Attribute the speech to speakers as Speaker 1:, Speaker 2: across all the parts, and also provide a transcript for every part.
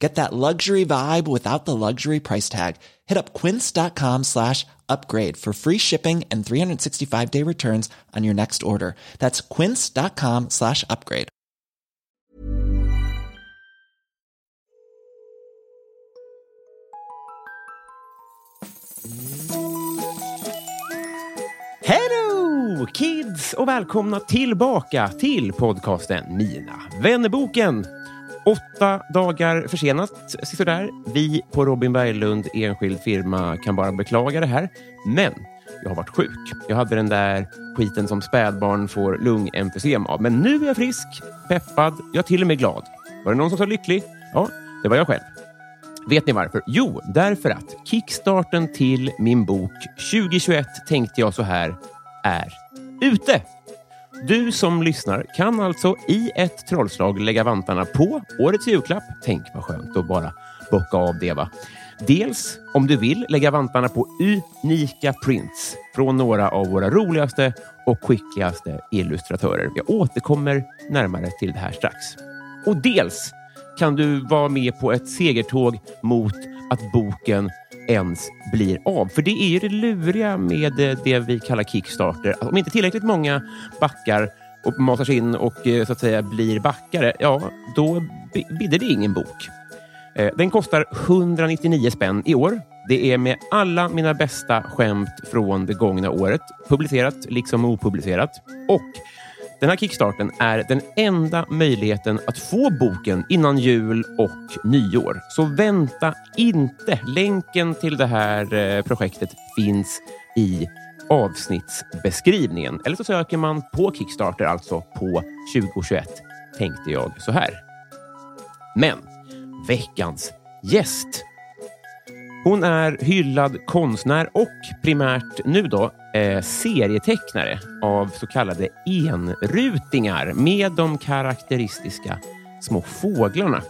Speaker 1: Get that luxury vibe without the luxury price tag. Hit up quince.com slash upgrade for free shipping and 365-day returns on your next order. That's quince.com slash upgrade.
Speaker 2: Hello kids och välkomna tillbaka till podcasten Mina vännerboken. Åtta dagar försenat, sådär. Vi på Robin Berglund enskild firma kan bara beklaga det här. Men jag har varit sjuk. Jag hade den där skiten som spädbarn får lungemfysem av. Men nu är jag frisk, peppad, jag till och med glad. Var det någon som sa lycklig? Ja, det var jag själv. Vet ni varför? Jo, därför att kickstarten till min bok 2021 tänkte jag så här är ute. Du som lyssnar kan alltså i ett trollslag lägga vantarna på årets julklapp. Tänk vad skönt att bara bocka av det. va? Dels, om du vill, lägga vantarna på unika prints från några av våra roligaste och skickligaste illustratörer. Jag återkommer närmare till det här strax. Och dels kan du vara med på ett segertåg mot att boken ens blir av. För det är ju det luriga med eh, det vi kallar Kickstarter. Att Om inte tillräckligt många backar och matas in och eh, så att säga blir backare, ja, då bi- bidde det ingen bok. Eh, Den kostar 199 spänn i år. Det är med alla mina bästa skämt från det gångna året. Publicerat liksom opublicerat. Och den här kickstarten är den enda möjligheten att få boken innan jul och nyår. Så vänta inte. Länken till det här eh, projektet finns i avsnittsbeskrivningen. Eller så söker man på Kickstarter, alltså på 2021, tänkte jag så här. Men veckans gäst hon är hyllad konstnär och primärt nu då eh, serietecknare av så kallade enrutingar med de karaktäristiska små fåglarna.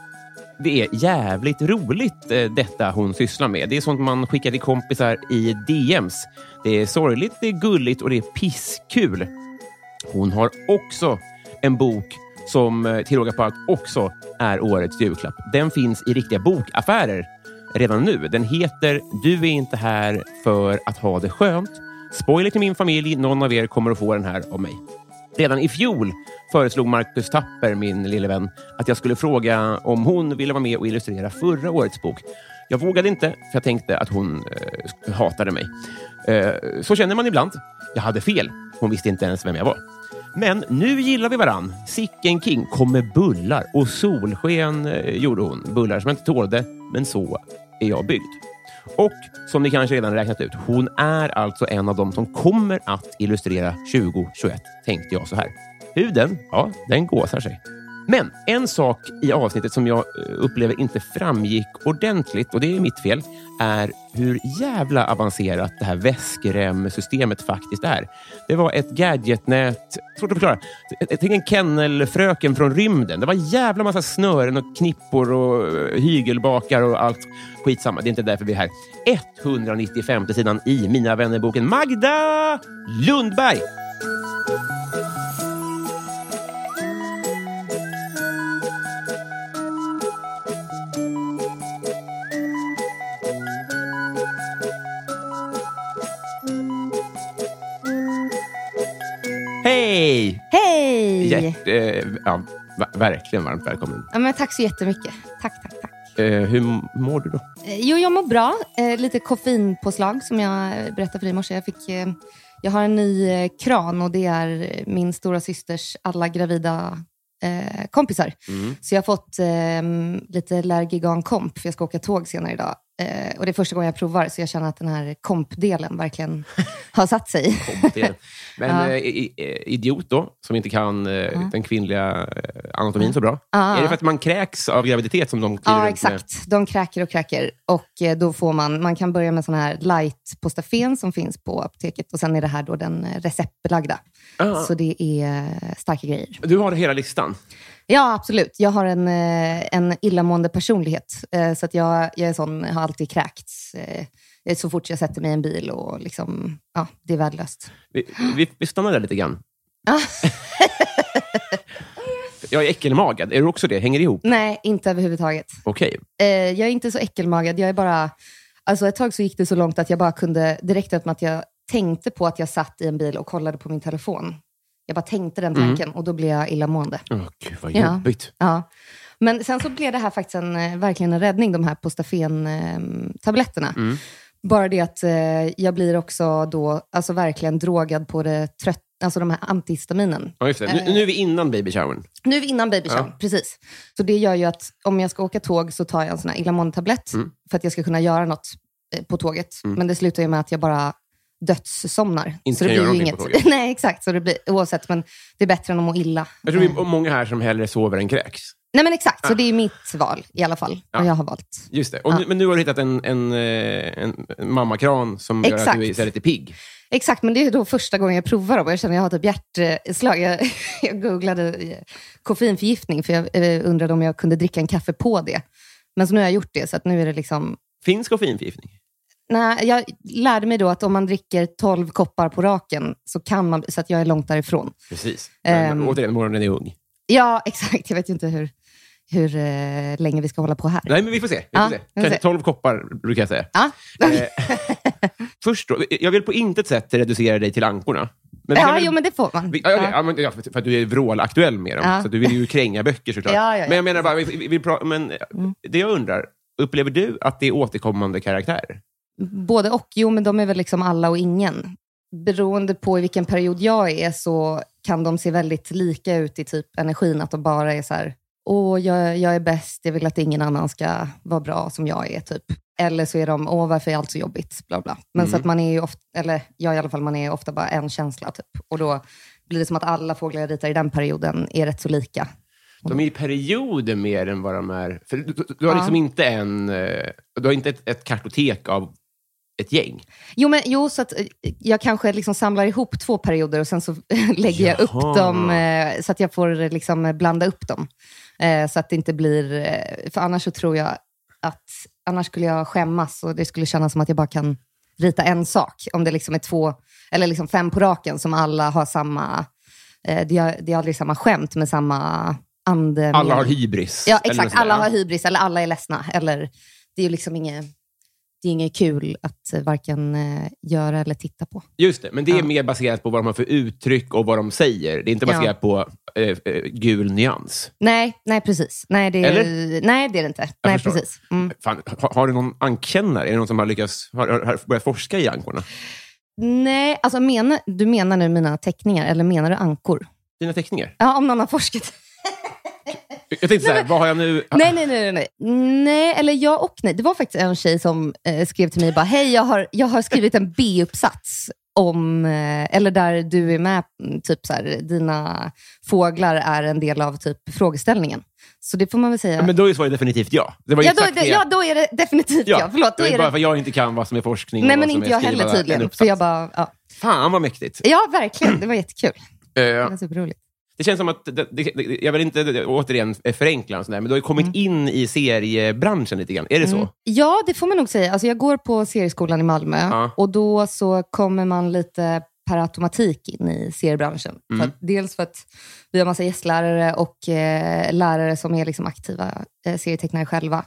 Speaker 2: Det är jävligt roligt eh, detta hon sysslar med. Det är sånt man skickar till kompisar i DMs. Det är sorgligt, det är gulligt och det är pisskul. Hon har också en bok som eh, till råga på allt också är årets julklapp. Den finns i riktiga bokaffärer redan nu. Den heter Du är inte här för att ha det skönt. Spoiler till min familj, någon av er kommer att få den här av mig. Redan i fjol föreslog Marcus Tapper, min lille vän, att jag skulle fråga om hon ville vara med och illustrera förra årets bok. Jag vågade inte, för jag tänkte att hon eh, hatade mig. Eh, så känner man ibland. Jag hade fel. Hon visste inte ens vem jag var. Men nu gillar vi varann. Sicken King kom med bullar och solsken eh, gjorde hon. Bullar som jag inte tålde, men så är jag byggd. Och som ni kanske redan räknat ut, hon är alltså en av dem som kommer att illustrera 2021, tänkte jag så här. Huden, ja, den gåsar sig. Men en sak i avsnittet som jag eh, upplever inte framgick ordentligt, och det är mitt fel, är hur jävla avancerat det här väskremsystemet faktiskt är. Det var ett gadgetnät, svårt att förklara. Jag tänker en kennelfröken från rymden. Det var en jävla massa snören och knippor och eh, hygelbakar och allt. Skitsamma, det är inte därför vi är här. 195 sidan i Mina vännerboken Magda Lundberg. Hej!
Speaker 3: Hej!
Speaker 2: Hjärt, eh, ja, va- verkligen varmt välkommen.
Speaker 3: Ja, men tack så jättemycket. Tack, tack, tack.
Speaker 2: Eh, hur mår du då?
Speaker 3: Eh, Jo, jag mår bra. Eh, lite koffeinpåslag som jag eh, berättade för dig i morse. Jag, fick, eh, jag har en ny eh, kran och det är eh, min stora systers alla gravida eh, kompisar. Så jag har fått eh, lite Lergigan komp för jag ska åka tåg senare idag. Eh, och det är första gången jag provar så jag känner att den här kompdelen verkligen har satt sig.
Speaker 2: Kompdelen. Men
Speaker 3: Ja.
Speaker 2: eh, i- i- idiot då, som inte kan eh, den kvinnliga eh, anatomin så bra.
Speaker 3: Ja.
Speaker 2: Är det för att man kräks av graviditet som de kliver
Speaker 3: Ja,
Speaker 2: runt med?
Speaker 3: exakt. De kräker och kräker. Och eh, då får man, man kan börja med sån här light postafen som finns på apoteket. Och sen är det här då den eh, receptbelagda.
Speaker 2: Ah.
Speaker 3: Så det är eh, starka grejer.
Speaker 2: Du har hela listan.
Speaker 3: Ja, absolut. Jag har en, eh, en illamående personlighet. eh, Så att jag, jag är sån, har alltid kräkts eh, så fort jag sätter mig i en bil. Och liksom, ja, det är värdelöst.
Speaker 2: Vi, vi, vi stannar där lite grann. jag är äckelmagad. Är du också det? Hänger det ihop?
Speaker 3: Nej, inte överhuvudtaget.
Speaker 2: Okej.
Speaker 3: Eh, jag är inte så äckelmagad. Jag är bara... Alltså ett tag så gick det så långt att jag bara kunde, direkt efter att jag tänkte på att jag satt i en bil och kollade på min telefon. Jag bara tänkte den tanken och då blev jag illamående.
Speaker 2: Åh, Gud, vad
Speaker 3: Ja.
Speaker 2: jobbigt.
Speaker 3: Ja. Men sen så blev det här faktiskt en, eh, verkligen en räddning, de här Postafen-tabletterna. Bara det att eh, jag blir också då alltså verkligen drogad på det trött, alltså de här antihistaminen.
Speaker 2: Ja, just det. Nu, nu är vi innan baby showern.
Speaker 3: Nu är vi innan baby shower, precis. Så det gör ju att om jag ska åka tåg så tar jag en sån här illamående-tablett
Speaker 2: Mm.
Speaker 3: för att jag ska kunna göra något eh, på tåget. Men det slutar ju med att jag bara dödssomnar.
Speaker 2: Inte
Speaker 3: så det
Speaker 2: kan göra
Speaker 3: blir ju
Speaker 2: någonting
Speaker 3: inget.
Speaker 2: på tåget.
Speaker 3: Nej, exakt. Så det blir, oavsett, men det är bättre än att må illa.
Speaker 2: Jag tror vi
Speaker 3: Eh,
Speaker 2: är många här som hellre sover än kräks.
Speaker 3: Nej, men exakt. Så det är mitt val i alla fall. Och jag har valt.
Speaker 2: Just det. Och nu, men nu har du hittat en, en, eh, en, en mammakran som gör att
Speaker 3: Exakt.
Speaker 2: du är så här lite pigg.
Speaker 3: Exakt, men det är då första gången jag provar dem. Jag känner att jag har typ hjärtslag. Jag, jag googlade eh, koffeinförgiftning för jag eh, undrade om jag kunde dricka en kaffe på det. Men så nu har jag gjort det, så att nu är det liksom
Speaker 2: Finns koffeinförgiftning?
Speaker 3: Nej, jag lärde mig då att om man dricker 12 koppar på raken så kan man, så att jag är långt därifrån.
Speaker 2: Precis. Men,
Speaker 3: Ehm.
Speaker 2: Återigen, morgonen är ung.
Speaker 3: Ja, exakt. Jag vet ju inte hur, hur eh, länge vi ska hålla på här.
Speaker 2: Nej, men vi får se. Vi får
Speaker 3: Ja,
Speaker 2: se.
Speaker 3: vi får
Speaker 2: Kanske
Speaker 3: se.
Speaker 2: 12 koppar, brukar jag säga.
Speaker 3: Ja.
Speaker 2: Eh, först då, jag vill på intet sätt reducera dig till ankorna. Men vi kan
Speaker 3: ja,
Speaker 2: väl-
Speaker 3: jo, men det får man.
Speaker 2: Vi, ja, okej.
Speaker 3: Ja.
Speaker 2: ja, men, ja, för för att du är vrålaktuell med dem,
Speaker 3: Ja.
Speaker 2: så att du vill ju kränga böcker såklart.
Speaker 3: Ja, ja, ja. Mm.
Speaker 2: Men jag menar bara, vi, vi, vi pra- men, eh, det jag undrar, upplever du att det är återkommande karaktärer?
Speaker 3: Både och. Jo, men de är väl liksom alla och ingen. Beroende på i vilken period jag är så kan de se väldigt lika ut i typ energin. Att de bara är så här, åh, jag, jag är bäst, jag vill att ingen annan ska vara bra som jag är, typ. Eller så är de, åh, varför är allt så jobbigt, bla bla. Men så att man är ju ofta, eller jag i alla fall, man är ofta bara en känsla, typ. Och då blir det som att alla fåglar jag ritar i den perioden är rätt så lika.
Speaker 2: De är i perioder mer än vad de är... För du, du, du har
Speaker 3: Ja.
Speaker 2: liksom inte en... eh, Du har inte ett, ett kartotek av ett gäng.
Speaker 3: Jo, men, jo så att eh, jag kanske liksom samlar ihop två perioder och sen så lägger jag
Speaker 2: Jaha.
Speaker 3: upp dem eh, så att jag får eh, liksom eh, blanda upp dem. Eh, Så att det inte blir... eh, För annars så tror jag att... Annars skulle jag skämmas och det skulle kännas som att jag bara kan rita en sak. Om det liksom är två, eller liksom fem på raken som alla har samma... eh, Det är, det är aldrig samma skämt med samma ande.
Speaker 2: Alla har hybris.
Speaker 3: Ja,
Speaker 2: eller något sånt
Speaker 3: exakt.
Speaker 2: där.
Speaker 3: Alla har hybris eller alla är ledsna. Eller, det är ju liksom inget, det är inget kul att eh, varken eh, göra eller titta på.
Speaker 2: Just det, men det är
Speaker 3: Ja.
Speaker 2: mer baserat på vad de har för uttryck och vad de säger. Det är inte
Speaker 3: Ja.
Speaker 2: baserat på eh, eh, gul nyans.
Speaker 3: Nej, nej precis. Nej, det,
Speaker 2: Eller?
Speaker 3: nej, det är det inte.
Speaker 2: Jag
Speaker 3: nej,
Speaker 2: förstår.
Speaker 3: precis. Mm.
Speaker 2: Fan, har, har du någon ankkännare? Är det någon som har, lyckats, har, har- har börjat forska i ankorna?
Speaker 3: Nej, alltså menar, du menar nu mina teckningar eller menar du ankor?
Speaker 2: Dina teckningar?
Speaker 3: Ja, om någon har forskat.
Speaker 2: Jag tänkte så här, vad har jag nu...
Speaker 3: Nej, nej, nej, nej, nej. Nej, eller ja och nej. Det var faktiskt en tjej som eh, skrev till mig bara, hej, jag har, jag har skrivit en B-uppsats om, eh, eller där du är med, mm, typ så här, dina fåglar är en del av typ frågeställningen. Så det får man väl säga.
Speaker 2: Ja, Men då är svaret definitivt ja. Det var ju
Speaker 3: ja, då, är
Speaker 2: exakt
Speaker 3: det, ja, då är det definitivt ja. Förlåt, då
Speaker 2: det är
Speaker 3: är
Speaker 2: bara för
Speaker 3: det...
Speaker 2: att jag inte kan vad som är forskning. och
Speaker 3: Nej,
Speaker 2: vad
Speaker 3: men
Speaker 2: som
Speaker 3: inte
Speaker 2: är
Speaker 3: jag
Speaker 2: skriva
Speaker 3: heller
Speaker 2: en
Speaker 3: tydligen. För
Speaker 2: uppsats.
Speaker 3: jag bara, ja.
Speaker 2: Fan vad mäktigt.
Speaker 3: ja, verkligen. Det var jättekul. Det
Speaker 2: Eh,
Speaker 3: var superroligt.
Speaker 2: Det känns som att, det, det, det, jag vill inte det, återigen förenkla, och sådär, men du har ju kommit
Speaker 3: Mm.
Speaker 2: in i seriebranschen lite grann. Är det så?
Speaker 3: Ja, det får man nog säga. Alltså, jag går på serieskolan i Malmö
Speaker 2: Ja.
Speaker 3: och då så kommer man lite per automatik in i seriebranschen. För att, dels för att vi har massa gästlärare och eh, lärare som är liksom aktiva eh, serietecknare själva.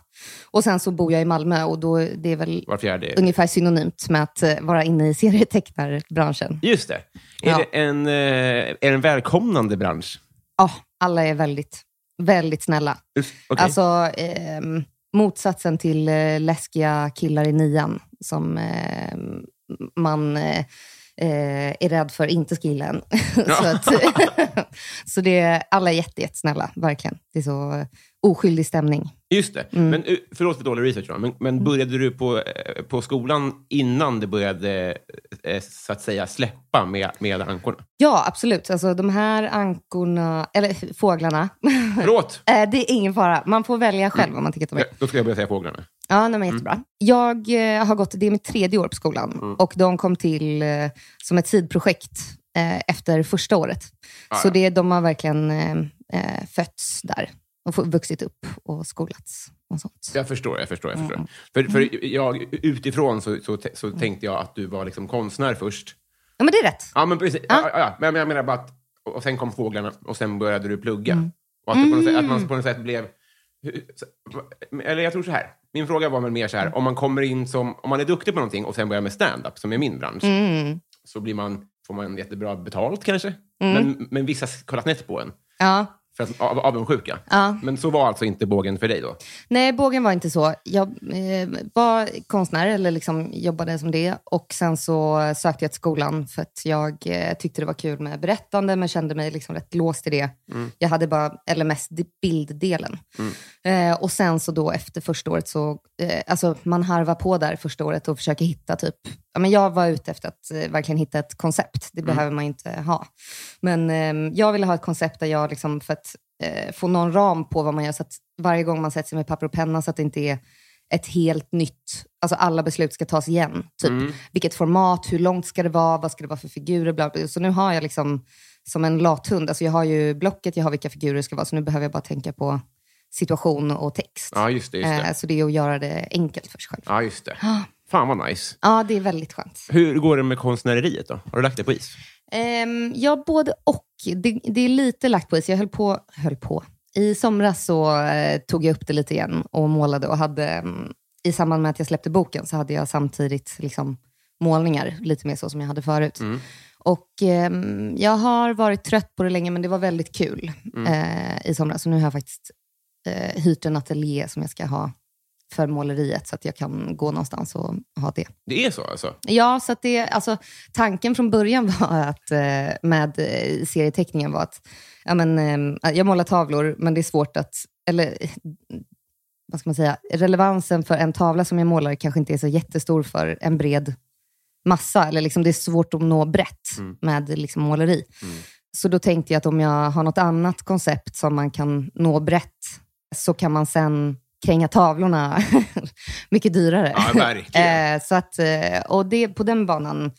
Speaker 3: Och sen så bor jag i Malmö och då det är väl
Speaker 2: Var fjärde?
Speaker 3: ungefär synonymt med att eh, vara inne i serietecknarbranschen.
Speaker 2: Just det. Är,
Speaker 3: Ja.
Speaker 2: det en, eh, är det en välkomnande bransch?
Speaker 3: Ja, alla är väldigt, väldigt snälla.
Speaker 2: Uff, okej.
Speaker 3: Alltså, ehm, Motsatsen till eh, läskiga killar i nian som eh, man eh, eh, är rädd för inte ska gilla en. så, att, så det är, alla är jätte, jättesnälla, verkligen. Det är så eh, oskyldig stämning.
Speaker 2: Just det. Men, uh, förlåt för dålig research, då, men, men började du på, eh, på skolan innan det började eh, så att säga släppa med, med ankorna?
Speaker 3: Ja, absolut. Alltså, de här ankorna, eller fåglarna,
Speaker 2: Förlåt!
Speaker 3: eh, det är ingen fara. Man får välja själv om man tycker att de är
Speaker 2: Ja, Då ska jag börja säga fåglarna.
Speaker 3: Ja, nej, men
Speaker 2: Mm.
Speaker 3: jättebra. Jag eh, har gått, det är mitt tredje år på skolan och de kom till eh, som ett sidprojekt eh, efter första året.
Speaker 2: Ah,
Speaker 3: så
Speaker 2: ja.
Speaker 3: det, de har verkligen eh, eh, fötts där och få- vuxit upp och skolats och sånt.
Speaker 2: Jag förstår, jag förstår. Jag förstår. För, för jag, utifrån så, så, t- så tänkte jag att du var liksom konstnär först.
Speaker 3: Ja, men det är rätt.
Speaker 2: Ja, men precis. Ja. Ja, ja. Men jag menar bara att, och sen kom fåglarna och sen började du plugga.
Speaker 3: Mm.
Speaker 2: Och att, du på något sätt, att man på något sätt blev... Eller jag tror så här. Min fråga var väl mer så
Speaker 3: Mm.
Speaker 2: här, om man kommer in som, om man är duktig på någonting och sen börjar med stand-up, som är min bransch,
Speaker 3: Mm.
Speaker 2: så blir man, får man jättebra betalt kanske. Men, men vissa kollar snett på en
Speaker 3: Ja.
Speaker 2: för att, av avundsjuka.
Speaker 3: Ja.
Speaker 2: Men så var alltså inte bågen för dig då?
Speaker 3: Nej, bågen var inte så. Jag eh, var konstnär, eller liksom jobbade som det. Och Sen så sökte jag till skolan för att jag eh, tyckte det var kul med berättande, men kände mig liksom rätt låst i det. Jag hade bara, eller mest bilddelen. Eh, och sen så då efter första året så, eh, alltså man harvar på där första året och försöker hitta typ, ja men jag var ute efter att eh, verkligen hitta ett koncept. Det behöver man ju inte ha. Men eh, jag ville ha ett koncept där jag liksom, för att eh, få någon ram på vad man gör, så att varje gång man sätter sig med papper och penna så att det inte är ett helt nytt, alltså alla beslut ska tas igen. Typ.
Speaker 2: Mm.
Speaker 3: Vilket format, hur långt ska det vara, vad ska det vara för figurer, bla bla. Så nu har jag liksom som en lathund, alltså jag har ju blocket, jag har vilka figurer det ska vara, så nu behöver jag bara tänka på situation och text.
Speaker 2: Ja, just det. Just
Speaker 3: Eh,
Speaker 2: det.
Speaker 3: Så det är att göra det enkelt för sig själv.
Speaker 2: Ja, just det. Fan vad nice.
Speaker 3: Ja, det är väldigt skönt.
Speaker 2: Hur går det med konstnäreriet då? Har du lagt det på is?
Speaker 3: Ehm, ja, både och. Det, det är lite lagt på is. Jag höll på, höll på. I somras så eh, tog jag upp det lite igen och målade och hade, mm, i samband med att jag släppte boken så hade jag samtidigt liksom, målningar, lite mer så som jag hade förut. Och ehm, jag har varit trött på det länge, men det var väldigt kul eh, i somras. Så nu har jag faktiskt eh, hyrt en ateljé som jag ska ha för måleriet så att jag kan gå någonstans och ha det.
Speaker 2: Det är så alltså?
Speaker 3: Ja, så att det, alltså, tanken från början var att, eh, med eh, serieteckningen var att ja, men, eh, jag målar tavlor, men det är svårt att... Eller, eh, vad ska man säga? Relevansen för en tavla som jag målar kanske inte är så jättestor för en bred massa. Eller liksom, det är svårt att nå brett med liksom, måleri. Så då tänkte jag att om jag har något annat koncept som man kan nå brett, så kan man sen kränga tavlorna mycket dyrare.
Speaker 2: Ja, verkligen.
Speaker 3: Eh, så att, eh, och det, på den banan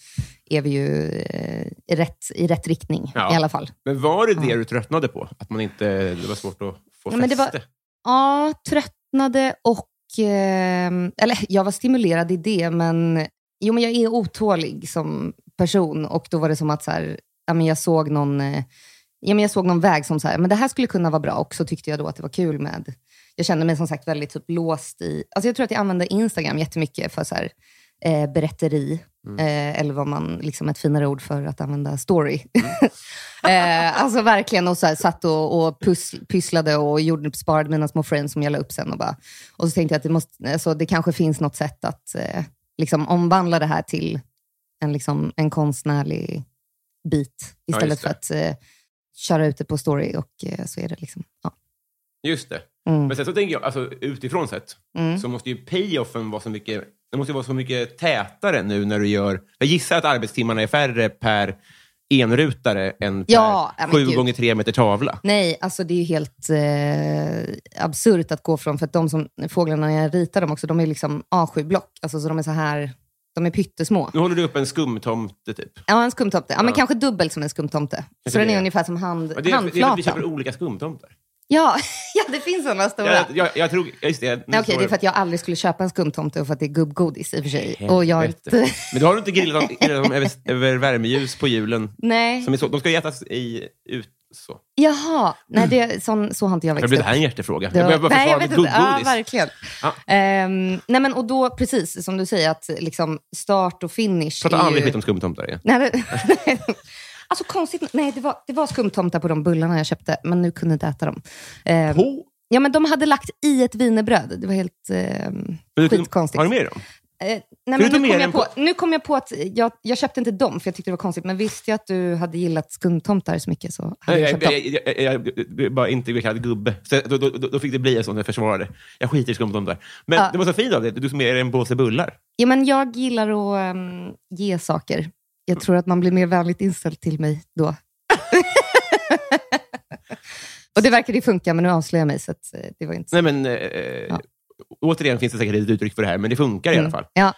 Speaker 3: är vi ju eh, i, rätt, i rätt riktning
Speaker 2: Ja.
Speaker 3: i alla fall.
Speaker 2: Men var det det du tröttnade på? Att man inte, det var svårt att få
Speaker 3: Ja, men det var-
Speaker 2: fäste?
Speaker 3: Ja, tröttnade och... Eh, eller jag var stimulerad i det, men, jo, men jag är otålig som person och då var det som att så här, ja, men jag såg någon... Eh, Ja, men jag såg någon väg som så här, men det här skulle kunna vara bra och så tyckte jag då att det var kul med... Jag kände mig som sagt väldigt typ låst i... Alltså jag tror att jag använde Instagram jättemycket för så här, eh, berätteri.
Speaker 2: Mm.
Speaker 3: Eh, eller vad man, liksom ett finare ord för att använda story.
Speaker 2: Mm.
Speaker 3: eh, alltså verkligen, och så här, satt och, och puss, pysslade och gjorde, sparade mina små frames som jag la upp sen. Och, bara, och så tänkte jag att det, måste, alltså, det kanske finns något sätt att eh, liksom omvandla det här till en, liksom, en konstnärlig bit
Speaker 2: Ja,
Speaker 3: istället
Speaker 2: just
Speaker 3: för att eh, köra ut det på story och eh, så är det liksom. Ja.
Speaker 2: Just det.
Speaker 3: Mm.
Speaker 2: Men sen så tänker jag, alltså, utifrån sett,
Speaker 3: Mm.
Speaker 2: så måste ju payoffen vara så mycket det måste ju vara så mycket tätare nu när du gör... Jag gissar att arbetstimmarna är färre per enrutare än per
Speaker 3: Ja, ja, men
Speaker 2: sju
Speaker 3: gud.
Speaker 2: gånger tre meter tavla.
Speaker 3: Nej, alltså det är ju helt eh, absurt att gå från, för att de som, fåglarna jag ritar dem också, de är liksom A7-block, alltså så de är så här, de är pyttesmå.
Speaker 2: Nu håller du upp en skumtomte, typ.
Speaker 3: Ja, en skumtomte. Ja, men
Speaker 2: Ja.
Speaker 3: kanske dubbelt som en skumtomte. Så
Speaker 2: det
Speaker 3: den är
Speaker 2: är.
Speaker 3: ungefär som hand,
Speaker 2: Men Det är, det är för att vi köper
Speaker 3: handflatan.
Speaker 2: olika skumtomtar.
Speaker 3: Ja, ja, det finns sådana stora.
Speaker 2: Jag, jag, jag tror... Just det, nu står
Speaker 3: Nej, okej, det är för att jag aldrig skulle köpa en skumtomte och för att det är gubbgodis i och för sig. Och jag
Speaker 2: Helvete.
Speaker 3: inte...
Speaker 2: Men då har du inte grillat dem, grillat dem över, över värmeljus på julen?
Speaker 3: Nej.
Speaker 2: Som är så, de ska ju ätas i, ut så.
Speaker 3: Jaha, nej, det, sån, så har inte jag
Speaker 2: Det
Speaker 3: växt
Speaker 2: blir
Speaker 3: upp.
Speaker 2: det här en hjärtefråga.
Speaker 3: Det
Speaker 2: Jag behöver
Speaker 3: var-
Speaker 2: bara
Speaker 3: Nej, jag
Speaker 2: försvara mitt
Speaker 3: vet inte. Ja,
Speaker 2: gubbgodis.
Speaker 3: verkligen.
Speaker 2: Ja.
Speaker 3: Ehm, nej, men, och då, precis som du säger, att liksom, start och finish
Speaker 2: Prata
Speaker 3: är ju...
Speaker 2: aldrig skit om skumtomtar igen.
Speaker 3: Nej, det, nej. Alltså konstigt nog- nej det var, det var skumtomtar på de bullarna jag köpte, men nu kunde jag inte äta dem. Ehm,
Speaker 2: På
Speaker 3: Ja, men de hade lagt i ett wienerbröd. Det var helt eh,
Speaker 2: Men du-
Speaker 3: skitkonstigt.
Speaker 2: Har du med dem?
Speaker 3: Eh, nej, men
Speaker 2: Förutom
Speaker 3: nu, kom
Speaker 2: er
Speaker 3: jag
Speaker 2: än
Speaker 3: på, nu kom jag på att jag, jag köpte inte dem, för jag tyckte det var konstigt. Men visste jag att du hade gillat skumtomtar så mycket så
Speaker 2: Nej,
Speaker 3: hade
Speaker 2: jag,
Speaker 3: jag köpt dem.
Speaker 2: jag, jag, jag, jag, jag bara inte blev kallad gubbe. Så då, då, då, då fick det bli en sån jag försvarade. Jag skiter i skumtomtar. Men
Speaker 3: Ja.
Speaker 2: det var så fint av dig. Du som är en påse bullar.
Speaker 3: Ja, men jag gillar att ehm, ge saker. Jag tror att man blir mer vänligt inställd till mig då. Och det verkade ju funka, men nu avslöjar jag mig. Så att, eh, det var inte så.
Speaker 2: Nej, men, eh,
Speaker 3: Ja. Mm.
Speaker 2: Återigen finns det säkert ett uttryck för det här, men det funkar i alla fall.
Speaker 3: Ja.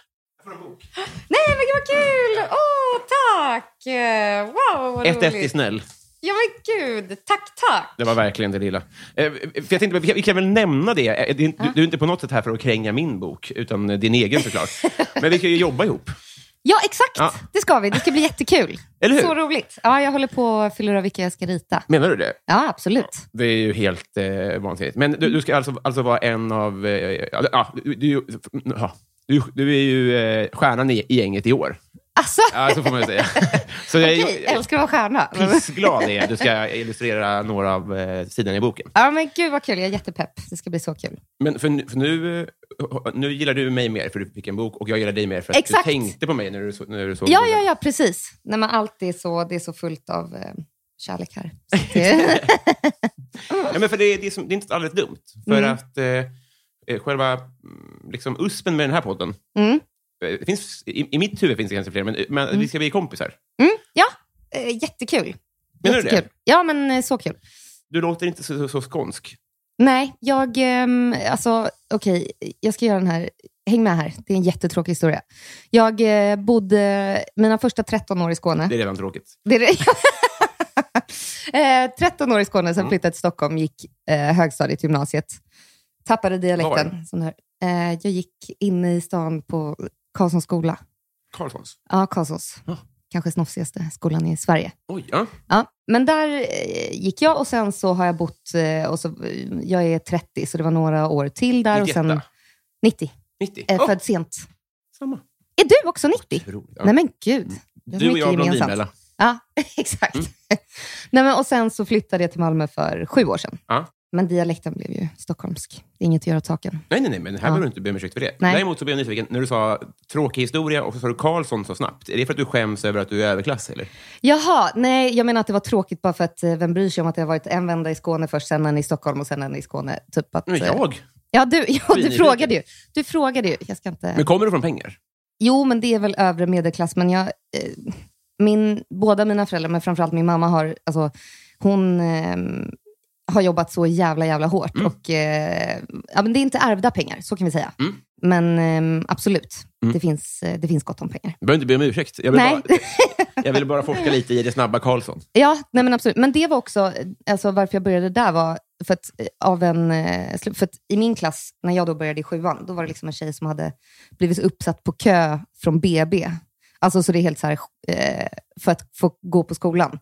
Speaker 4: Nej, men gud vad kul! Åh, tack! Eh, Wow, vad
Speaker 2: Ett
Speaker 4: roligt.
Speaker 2: efter snäll.
Speaker 4: Ja, men gud. Tack, tack.
Speaker 2: Det var verkligen det lilla. Eh, för jag tänkte, vi kan- vi kan väl nämna det. Eh, det- Du, du är inte på något sätt här för att kränga min bok, utan eh, din egen såklart. Men vi kan ju jobba ihop.
Speaker 3: Ja, exakt.
Speaker 2: Ja.
Speaker 3: Det ska vi. Det ska bli jättekul.
Speaker 2: Eller hur?
Speaker 3: Så roligt. Ja, jag håller på att fylla ur vilka jag ska rita.
Speaker 2: Menar du det?
Speaker 3: Ja, absolut.
Speaker 2: Det är ju helt eh, vansinnigt. Men du, du ska alltså, alltså vara en av... Eh, ja, ja, du, du, ja, du, du är ju eh, stjärnan i, i gänget i år.
Speaker 3: Alltså,
Speaker 2: Ja, så får man ju säga. Så jag är
Speaker 3: okej. Älskar att vara stjärna.
Speaker 2: pissglad är jag. Du ska illustrera några av eh, sidorna i boken.
Speaker 3: Ja, men gud vad kul. Jag är jättepepp. Det ska bli så kul.
Speaker 2: Men för, nu- för nu, eh, nu gillar du mig mer för du fick en bok och jag gillar dig mer för att
Speaker 3: Exakt.
Speaker 2: du tänkte på mig när du, så- när du såg
Speaker 3: Ja,
Speaker 2: boken.
Speaker 3: ja, ja, precis. Nej, men allt är så, det är så fullt av eh, kärlek här. Så det-
Speaker 2: Ja, men för det, det, är som, det är inte alldeles dumt. För
Speaker 3: Mm.
Speaker 2: att eh, eh, själva mm, liksom, uspen med den här podden,
Speaker 3: Mm.
Speaker 2: eh, det finns, i, i mitt huvud finns det kanske fler, men, eh, men vi ska bli kompisar.
Speaker 3: Eh, jättekul.
Speaker 2: Menar du
Speaker 3: jättekul.
Speaker 2: det?
Speaker 3: Ja, men eh, så kul.
Speaker 2: Du låter inte så, så, så skånsk.
Speaker 3: Nej, jag... ehm, alltså, okej, jag ska göra den här... Häng med här. Det är en jättetråkig historia. Jag eh, bodde mina första 13 år i Skåne.
Speaker 2: Det är redan tråkigt.
Speaker 3: Det är det. eh, 13 år i Skåne, sen
Speaker 2: Mm.
Speaker 3: flyttade till Stockholm, gick eh, högstadiet, gymnasiet. Tappade dialekten. Sån här. Eh, jag gick inne i stan på Karlssons skola.
Speaker 2: Karlssons.
Speaker 3: Ja, Karlssons.
Speaker 2: Ja.
Speaker 3: Kanske snofsigaste skolan i Sverige.
Speaker 2: Oj, ja.
Speaker 3: Ja, men där eh, gick jag och sen så har jag bott, eh, och så, jag är 30 så det var några år till där. Och sen
Speaker 2: 91.
Speaker 3: 90,
Speaker 2: 90.
Speaker 3: eh,
Speaker 2: Åh,
Speaker 3: född sent.
Speaker 2: samma.
Speaker 3: Är du också 90?
Speaker 2: Otroligt. Oh. Ja.
Speaker 3: Nej men gud. det är så
Speaker 2: du och
Speaker 3: mycket
Speaker 2: jag
Speaker 3: gemensamt.
Speaker 2: Blondinbella.
Speaker 3: Ja, exakt.
Speaker 2: Mm.
Speaker 3: Nej, men, och sen så flyttade jag till Malmö för sju år sedan.
Speaker 2: Ja.
Speaker 3: Men dialekten blev ju stockholmsk. Det är inget att göra åt saken.
Speaker 2: Nej, nej, nej, men här behöver du inte be om ursäkt för det.
Speaker 3: Nej.
Speaker 2: Däremot så blev jag nyfiken när du sa tråkig historia och så sa du Karlsson så snabbt. Är det för att du skäms över att du är överklass? Eller?
Speaker 3: Jaha, nej, jag menar att det var tråkigt bara för att eh, vem bryr sig om att det har varit en vända i Skåne först, sen en i Stockholm och sen en i Skåne. Typ att,
Speaker 2: Men
Speaker 3: eh,
Speaker 2: jag?
Speaker 3: Ja, du, ja, du
Speaker 2: Nyfiken.
Speaker 3: frågade ju. Du frågade ju. Jag ska inte...
Speaker 2: Men kommer du från pengar?
Speaker 3: Jo, men det är väl övre medelklass. Men jag, eh, min, båda mina föräldrar, men framförallt min mamma, har, alltså, hon eh, har jobbat så jävla, jävla hårt.
Speaker 2: Mm.
Speaker 3: Och, eh, ja, men det är inte ärvda pengar, så kan vi säga.
Speaker 2: Mm.
Speaker 3: Men eh, absolut,
Speaker 2: Mm.
Speaker 3: det, finns, eh, det finns gott om pengar.
Speaker 2: Du behöver inte be om ursäkt. Jag vill,
Speaker 3: Nej.
Speaker 2: Bara, jag vill bara forska lite i det snabba Karlsson.
Speaker 3: Ja, nej men absolut. Men det var också, alltså varför jag började där var för att, eh, av en, eh, slu- för att i min klass, när jag då började i sjuan, då var det liksom en tjej som hade blivit uppsatt på kö från BB. Alltså så det är helt så här, eh, för att få gå på skolan.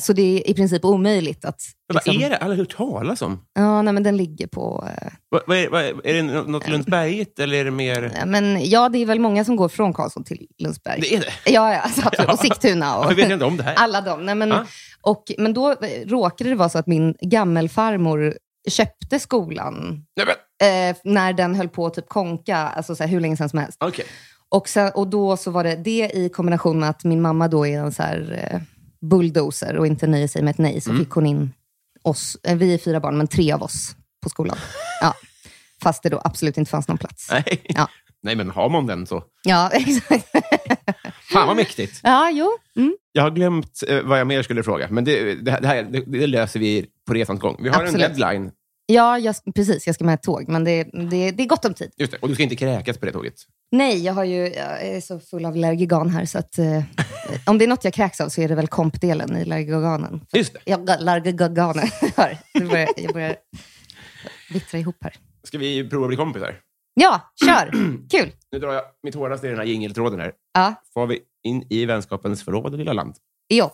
Speaker 3: Så det är i princip omöjligt att...
Speaker 2: Men
Speaker 3: liksom-
Speaker 2: Vad är det alla har hört talas om?
Speaker 3: Ja, nej men den ligger på... eh,
Speaker 2: Vad, vad är, vad är, är det nå- något Lundsberget eller är det mer...
Speaker 3: nej, eh, Men ja, det är väl många som går från Karlsson till Lundsberg.
Speaker 2: Det är det?
Speaker 3: Ja, ja, alltså, absolut.
Speaker 2: Ja.
Speaker 3: Och Sigtuna. Och...
Speaker 2: Varför vet jag inte om det här?
Speaker 3: Alla de. Nej, men,
Speaker 2: Ja.
Speaker 3: och, men då eh, råkade det vara så att min gammelfarmor köpte skolan
Speaker 2: Nej, men,
Speaker 3: eh, när den höll på att typ konka, alltså så här, hur länge sedan som helst.
Speaker 2: okej.
Speaker 3: Och, sen, och då så var det det i kombination med att min mamma då är en så här eh, bulldozer och inte nöjer sig med ett nej, så
Speaker 2: Mm.
Speaker 3: fick hon in oss, eh, vi är fyra barn, men tre av oss på skolan. Ja. Fast det då absolut inte fanns någon plats.
Speaker 2: Nej.
Speaker 3: Ja.
Speaker 2: Nej, men har man den så...
Speaker 3: Ja, exakt.
Speaker 2: Fan vad mäktigt.
Speaker 3: Ja, jo. Mm.
Speaker 2: Jag har glömt eh, vad jag mer skulle fråga, men det, det, här- det, här, det, det löser vi på resans gång. Vi har
Speaker 3: Absolut.
Speaker 2: en deadline,
Speaker 3: Ja, jag, precis. Jag ska med ett tåg, men det, det, det är gott om tid.
Speaker 2: just det, och du ska inte kräkas på det tåget.
Speaker 3: Nej, jag, har ju, jag är så full av Lergigan här, så att, eh, om det är något jag kräks av så är det väl kompdelen i Lergiganen.
Speaker 2: Just det.
Speaker 3: Ja, Lergiganen. Hör, nu börjar, jag börjar vittra ihop här.
Speaker 2: Ska vi prova att bli kompisar?
Speaker 3: Ja, kör! Kul!
Speaker 2: Nu drar jag mitt hårdaste i den här jingeltråden här.
Speaker 3: Ja,
Speaker 2: Får vi in i vänskapens förråd, lilla land.
Speaker 3: jo.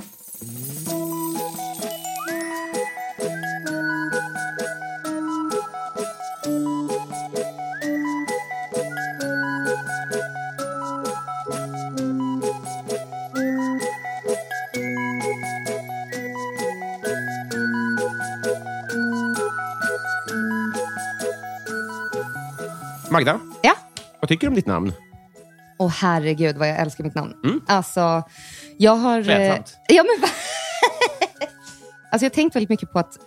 Speaker 2: Magda,
Speaker 3: Ja.
Speaker 2: vad tycker du om ditt namn?
Speaker 3: Och herregud vad jag älskar mitt namn. Alltså, jag har... eh,
Speaker 2: Klädsamt.
Speaker 3: Ja, men va? alltså, jag har tänkt väldigt mycket på att, eh,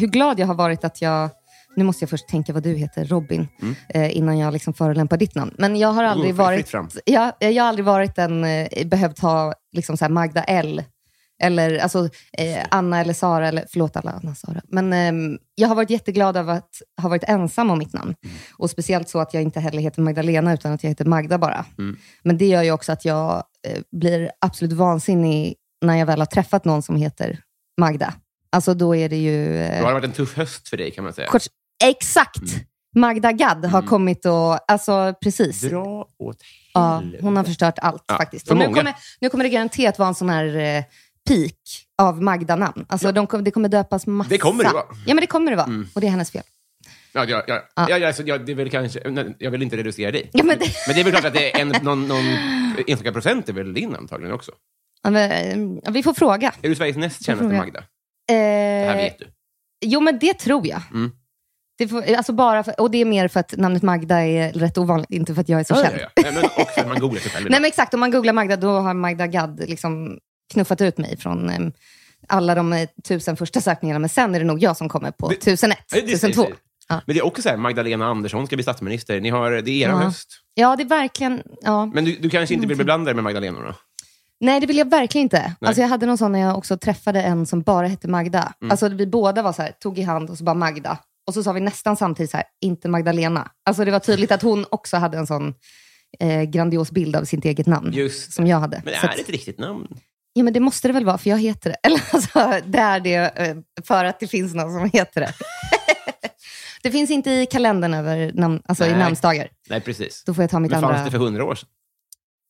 Speaker 3: hur glad jag har varit att jag... Nu måste jag först tänka vad du heter, Robin, eh, innan jag liksom förolämpar ditt namn. Men jag har aldrig
Speaker 2: Mm. fritt
Speaker 3: varit...
Speaker 2: fram.
Speaker 3: Jag, jag har aldrig varit en, eh, behövt ha liksom så här Magda L. Eller alltså, eh, Anna eller Sara, eller förlåt alla Anna och Sara. Men ehm, jag har varit jätteglad över att ha varit ensam om mitt namn.
Speaker 2: Mm.
Speaker 3: Och speciellt så att jag inte heller heter Magdalena, utan att jag heter Magda bara.
Speaker 2: Mm.
Speaker 3: Men det gör ju också att jag eh, blir absolut vansinnig när jag väl har träffat någon som heter Magda. Alltså då är det ju... eh,
Speaker 2: Det har varit en tuff höst för dig kan man säga.
Speaker 3: kort, exakt!
Speaker 2: Mm.
Speaker 3: Magda Gad har kommit och... Alltså precis.
Speaker 2: Dra åt
Speaker 3: Ja,
Speaker 2: helvete.
Speaker 3: hon har förstört allt
Speaker 2: Ja,
Speaker 3: faktiskt.
Speaker 2: för
Speaker 3: Och nu,
Speaker 2: många.
Speaker 3: kommer, nu kommer det garanterat vara en sån här eh, peak av Magda-namn. Alltså, de kom, det kommer döpas massa.
Speaker 2: Det kommer det vara. Mm.
Speaker 3: Ja, men det kommer det vara. Och det är hennes fel.
Speaker 2: Ja, ja, ja. Ja. Ja, alltså, ja, det är väl kanske, nej, jag vill inte reducera dig.
Speaker 3: Ja, men det-
Speaker 2: det är väl klart att det är en, någon, någon enstaka procent är väl din antagligen också.
Speaker 3: Ja, men, eh, ja, vi får fråga.
Speaker 2: Är du Sveriges näst kändaste
Speaker 3: fråga.
Speaker 2: Magda?
Speaker 3: Eh,
Speaker 2: Det här vet du.
Speaker 3: Jo, men det tror jag.
Speaker 2: Mm.
Speaker 3: Det får, alltså bara för, och det är mer för att namnet Magda är rätt ovanligt, inte för att jag är så
Speaker 2: Ja,
Speaker 3: känd.
Speaker 2: ja, ja. Nej, men, och för att man googlar sig själv.
Speaker 3: Nej, men exakt. Om man googlar Magda, då har Magda Gad liksom knuffat ut mig från eh, alla de eh, tusen första sökningarna. Men sen är det nog jag som kommer på
Speaker 2: Det-
Speaker 3: tusen ett,
Speaker 2: Nej, det
Speaker 3: tusen
Speaker 2: säger
Speaker 3: två.
Speaker 2: sig.
Speaker 3: Ja.
Speaker 2: Men det är också så här, Magdalena Andersson ska bli statsminister. Ni har, det är er
Speaker 3: Ja.
Speaker 2: höst.
Speaker 3: Ja, det är verkligen... Ja.
Speaker 2: Men du, du kanske inte vill bli blandad med Magdalenorna?
Speaker 3: Nej, det vill jag verkligen inte. Alltså, jag hade någon sån när jag också träffade en som bara hette Magda.
Speaker 2: Mm.
Speaker 3: Alltså, vi båda var så här, tog i hand och så bara Magda. Och så sa vi nästan samtidigt så här, inte Magdalena. Alltså, det var tydligt att hon också hade en sån eh, grandios bild av sitt eget namn.
Speaker 2: Just det.
Speaker 3: Som jag hade.
Speaker 2: Men det
Speaker 3: Så
Speaker 2: är
Speaker 3: att-
Speaker 2: ett riktigt namn.
Speaker 3: Ja, men det måste det väl vara, för jag heter det. Eller alltså, det är det eh, för att det finns någon som heter det. det finns inte i kalendern över namn, alltså, i
Speaker 2: Nej.
Speaker 3: namnsdagar.
Speaker 2: Nej, precis.
Speaker 3: Då får jag ta mitt
Speaker 2: Men
Speaker 3: andra...
Speaker 2: fanns det för hundra år sedan?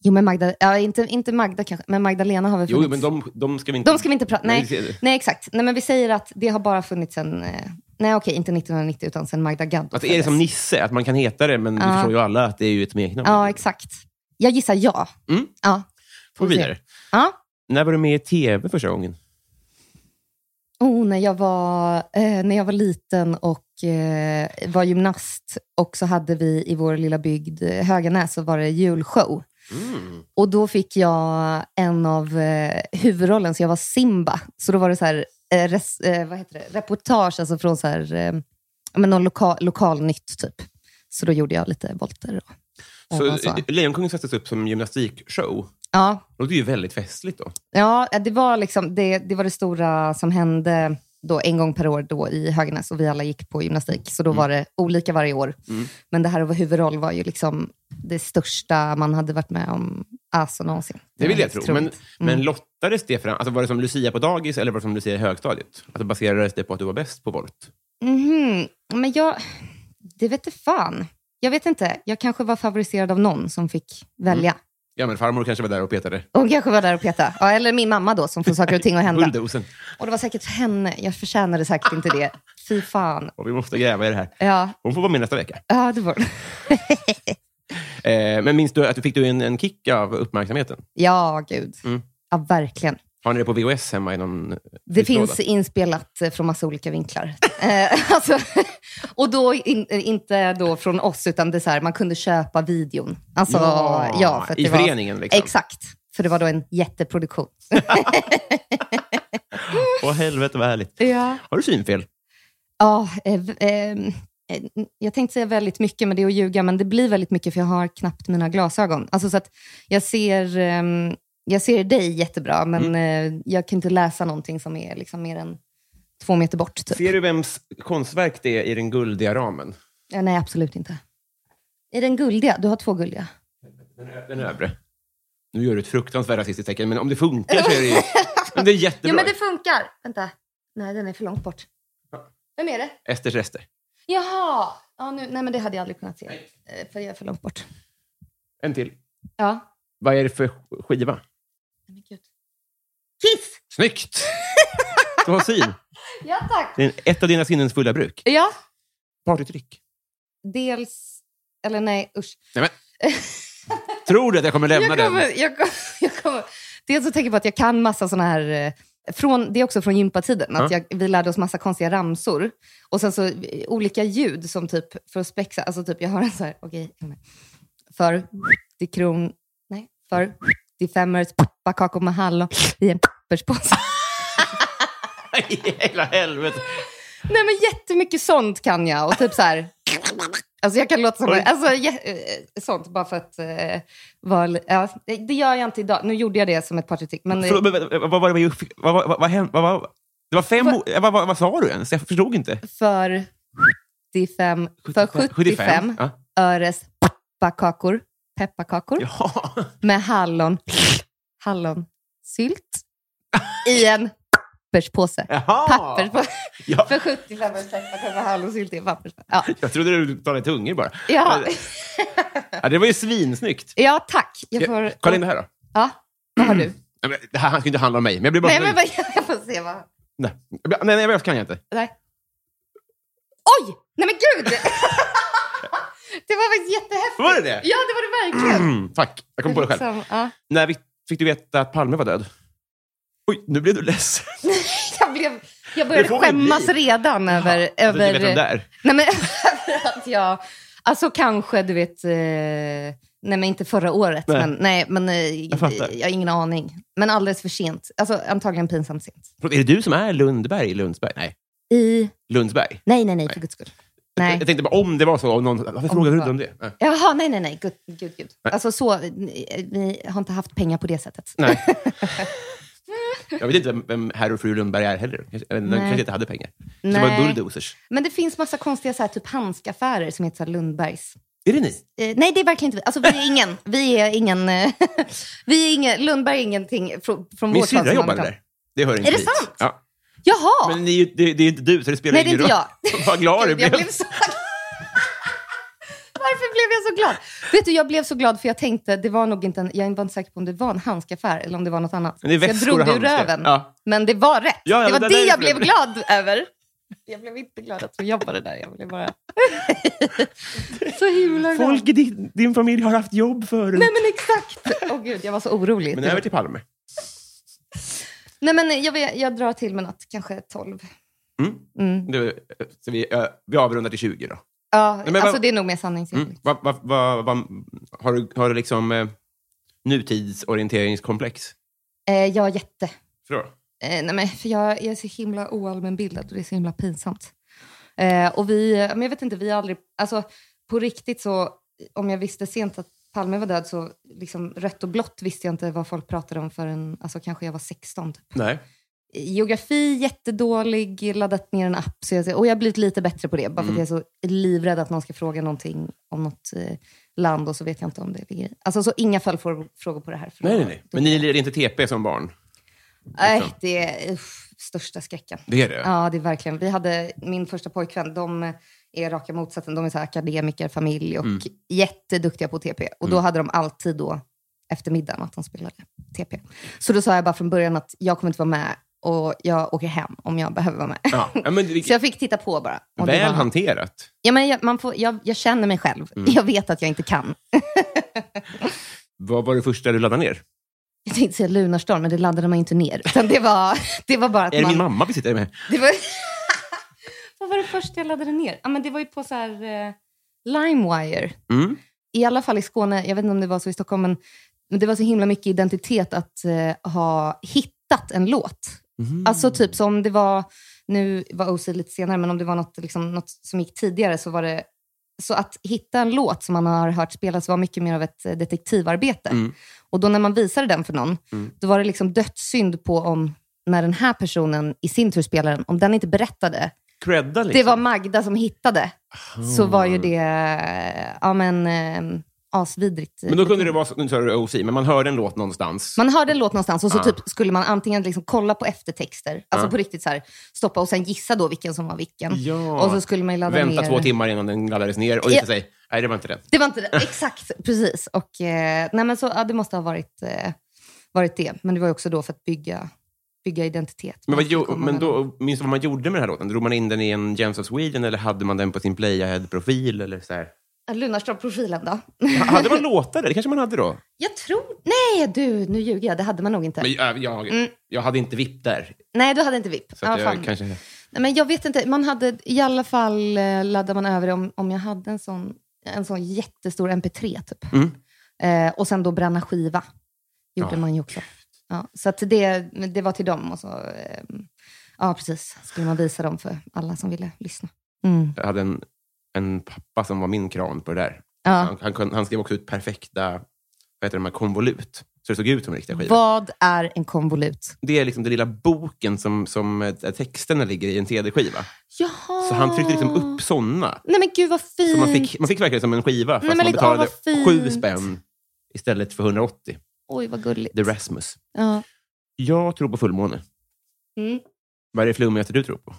Speaker 3: Jo, men Magda... Ja, inte, inte Magda kanske, men Magdalena har vi
Speaker 2: Jo, men de, de ska vi inte...
Speaker 3: De ska vi inte prata...
Speaker 2: Nej, det-
Speaker 3: Nej, nej, exakt. Nej, men vi säger att det har bara funnits sen... eh, Nej, okej, inte 1990, utan sen Magda Gad.
Speaker 2: Att det är som
Speaker 3: föddes.
Speaker 2: Nisse, att man kan heta det, men vi
Speaker 3: Ja.
Speaker 2: förstår ju alla att det är ju ett smeknamn.
Speaker 3: Ja, exakt. Jag gissar ja.
Speaker 2: Mm.
Speaker 3: Ja.
Speaker 2: Får vi vidare.
Speaker 3: ja.
Speaker 2: När var du med i tv första gången?
Speaker 3: Oh, när, jag var, eh, när jag var liten och eh, var gymnast och så hade vi i vår lilla bygd eh, Höganäs så var det julshow. Och då fick jag en av eh, huvudrollen, så jag var Simba. Så då var det så här, eh, res, eh, vad heter det? reportage alltså från så här, eh, ja, men någon loka, lokalnytt typ. Så då gjorde jag lite volter. Och,
Speaker 2: Så, eh,
Speaker 3: och så.
Speaker 2: Lejonkungen sattes upp som gymnastikshow.
Speaker 3: Ja,
Speaker 2: Det låter ju väldigt festligt då.
Speaker 3: Ja, det var, liksom, det, det var det stora som hände då en gång per år då i Höganäs och vi alla gick på gymnastik. Så då
Speaker 2: Mm.
Speaker 3: var det olika varje år. Men det här att vara huvudroll var ju liksom det största man hade varit med om alltså, någonsin.
Speaker 2: Det vill
Speaker 3: var
Speaker 2: jag
Speaker 3: helt
Speaker 2: tro. Men,
Speaker 3: otroligt. Mm.
Speaker 2: men lottades det fram? Alltså var det som Lucia på dagis eller var det som Lucia i högstadiet? Alltså baserades det på att du var bäst på volt?
Speaker 3: Mhm. Men jag... Det vet inte fan. Jag vet inte. Jag kanske var favoriserad av någon som fick välja.
Speaker 2: Mm. Ja, men farmor kanske var där och petade.
Speaker 3: Hon kanske var där och petade. Ja, eller min mamma då, som får saker och ting att hända.
Speaker 2: Bulldosen.
Speaker 3: Och det var säkert henne. Jag förtjänade säkert inte det. Fy fan.
Speaker 2: Och vi måste gräva i det här.
Speaker 3: Ja,
Speaker 2: Hon får vara med nästa vecka.
Speaker 3: ja det var
Speaker 2: Eh, men minns du att du fick du en, en kick av uppmärksamheten?
Speaker 3: Ja, gud.
Speaker 2: Mm.
Speaker 3: Ja, verkligen.
Speaker 2: Har ni det på VHS hemma i någon eh,
Speaker 3: Det
Speaker 2: flyttlåda?
Speaker 3: finns inspelat eh, från massa olika vinklar. Eh, alltså, och då in, eh, inte då från oss, utan det är så här, man kunde köpa videon. Alltså,
Speaker 2: Ja,
Speaker 3: ja, för att
Speaker 2: i
Speaker 3: det
Speaker 2: föreningen
Speaker 3: var,
Speaker 2: liksom.
Speaker 3: Exakt, för det var då en jätteproduktion.
Speaker 2: Åh helvete vad härligt.
Speaker 3: Ja.
Speaker 2: Har du synfel?
Speaker 3: Ja, eh, v- ehm, eh, jag tänkte säga väldigt mycket, men det är att ljuga, men det blir väldigt mycket för jag har knappt mina glasögon. Alltså så att jag ser, ehm, jag ser dig jättebra, men eh, jag kan inte läsa någonting som är liksom mer än två meter bort. Typ.
Speaker 2: Ser du vems konstverk det är i den guldiga ramen?
Speaker 3: Ja, Eh, nej, absolut inte. Är den guldiga? Du har två guldiga.
Speaker 2: Den, ö- den övre. Nu gör du ett fruktansvärt rasistiskt tecken, men om det funkar så är det ju... Men det är jättebra.
Speaker 3: Ja, men det funkar. Vänta. Nej, den är för långt bort. Vem är det?
Speaker 2: Esters rester.
Speaker 3: Jaha! Ja, nu, nej, men det hade jag aldrig kunnat se, eh, för jag är för långt bort.
Speaker 2: En till.
Speaker 3: Ja.
Speaker 2: Vad är det för sk- skiva?
Speaker 3: Nej, men gud. Kiss!
Speaker 2: Snyggt! Du har syn.
Speaker 3: Ja, tack.
Speaker 2: Det är ett av dina sinnens fulla bruk.
Speaker 3: Ja.
Speaker 2: Partytrick.
Speaker 3: Dels... Eller nej, usch.
Speaker 2: Nej, men. Tror du att jag kommer lämna
Speaker 3: Jag kommer,
Speaker 2: den?
Speaker 3: jag, kommer, jag kommer... Dels så tänker jag på att jag kan massa såna här eh, Från, det är också från gympatiden. Att
Speaker 2: Ja.
Speaker 3: jag, vi lärde oss massa konstiga ramsor. Och sen så eh, olika ljud som typ, för att spexa, alltså typ jag har en så här, okej, okay, för till kron, nej, för till femöres pepparkakor med hallon i en pepparspåse.
Speaker 2: I hela helvete.
Speaker 3: Nej men jättemycket sånt kan jag. Och typ så här, alltså jag kan låta som,
Speaker 2: Oj.
Speaker 3: alltså jä- eh, sånt bara för att eh, vara, li- ja, det gör jag inte idag. Nu gjorde jag det som ett partytrick, men eh,
Speaker 2: Förlåt, men, men, vad var det vi fick? Vad, vad, vad, vad, hände- vad, vad, det var fem...
Speaker 3: Vad-
Speaker 2: o- Vad, vad, vad sa du ens? Jag förstod inte.
Speaker 3: för 75, för 75,
Speaker 2: Ja.
Speaker 3: Mm. öres pepparkakor, pepparkakor
Speaker 2: Ja.
Speaker 3: med hallon, hallonsylt i en papperspåse.
Speaker 2: Jaha.
Speaker 3: Papperspåse.
Speaker 2: Ja.
Speaker 3: För 75 öres pepparkakor med hallonsylt i en papperspåse. Ja.
Speaker 2: Jag trodde du talade tungor bara.
Speaker 3: Ja.
Speaker 2: Ja, det var ju svinsnyggt.
Speaker 3: ja, tack. Jag
Speaker 2: Ja,
Speaker 3: får...
Speaker 2: Kolla in det här då.
Speaker 3: Ja, vad har du?
Speaker 2: Nej, men Det här han ska ju inte handla om mig, men jag blir bara
Speaker 3: Nej, men
Speaker 2: förnöjd.
Speaker 3: vad, jag får se vad...
Speaker 2: nej, nej, nej, jag kan jag inte.
Speaker 3: Nej. Oj! Nej men gud! det var faktiskt jättehäftigt.
Speaker 2: Var det det?
Speaker 3: Ja, det var det verkligen.
Speaker 2: Mm, Tack, jag kom på det själv.
Speaker 3: Liksom, ja.
Speaker 2: När vi, fick du veta att Palme var död? Oj, nu blev du ledsen.
Speaker 3: jag, blev, jag
Speaker 2: Det
Speaker 3: började
Speaker 2: får man ju
Speaker 3: skämmas
Speaker 2: bli.
Speaker 3: redan över...
Speaker 2: Att alltså, du inte vet vem det
Speaker 3: över
Speaker 2: är.
Speaker 3: nej, men, över att jag... Alltså kanske, du vet... Eh, nej, men inte förra året.
Speaker 2: Nej.
Speaker 3: Men, nej, men eh, jag,
Speaker 2: fattar.
Speaker 3: har ingen aning. Men alldeles för sent. Alltså antagligen pinsamt sent.
Speaker 2: Förlåt, Är det du som är Lundberg i Lundsberg? Nej,
Speaker 3: I...
Speaker 2: Lundsberg.
Speaker 3: Nej, nej, nej, för guds skull. Nej.
Speaker 2: Jag tänkte bara om det var så. Om någon, varför frågade du
Speaker 3: det
Speaker 2: inte om det? Nej.
Speaker 3: Jaha, nej, nej, nej. Gud, gud, gud.
Speaker 2: Nej.
Speaker 3: Alltså så, ni, ni har inte haft pengar på det sättet.
Speaker 2: Nej. Jag vet inte vem, vem herr och fru Lundberg är heller. Kanske- jag vet inte, De
Speaker 3: Nej.
Speaker 2: kanske inte hade pengar. Så det
Speaker 3: Nej.
Speaker 2: var bulldozers.
Speaker 3: Men det finns massa konstiga så här, typ handskaffärer som heter så här, Lundbergs.
Speaker 2: Är det ni?
Speaker 3: Eh, nej, det är verkligen inte vi. Alltså, vi är ingen. Vi är ingen, eh, vi är ingen Lundberg är ingenting från, från
Speaker 2: Min
Speaker 3: vårt håll
Speaker 2: syrra
Speaker 3: som
Speaker 2: jobbade
Speaker 3: har kommit.
Speaker 2: där. Det hör inte
Speaker 3: Är det
Speaker 2: dit.
Speaker 3: sant?
Speaker 2: Ja.
Speaker 3: Jaha!
Speaker 2: Men det är, ju, det, det är inte du, så det spelar
Speaker 3: Nej, det är
Speaker 2: ingen
Speaker 3: inte
Speaker 2: roll. Vad glad du
Speaker 3: Gud,
Speaker 2: blev.
Speaker 3: jag blev så Varför blev jag så glad? Vet du, jag blev så glad för jag tänkte, det var nog inte en, jag var inte säker på om det var en handskaffär eller om det var något annat.
Speaker 2: Men det är
Speaker 3: Så jag
Speaker 2: väskor och
Speaker 3: drog det ur
Speaker 2: handskar.
Speaker 3: röven.
Speaker 2: Ja.
Speaker 3: Men det var rätt.
Speaker 2: Ja, ja,
Speaker 3: det var
Speaker 2: det
Speaker 3: det,
Speaker 2: där är
Speaker 3: jag
Speaker 2: det
Speaker 3: blev
Speaker 2: blev-
Speaker 3: glad över. Jag blev inte glad att hon jobbade där. Jag blev bara... så himla glad.
Speaker 2: Folk i din, din familj har haft jobb förut.
Speaker 3: Nej men exakt! Åh gud, jag var så orolig.
Speaker 2: Men över till Palme.
Speaker 3: Nej, men jag, vet- jag drar till med något, kanske 12.
Speaker 2: Mm.
Speaker 3: Mm.
Speaker 2: Du, så vi, ö, vi avrundar till 20 då.
Speaker 3: Ja,
Speaker 2: men
Speaker 3: alltså
Speaker 2: vad-
Speaker 3: det är nog mer sanningsenligt.
Speaker 2: Mm. Va, va, va, va, har, du, har du liksom eh, nutidsorienteringskomplex? Mm.
Speaker 3: Eh, jag är jätte.
Speaker 2: För då?
Speaker 3: Eh, nej, men för jag, jag är så himla oallmänbildad och det är så himla pinsamt. Eh, och vi, men jag vet inte, vi har aldrig... Alltså på riktigt så, om jag visste sent att Palme var död så liksom rött och blått visste jag inte vad folk pratade om förrän alltså, kanske jag var 16 typ.
Speaker 2: Nej.
Speaker 3: geografi jättedålig, laddat ner en app. Så jag, säger- och jag har blivit lite bättre på det, bara för
Speaker 2: Mm.
Speaker 3: att jag är så livrädd att någon ska fråga någonting om något eh, land och så vet jag inte om det ligger i. Alltså, så inga följdfrågor på det här. för
Speaker 2: Nej,
Speaker 3: då-
Speaker 2: nej, nej. Men ni liksom. lirade inte TP som barn?
Speaker 3: Nej, det är uff, största skräcken.
Speaker 2: Det är det?
Speaker 3: Ja, det är verkligen. Vi hade min första pojkvän, de är raka motsatsen. De är så här akademiker, familj och
Speaker 2: Mm.
Speaker 3: jätteduktiga på TP. Och då hade de alltid då eftermiddagen att de spelade TP. Så då sa jag bara från början att jag kommer inte vara med och jag åker hem om jag behöver vara med.
Speaker 2: Ja. Ja, men,
Speaker 3: Så jag fick titta på bara. Och det
Speaker 2: väl
Speaker 3: var-
Speaker 2: hanterat.
Speaker 3: ja, men jag, man får, jag, jag känner mig själv.
Speaker 2: Mm.
Speaker 3: Jag vet att jag inte kan.
Speaker 2: Vad var det första du laddade ner?
Speaker 3: Jag tänkte säga Lunarstorm, men det laddade man ju inte ner. Utan det, var, det var bara att
Speaker 2: Är det
Speaker 3: man...
Speaker 2: min mamma vi sitter med?
Speaker 3: Det var... Vad var det första jag laddade ner? Ja, men det var ju på så här, eh, Limewire.
Speaker 2: Mm.
Speaker 3: I alla fall i Skåne, jag vet inte om det var så i Stockholm, men, men det var så himla mycket identitet att eh, ha hittat en låt.
Speaker 2: Mm.
Speaker 3: Alltså typ som det var, nu var OC lite senare, men om det var något, liksom, något som gick tidigare så var det så att hitta en låt som man har hört spelas var mycket mer av ett eh, detektivarbete.
Speaker 2: Mm.
Speaker 3: Och då när man visade den för någon,
Speaker 2: Mm.
Speaker 3: då var det liksom dödssynd på om när den här personen i sin tur spelar den, om den inte berättade
Speaker 2: Credda liksom? Ah.
Speaker 3: det var Magda som hittade, så var ju det eh, ja, men, eh, asvidrigt.
Speaker 2: Men då kunde det vara, så- nu sa du OC, men man hörde en låt någonstans.
Speaker 3: Man hörde en låt någonstans och så
Speaker 2: Ah.
Speaker 3: typ skulle man antingen liksom kolla på eftertexter, alltså
Speaker 2: Ah.
Speaker 3: på riktigt så här, stoppa och sen gissa då vilken som var vilken.
Speaker 2: Ja.
Speaker 3: Och så skulle man ju ladda
Speaker 2: Vänta
Speaker 3: ner.
Speaker 2: två timmar innan den laddades ner och
Speaker 3: Ja.
Speaker 2: visade sig, nej det var inte den.
Speaker 3: Det var inte det. Exakt, precis. Och, eh, nej men så, ja, det måste ha varit, eh, varit det. Men det var ju också då för att bygga, bygga identitet.
Speaker 2: Men, vad,
Speaker 3: Man skulle
Speaker 2: jo,
Speaker 3: komma
Speaker 2: men
Speaker 3: med
Speaker 2: då, minns du vad man gjorde med den här låten? Drog man in den i en Gems of Sweden eller hade man den på sin Playahead-profil? Eller så här?
Speaker 3: den. Lunarstorm-profilen då?
Speaker 2: Ha- Hade man låtar där? Det kanske man hade då?
Speaker 3: Jag tror... Nej, Nej, du, nu ljuger jag. Det hade man nog inte.
Speaker 2: Men jag, jag,
Speaker 3: Mm.
Speaker 2: jag hade inte VIP där.
Speaker 3: Nej, du hade inte VIP.
Speaker 2: Så att
Speaker 3: Ja,
Speaker 2: jag
Speaker 3: fan.
Speaker 2: kanske...
Speaker 3: Nej, men jag vet inte. Man hade, I alla fall eh, laddade man över det om, om jag hade en sån, en sån jättestor mp3. Typ.
Speaker 2: Mm.
Speaker 3: Eh, och sen då bränna skiva. gjorde
Speaker 2: Ja.
Speaker 3: man ju också. Ja, så att det, det var till dem. Och så, eh, ja, precis. Skulle man visa dem för alla som ville lyssna. Mm.
Speaker 2: Jag hade en, en pappa som var min kran på det där.
Speaker 3: Ja.
Speaker 2: Han, han, kunde- han skrev också ut perfekta vad heter de här, konvolut. Så det såg ut som riktiga skivor.
Speaker 3: Vad är en konvolut?
Speaker 2: Det är liksom den lilla boken som, som eh, texterna ligger i en CD-skiva.
Speaker 3: Jaha.
Speaker 2: Så han tryckte liksom upp såna.
Speaker 3: Nej men gud vad fint.
Speaker 2: Så man fick, man fick verkligen som en skiva, fast
Speaker 3: men
Speaker 2: man
Speaker 3: lägg av,
Speaker 2: betalade
Speaker 3: vad fint.
Speaker 2: sju spänn istället för 180.
Speaker 3: Oj vad gulligt.
Speaker 2: The Rasmus.
Speaker 3: Ja.
Speaker 2: Jag tror på fullmåne.
Speaker 3: Mm.
Speaker 2: Vad är det flummigaste du tror på?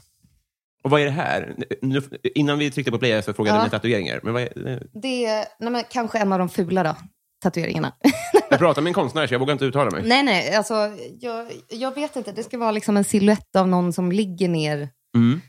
Speaker 2: Och vad är det här? Nu, innan vi tryckte på play så frågade jag
Speaker 3: Ja.
Speaker 2: om tatueringar. Men vad är,
Speaker 3: Det är nej, men kanske en av de fula då, tatueringarna.
Speaker 2: jag pratar med en konstnär så jag vågar inte uttala mig.
Speaker 3: nej nej, alltså, jag, jag vet inte. Det ska vara liksom en siluett av någon som ligger ner.
Speaker 2: Mm.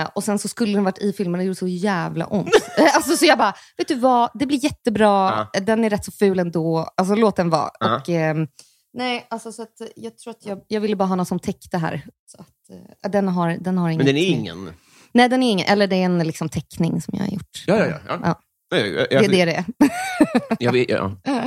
Speaker 3: Eh, och sen så skulle den varit i filmen, det gjorde så jävla ont. Eh, alltså, så jag bara, vet du vad, det blir jättebra. Den är rätt så ful ändå. Alltså låt den vara.
Speaker 2: Ja.
Speaker 3: Och, ehm, nej, alltså så att jag tror att jag, jag ville bara ha någon som täckte här. Så att, eh, den har, den har
Speaker 2: Men den är
Speaker 3: inget mer.
Speaker 2: ingen.
Speaker 3: Nej, den är ingen. Eller det är en liksom, teckning som jag har gjort.
Speaker 2: Ja, ja, ja. ja.
Speaker 3: Ja.
Speaker 2: Nej, jag,
Speaker 3: Det är
Speaker 2: jag,
Speaker 3: det det är.
Speaker 2: jag vet- ja.
Speaker 3: Ja.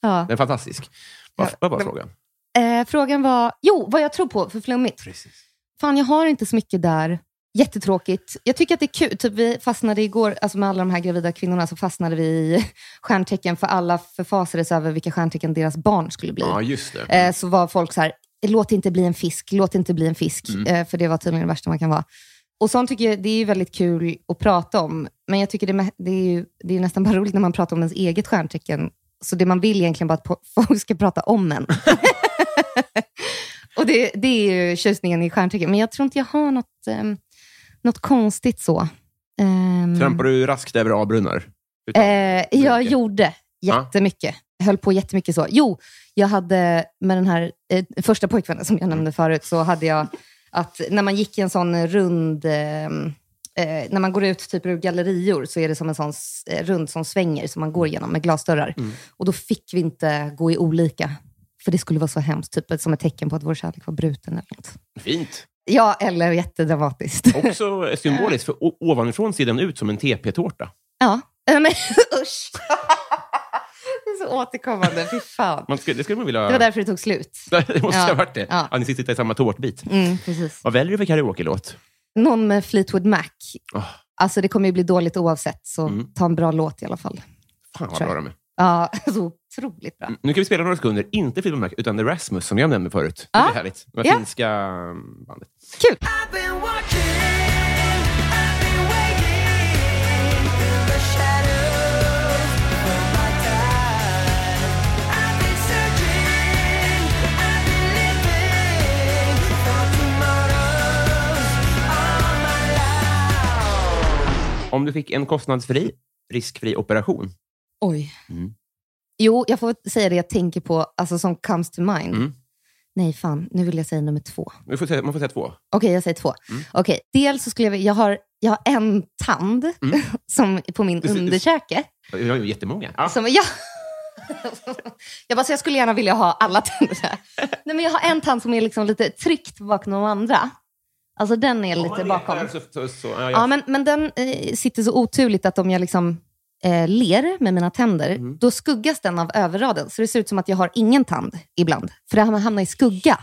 Speaker 2: Den är fantastisk. Vad vad var frågan?
Speaker 3: Eh, frågan var... Jo, vad jag tror på för flummigt.
Speaker 2: Precis.
Speaker 3: Fan, jag har inte så mycket där. Jättetråkigt. Jag tycker att det är kul. Typ, vi fastnade igår, alltså med alla de här gravida kvinnorna, så fastnade vi i stjärntecken, för alla förfasades över vilka stjärntecken deras barn skulle bli.
Speaker 2: Ja, just det.
Speaker 3: Eh, så var folk så här, låt inte bli en fisk, låt inte bli en fisk. Eh, för det var tydligen det värsta man kan vara. Och sånt tycker jag, det är ju väldigt kul att prata om. Men jag tycker det, mä- det är ju det är ju nästan bara roligt när man pratar om ens eget stjärntecken. Så det man vill egentligen bara att po- folk ska prata om en. Och det, det är ju tjusningen i stjärntecken. Men jag tror inte jag har något, um, något konstigt så. Ehm,
Speaker 2: Trampar du raskt över A-brunnar? Utan-
Speaker 3: Eh, jag
Speaker 2: Mycket.
Speaker 3: gjorde
Speaker 2: Ja.
Speaker 3: jättemycket. Jag höll på jättemycket så. Jo, jag hade med den här eh, första pojkvännen som jag nämnde förut, så hade jag att när man gick i en sån rund... Eh, eh, när man går ut typ ur gallerior så är det som en sån s- eh, rund som svänger som man går igenom med glasdörrar. Och då fick vi inte gå i olika, för det skulle vara så hemskt. Typ som ett tecken på att vår kärlek var bruten eller något.
Speaker 2: Fint.
Speaker 3: Ja, eller jättedramatiskt.
Speaker 2: Också symboliskt, för o- ovanifrån ser den ut som en TP-tårta.
Speaker 3: Ja. Nej, Men usch! Det är så återkommande. Fy fan.
Speaker 2: Man skulle, det skulle man vilja...
Speaker 3: Det var därför det tog slut.
Speaker 2: det måste
Speaker 3: Ja.
Speaker 2: ha varit det. Ja.
Speaker 3: Ja.
Speaker 2: ni sitter i samma tårtbit.
Speaker 3: Mm, precis.
Speaker 2: Vad väljer du för karaoke-låt?
Speaker 3: Någon med Fleetwood Mac.
Speaker 2: Oh,
Speaker 3: Alltså det kommer ju bli dåligt oavsett, så
Speaker 2: Mm.
Speaker 3: ta en bra låt i alla fall.
Speaker 2: fan vad
Speaker 3: Tror
Speaker 2: bra
Speaker 3: jag.
Speaker 2: de är.
Speaker 3: Ja, så otroligt bra.
Speaker 2: Nu kan vi spela några sekunder, inte Fleetwood Mac, utan The Rasmus som jag nämnde förut. Det
Speaker 3: Ja.
Speaker 2: är härligt. Det
Speaker 3: Ja.
Speaker 2: här finska mm, bandet.
Speaker 3: Kul!
Speaker 5: I've been watching, I've been waiting in the shadows for my time. I've been searching, I've been living for tomorrows all my life.
Speaker 2: Om du fick en kostnadsfri, riskfri operation,
Speaker 3: Oj.
Speaker 2: Mm.
Speaker 3: Jo, jag får säga det jag tänker på, alltså som comes to mind.
Speaker 2: Mm.
Speaker 3: Nej, fan. Nu vill jag säga nummer två.
Speaker 2: man får säga, man får säga två.
Speaker 3: Okej, jag säger två.
Speaker 2: Mm.
Speaker 3: Okej, dels så skulle jag vilja- jag har, jag har en tand som på min
Speaker 2: Mm. Du ser- du-
Speaker 3: underkäke.
Speaker 2: Vi har ju jättemånga. Ja.
Speaker 3: Som, ja. Jag bara, så jag skulle gärna vilja ha alla tänder. Nej, men jag har en tand som är liksom lite tryckt bakom de andra. Alltså den är
Speaker 2: Om man
Speaker 3: lite
Speaker 2: är
Speaker 3: bakom.
Speaker 2: här Så, så, så, ja,
Speaker 3: Ja,
Speaker 2: jag,
Speaker 3: men, men den eh, sitter så oturligt att om jag liksom eh, ler med mina tänder, då skuggas den av överraden. Så det ser ut som att jag har ingen tand ibland. För det här med att hamna i skugga.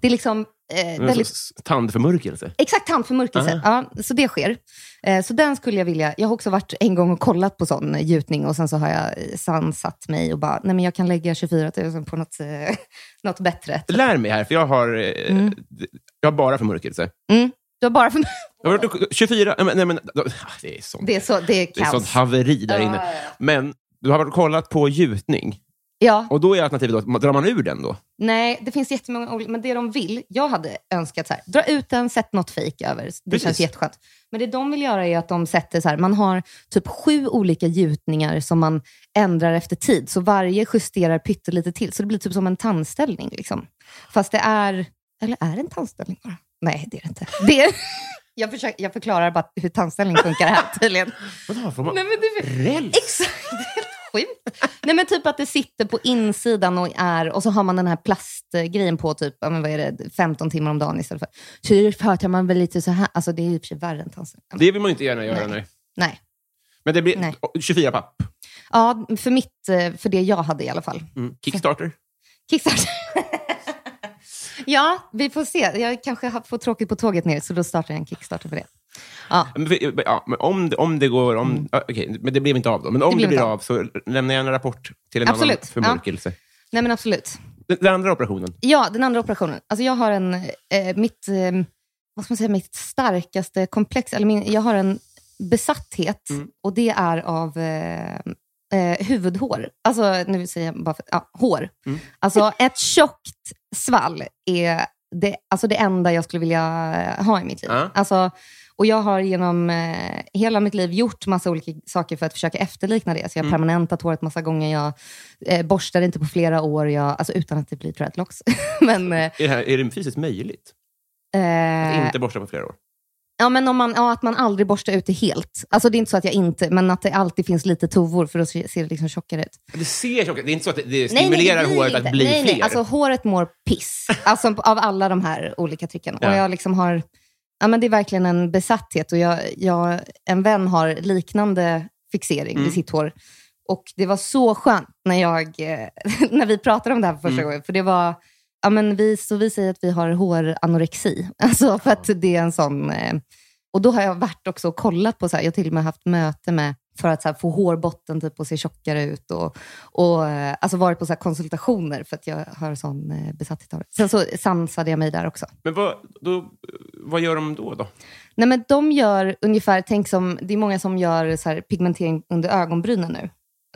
Speaker 3: Det är liksom eh,
Speaker 2: en
Speaker 3: väldigt
Speaker 2: sorts Tandförmörkelse.
Speaker 3: Exakt, tandförmörkelse. Ja, så det sker. Eh, Så den skulle jag vilja... Jag har också varit en gång och kollat på sån eh, gjutning och sen så har jag eh, sansat mig och bara, nej men jag kan lägga 24 000 på något, eh, något bättre.
Speaker 2: Lär mig här, för jag har, eh,
Speaker 3: Mm.
Speaker 2: d- jag har bara förmörkelse.
Speaker 3: Du har bara för
Speaker 2: Jag har varit och- 24... Nej, men, nej, men, det är sånt,
Speaker 3: Det är, så, det är
Speaker 2: det är sånt
Speaker 3: kaos.
Speaker 2: haveri där
Speaker 3: Ja,
Speaker 2: inne.
Speaker 3: ja, ja.
Speaker 2: Men du har varit och kollat på gjutning.
Speaker 3: Ja,
Speaker 2: Och då är alternativet då att man- drar man ur den då?
Speaker 3: nej, det finns jättemånga olika, men det de vill, jag hade önskat så här, dra ut den, sätt något fejk över. Det
Speaker 2: Precis.
Speaker 3: känns jätteskönt. Men det de vill göra är att de sätter så här, man har typ sju olika gjutningar som man ändrar efter tid, så varje justerar pyttelite till, så det blir typ som en tandställning. Liksom. Fast det är, eller är det en tandställning bara? Nej, det är det inte. Det är, jag, försöker, jag förklarar bara hur tandställning funkar här tydligen.
Speaker 2: Vadå, får man
Speaker 3: Nej, men det,
Speaker 2: räls?
Speaker 3: exakt, sjukt. Nej men typ att det sitter på insidan och är, och så har man den här plastgrejen på typ, ja, men vad är det, 15 timmar om dagen istället för. Så det pratar man väl lite så här, alltså det är ju i och för sig värre än tandställning. Ja, men-
Speaker 2: Det vill man ju inte gärna göra. Nej.
Speaker 3: Nej. Nej.
Speaker 2: Men det blir
Speaker 3: Nej.
Speaker 2: 24 papp.
Speaker 3: Ja, för, mitt, eh, för det jag hade i alla fall.
Speaker 2: Mm. Kickstarter.
Speaker 3: Kickstarter. ja, vi får se. Jag kanske har- får tråkigt på tåget ner, så då startar jag en Kickstarter för det. Ja,
Speaker 2: Men för- Ja, men om, det- om det går... Om, ja, okej, men det blir inte av då. Men om det blir,
Speaker 3: Mm. blir
Speaker 2: av
Speaker 3: inte
Speaker 2: så lämnar jag en rapport till en annan
Speaker 3: Absolut.
Speaker 2: förmörkelse.
Speaker 3: nej men absolut.
Speaker 2: Den, den andra operationen.
Speaker 3: Ja, den andra operationen. Alltså jag har en, eh, mitt, eh, vad ska man säga, mitt starkaste komplex, eller min, jag har en besatthet och det är av eh, eh, huvudhår. Alltså, nu säger jag bara för, ja, hår. Alltså ett tjockt svall är det, alltså det enda jag skulle vilja eh, ha i mitt liv.
Speaker 2: Ja.
Speaker 3: Alltså, och jag har genom eh, hela mitt liv gjort massa olika saker för att försöka efterlikna det. Så jag har permanentat håret massa gånger, jag eh, borstar inte på flera år, jag, alltså utan att det blir dreadlocks. Men, eh,
Speaker 2: Är det, här, är det fysiskt möjligt? Att
Speaker 3: eh,
Speaker 2: inte borsta på flera år?
Speaker 3: ja, men om man, ja, att man aldrig borstar ut det helt. Alltså det är inte så att jag inte, men att det alltid finns lite tovor för då ser ser det liksom tjockare ut.
Speaker 2: Det ser tjockare Det är inte så att det, det stimulerar
Speaker 3: det blir
Speaker 2: håret
Speaker 3: inte.
Speaker 2: att bli
Speaker 3: nej,
Speaker 2: fler.
Speaker 3: Nej. Alltså håret mår piss alltså, av alla de här olika tricken.
Speaker 2: Ja.
Speaker 3: Och jag liksom har, ja, men det är verkligen en besatthet och jag, jag, en vän har liknande fixering
Speaker 2: Mm.
Speaker 3: vid sitt hår. Och det var så skönt när, jag, eh, när vi pratade om det här för första
Speaker 2: Mm.
Speaker 3: gången. För det var, ja, men vi, så vi säger att vi har håranorexi. Alltså för att det är en sån... Eh, och då har jag varit också och kollat på, så här, jag har till och med haft möte med för att så här, få hårbotten typ, att se tjockare ut. Och, och, eh, alltså varit på så här, konsultationer för att jag har sån eh, besatthet av det. Sen så sansade jag mig där också.
Speaker 2: Men vad, då, vad gör de då? då?
Speaker 3: Nej, men de gör ungefär, tänk som, det är många som gör så här, pigmentering under ögonbrynen nu.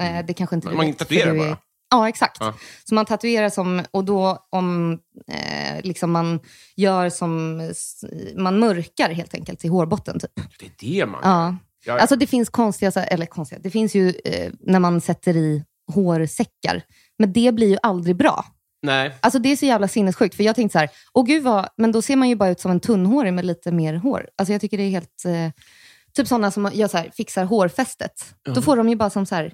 Speaker 3: Eh, det kanske inte du
Speaker 2: Mm. Man
Speaker 3: vet, för
Speaker 2: tatuerar
Speaker 3: du är-
Speaker 2: bara.
Speaker 3: Ja, exakt.
Speaker 2: Ja.
Speaker 3: Så man tatuerar som, och då om eh, liksom man gör som, s- man mörkar helt enkelt i hårbotten typ.
Speaker 2: Det är det man
Speaker 3: Ja.
Speaker 2: Ja, ja.
Speaker 3: Alltså det finns konstiga, så- eller konstiga, det finns ju eh, när man sätter i hårsäckar. Men det blir ju aldrig bra.
Speaker 2: Nej.
Speaker 3: Alltså det är så jävla sinnessjukt, för jag tänkte så här, åh gud vad, men då ser man ju bara ut som en tunnhårig med lite mer hår. Alltså jag tycker det är helt, eh, typ sådana som gör så här, fixar hårfästet. Då får de ju bara som så här,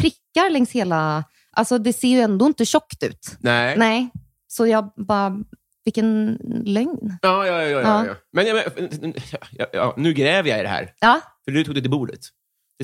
Speaker 3: prickar längs hela, alltså det ser ju ändå inte tjockt ut.
Speaker 2: Nej.
Speaker 3: Nej, så jag bara, vilken lögn.
Speaker 2: Ja, ja, ja, ja, ja.
Speaker 3: Ja.
Speaker 2: ja. Men, ja, men ja, ja, nu gräver jag i det här.
Speaker 3: Ja,
Speaker 2: För du tog det till bordet.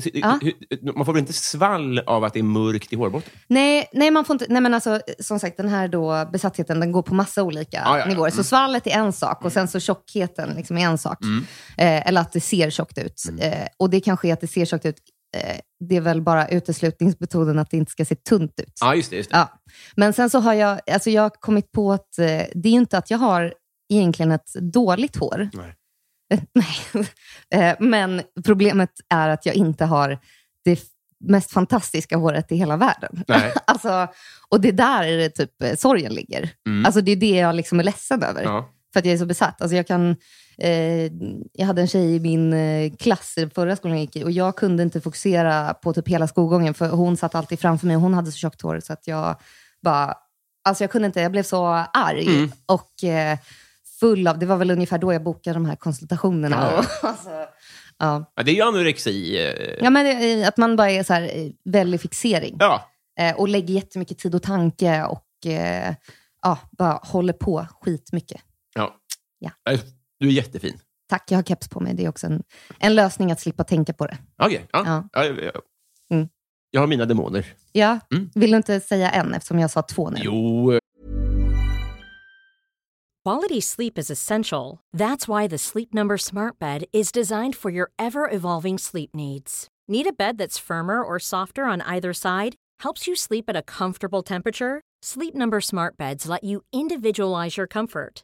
Speaker 2: Det- det-
Speaker 3: Ja.
Speaker 2: hur- Man får väl inte svall av att det är mörkt i hårbotten?
Speaker 3: Nej, nej, man får inte, nej men alltså, som sagt, den här då, besattheten den går på massa olika
Speaker 2: Ah, Ja, Mm. ja, ja.
Speaker 3: nivåer. Så svallet är en sak och sen så tjockheten liksom är en sak.
Speaker 2: Mm.
Speaker 3: Eh, eller att det ser tjockt ut. Eh, och det kanske är att det ser tjockt ut, eh, det är väl bara uteslutningsmetoden att det inte ska se tunt ut.
Speaker 2: Ja, just det. Just det.
Speaker 3: Ja. Men sen så har jag, alltså jag har kommit på att eh, det är ju inte att jag har egentligen ett dåligt hår.
Speaker 2: Nej.
Speaker 3: Eh, Nej. Eh, Men problemet är att jag inte har det f- mest fantastiska håret i hela världen.
Speaker 2: Nej.
Speaker 3: Alltså, och det är där är det typ eh, sorgen ligger.
Speaker 2: Mm.
Speaker 3: Alltså det är det jag liksom är ledsen över.
Speaker 2: Ja.
Speaker 3: För att jag är så besatt. Alltså jag, kan, eh, jag hade en tjej i min eh, klass i förra skolan jag gick i och jag kunde inte fokusera på typ hela skolgången för hon satt alltid framför mig och hon hade så tjockt hår så att jag bara... Alltså jag kunde inte, jag blev så arg.
Speaker 2: Mm.
Speaker 3: Och eh, full av, det var väl ungefär då jag bokade de här konsultationerna.
Speaker 2: Ja.
Speaker 3: Och, alltså, ja.
Speaker 2: Ja, det är ju anorexi. eh,
Speaker 3: ja, men eh, att man bara är så här, eh, väldigt fixering.
Speaker 2: Ja.
Speaker 3: Eh, och lägger jättemycket tid och tanke och eh, ja, bara håller på skitmycket.
Speaker 2: ja.
Speaker 3: Ja.
Speaker 2: Du är jättefin.
Speaker 3: Tack, jag har keps på mig. Det är också en, en lösning att slippa tänka på det.
Speaker 2: Okej. Ja.
Speaker 3: Ja.
Speaker 2: Ja. Ja, ja.
Speaker 3: Mm.
Speaker 2: Jag har mina demoner.
Speaker 3: Ja,
Speaker 2: Mm.
Speaker 3: vill du inte säga en eftersom jag sa två nu?
Speaker 2: Jo.
Speaker 6: Quality sleep is essential. That's why the Sleep Number Smart Bed is designed for your ever evolving sleep needs. Need a bed that's firmer or softer on either side? Helps you sleep at a comfortable temperature? Sleep Number Smart Beds let you individualize your comfort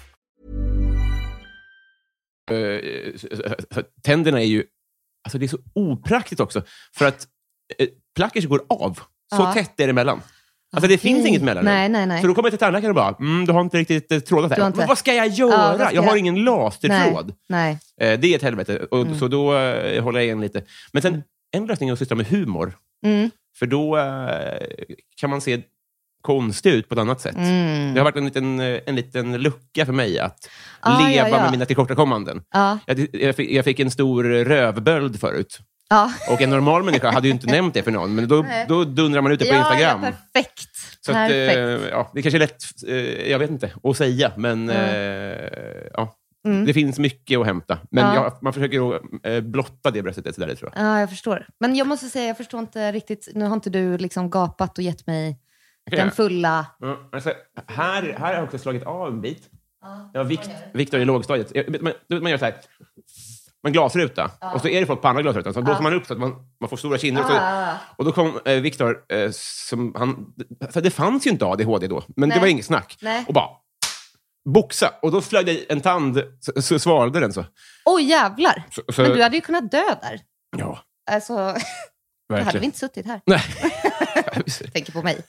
Speaker 2: Eh, tänderna är ju... Alltså det är så opraktiskt också. För att eh, plackers går av. Så
Speaker 3: Ja.
Speaker 2: tätt är det emellan. Alltså det finns
Speaker 3: Okej.
Speaker 2: inget mellan.
Speaker 3: Nej, nej, nej.
Speaker 2: Så då kommer jag till tandläkaren och bara, mm, du har inte riktigt eh, trådat
Speaker 3: Du
Speaker 2: här.
Speaker 3: har inte-
Speaker 2: Men vad ska jag
Speaker 3: Ja,
Speaker 2: göra?
Speaker 3: vad ska
Speaker 2: jag har
Speaker 3: jag-
Speaker 2: ingen
Speaker 3: Nej,
Speaker 2: lasertråd.
Speaker 3: nej.
Speaker 2: Eh, det är ett helvete. Och,
Speaker 3: Mm.
Speaker 2: Så då eh, håller jag igen lite. Men sen, en lösning är att syssla med humor.
Speaker 3: Mm,
Speaker 2: För då eh, kan man se konstig ut på ett annat sätt.
Speaker 3: mm.
Speaker 2: Det har varit en liten, eh, en liten lucka för mig att
Speaker 3: Ah, ja,
Speaker 2: leva
Speaker 3: ja. Ah.
Speaker 2: med mina tillkortakommanden.
Speaker 3: Ja,
Speaker 2: Jag, jag, fick, jag fick en stor rövböld förut.
Speaker 3: ja.
Speaker 2: Och en normal människa hade ju inte nämnt det för någon, men då,
Speaker 3: Nej.
Speaker 2: då dundrar man ut det på
Speaker 3: ja,
Speaker 2: Instagram.
Speaker 3: Ja, perfekt.
Speaker 2: så att, eh,
Speaker 3: perfekt.
Speaker 2: ja, det kanske är lätt, eh, jag vet inte, att säga, men eh, ja, det finns mycket att hämta. Men
Speaker 3: Mm. Ja.
Speaker 2: jag, man försöker att, eh, blotta det bröstet lite sådär, tror jag.
Speaker 3: Ja, jag förstår. Men jag måste säga, jag förstår inte riktigt. Nu har inte du liksom gapat och gett mig den fulla...
Speaker 2: Ja, alltså, här, här har jag också slagit av en bit. Ja, vikt, Viktor i lågstadiet. Jag- Man, du vet, man gör så här. Man glasruta. Och så är det folk på andra glasrutan. Så blåser man upp så att man, man får stora kinder. Och,
Speaker 3: Ah,
Speaker 2: så, och då kom eh, Viktor, eh, som han... För det fanns ju inte ADHD då, men
Speaker 3: Nej.
Speaker 2: det var inget snack.
Speaker 3: Nej.
Speaker 2: Och bara... Boxa! Och då flög det en tand, så, så svalde den så.
Speaker 3: Oj, jävlar!
Speaker 2: så, så
Speaker 3: Men du hade ju kunnat dö där.
Speaker 2: Ja,
Speaker 3: Alltså, då hade vi
Speaker 2: verkligen.
Speaker 3: inte suttit här.
Speaker 2: Nej.
Speaker 3: Tänker på mig.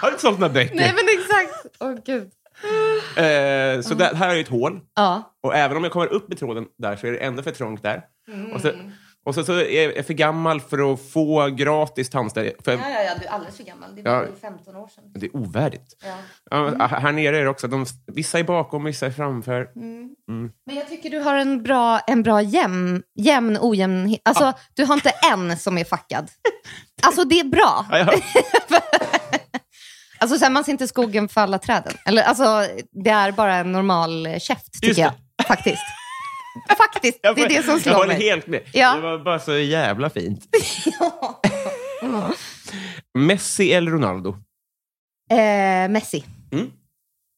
Speaker 2: har du inte sålt några böcker?
Speaker 3: Nej, men exakt. Åh, gud.
Speaker 2: eh, så där, här är ju ett hål.
Speaker 3: Ja.
Speaker 2: Och även om jag kommer upp med tråden där så är det ändå för trångt där. Och, så,
Speaker 3: Mm.
Speaker 2: och så, så är jag för gammal för att få gratis tandställ. För,
Speaker 3: Ja, ja, ja, du är alldeles för gammal. Det
Speaker 2: Ja.
Speaker 3: var ju 15 år sedan.
Speaker 2: Det är ovärdigt.
Speaker 3: Ja. Mm.
Speaker 2: Ja, men Här nere är det också, de, vissa är bakom, vissa är framför.
Speaker 3: Men jag tycker du har en bra, en bra jämn, jämn ojämn... Alltså, du har inte en som är fackad. Alltså, det är bra.
Speaker 2: Ja, ja.
Speaker 3: Alltså, så här, man ser inte skogen för alla träden. Eller, alltså, det är bara en normal eh, käft, tycker
Speaker 2: Just det.
Speaker 3: jag. Faktiskt. Faktiskt, det är det som
Speaker 2: Jag
Speaker 3: slår
Speaker 2: håller
Speaker 3: mig.
Speaker 2: helt med.
Speaker 3: Ja.
Speaker 2: Det var bara så jävla fint. Messi eller Ronaldo?
Speaker 3: Eh, Messi.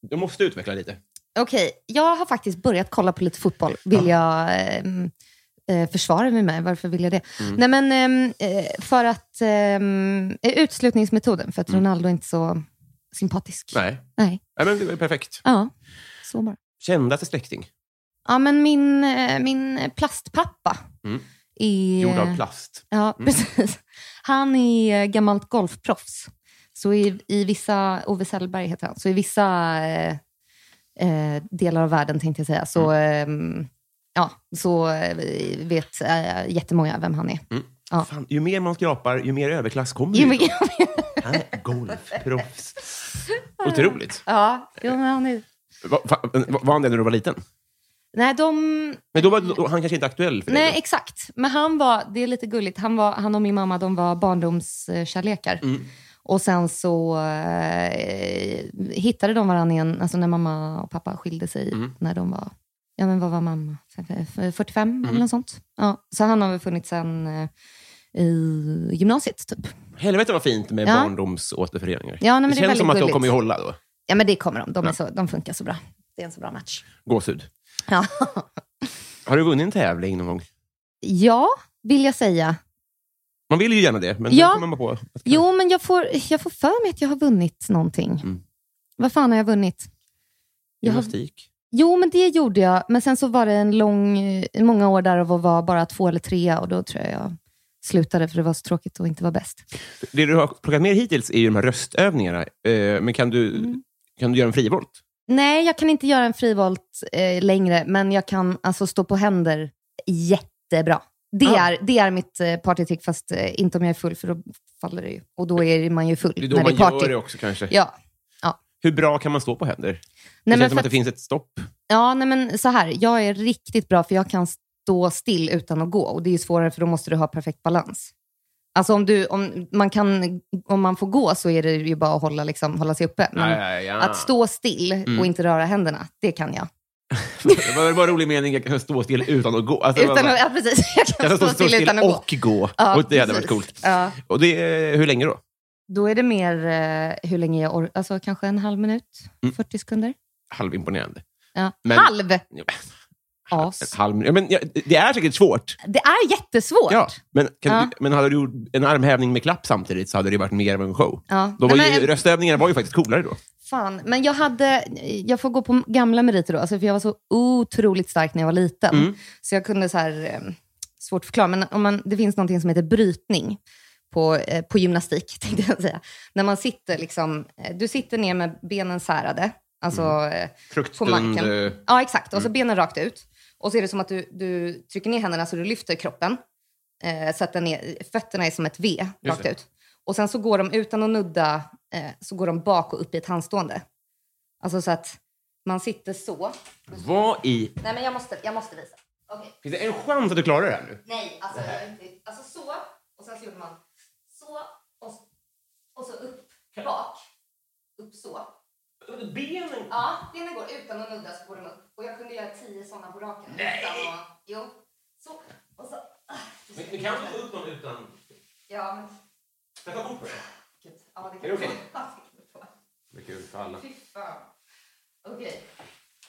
Speaker 2: Du måste utveckla lite.
Speaker 3: Okej, jag har faktiskt börjat kolla på lite fotboll. Vill jag eh, mm, eh, försvara mig med? Varför vill jag det?
Speaker 2: Mm.
Speaker 3: Nej, men ehm, eh, för att... ehm, Eh, utslutningsmetoden, för att Ronaldo är inte så sympatisk.
Speaker 2: Mm. Nej,
Speaker 3: Nej.
Speaker 2: Nej men det var ju perfekt.
Speaker 3: Ja, så bara.
Speaker 2: Kändaste släkting?
Speaker 3: Ja, men min, eh, min plastpappa eh,
Speaker 2: Mm.
Speaker 3: är...
Speaker 2: Gjord av plast.
Speaker 3: Ja, precis. Han är eh, gammalt golfproffs. Så i, i vissa, Ove Sellberg heter han, så i vissa eh, eh, delar av världen tänkte jag säga, så, eh, ja, så eh, vet eh, jättemånga vem han är. Ja.
Speaker 2: Fan, ju mer man skrapar, ju mer överklass kommer
Speaker 3: Jo,
Speaker 2: ju.
Speaker 3: men-
Speaker 2: Han är golfproffs. Otroligt.
Speaker 3: ja, jo, men han är...
Speaker 2: Va- fa- va- Var han det när du var liten?
Speaker 3: Nej, de,
Speaker 2: Men då var då, han kanske inte aktuell för dig?
Speaker 3: nej, exakt. Men han var, det är lite gulligt, han, var, han och min mamma de var barndomskärlekar.
Speaker 2: Mm.
Speaker 3: Och sen så eh, hittade de varandra igen, alltså när mamma och pappa skilde sig,
Speaker 2: Mm.
Speaker 3: när de var, ja men vad var mamma? 45
Speaker 2: Mm.
Speaker 3: eller något sånt. Ja, så han har väl funnits sen eh, i gymnasiet typ.
Speaker 2: då? Helvete vad fint med
Speaker 3: Ja.
Speaker 2: barndomsåterföreningar.
Speaker 3: Ja, nej, men det är
Speaker 2: känns
Speaker 3: väldigt
Speaker 2: som att de
Speaker 3: gulligt.
Speaker 2: kommer ju hålla då.
Speaker 3: Ja men det kommer de, de, är så, de funkar så bra. Det är en så bra match.
Speaker 2: Gåshud.
Speaker 3: Ja,
Speaker 2: Har du vunnit en tävling någon gång?
Speaker 3: ja vill jag säga.
Speaker 2: Man vill ju gärna det, men
Speaker 3: Ja.
Speaker 2: då kommer man på... Att
Speaker 3: Jo, men jag får, jag får för mig att jag har vunnit någonting.
Speaker 2: Mm.
Speaker 3: Vad fan har jag vunnit? Jag har
Speaker 2: Gymnastik.
Speaker 3: Jo, men det gjorde jag. Men sen så var det en lång, eh, många år där av att vara bara två eller trea och då tror jag jag slutade för det var så tråkigt att inte vara bäst.
Speaker 2: Det du har plockat ner hittills är ju de här röstövningarna. Eh, Men kan du,
Speaker 3: Mm.
Speaker 2: kan du göra en frivolt?
Speaker 3: Nej, jag kan inte göra en frivolt eh, längre, men jag kan alltså stå på händer jättebra. Det,
Speaker 2: Ah.
Speaker 3: är, det är mitt eh, partytrick, fast eh, inte om jag är full, för då faller det ju. Och då är man ju full
Speaker 2: Det är då
Speaker 3: när
Speaker 2: man
Speaker 3: det är party.
Speaker 2: gör det också kanske.
Speaker 3: Ja.
Speaker 2: Hur bra kan man stå på händer?
Speaker 3: Nej,
Speaker 2: det
Speaker 3: men
Speaker 2: känns som
Speaker 3: för
Speaker 2: att det
Speaker 3: att-
Speaker 2: finns ett stopp.
Speaker 3: Ja, nej men så här. Jag är riktigt bra för jag kan stå still utan att gå. Och det är ju svårare för då måste du ha perfekt balans. Alltså om, du, om, man, kan, om man får gå så är det ju bara att hålla, liksom, hålla sig uppe. Men
Speaker 2: Ja, ja, ja.
Speaker 3: att stå still
Speaker 2: Mm.
Speaker 3: och inte röra händerna, det kan jag.
Speaker 2: det var det var en rolig mening, jag kan stå still utan att gå. Alltså,
Speaker 3: Utan att, ja, precis. Jag kan
Speaker 2: jag kan
Speaker 3: stå, still utan att gå.
Speaker 2: och gå.
Speaker 3: Ja,
Speaker 2: och det hade varit
Speaker 3: precis.
Speaker 2: coolt.
Speaker 3: Ja.
Speaker 2: Och det, hur länge då?
Speaker 3: Då är det mer eh, hur länge jag orkar. Alltså kanske en halv minut, 40 sekunder.
Speaker 2: Halvimponerande.
Speaker 3: Ja.
Speaker 2: Mm. Men-
Speaker 3: halv!
Speaker 2: Ja,
Speaker 3: As.
Speaker 2: En halv, ja, men, ja, det är säkert svårt.
Speaker 3: Det är jättesvårt.
Speaker 2: Ja, men, kan
Speaker 3: Ja.
Speaker 2: Du, men hade du gjort en armhävning med klapp samtidigt så hade det varit mer av en show.
Speaker 3: Ja.
Speaker 2: Då var
Speaker 3: Nej, men-
Speaker 2: ju, röstövningarna var ju faktiskt coolare då.
Speaker 3: Fan, men jag hade, jag får gå på gamla meriter då, alltså för jag var så otroligt stark när jag var liten. Så jag kunde så här, eh, svårt att förklara, men om man, det finns någonting som heter brytning på, eh, på gymnastik, tänkte jag säga. När man sitter liksom, eh, du sitter ner med benen särade, alltså eh, på
Speaker 2: Fruktstund, eh,
Speaker 3: marken. Ja, exakt. Och så benen rakt ut. Och så är det som att du, du trycker ner händerna så du lyfter kroppen. Eh, så att den är, fötterna är som ett V rakt
Speaker 2: det.
Speaker 3: ut. Och sen så går de utan att nudda, eh, så går de bak och upp i ett handstående. Alltså så att man sitter så.
Speaker 2: Vad i...
Speaker 3: Nej men jag måste, jag måste visa. Okej.
Speaker 2: Finns det en chans att du klarar det här nu?
Speaker 3: Nej, alltså, jag är inte- alltså så. Och sen så gjorde man så och, och så upp, bak. Upp så.
Speaker 2: Benen
Speaker 3: Ja, benen går utan att nudda så går de upp. Och jag kunde göra tio sådana på raken. Nej! Utan att, jo. Så. Och så. ah,
Speaker 2: Men du kan inte få upp någon utan...
Speaker 3: Ja, men
Speaker 2: Sätta bort på det.
Speaker 3: gud. Ja, det
Speaker 2: Är
Speaker 3: kan
Speaker 2: det okej?
Speaker 3: Ja, det kan vara.
Speaker 2: Det är kul för alla. Eh,
Speaker 3: Fy fan. Okej.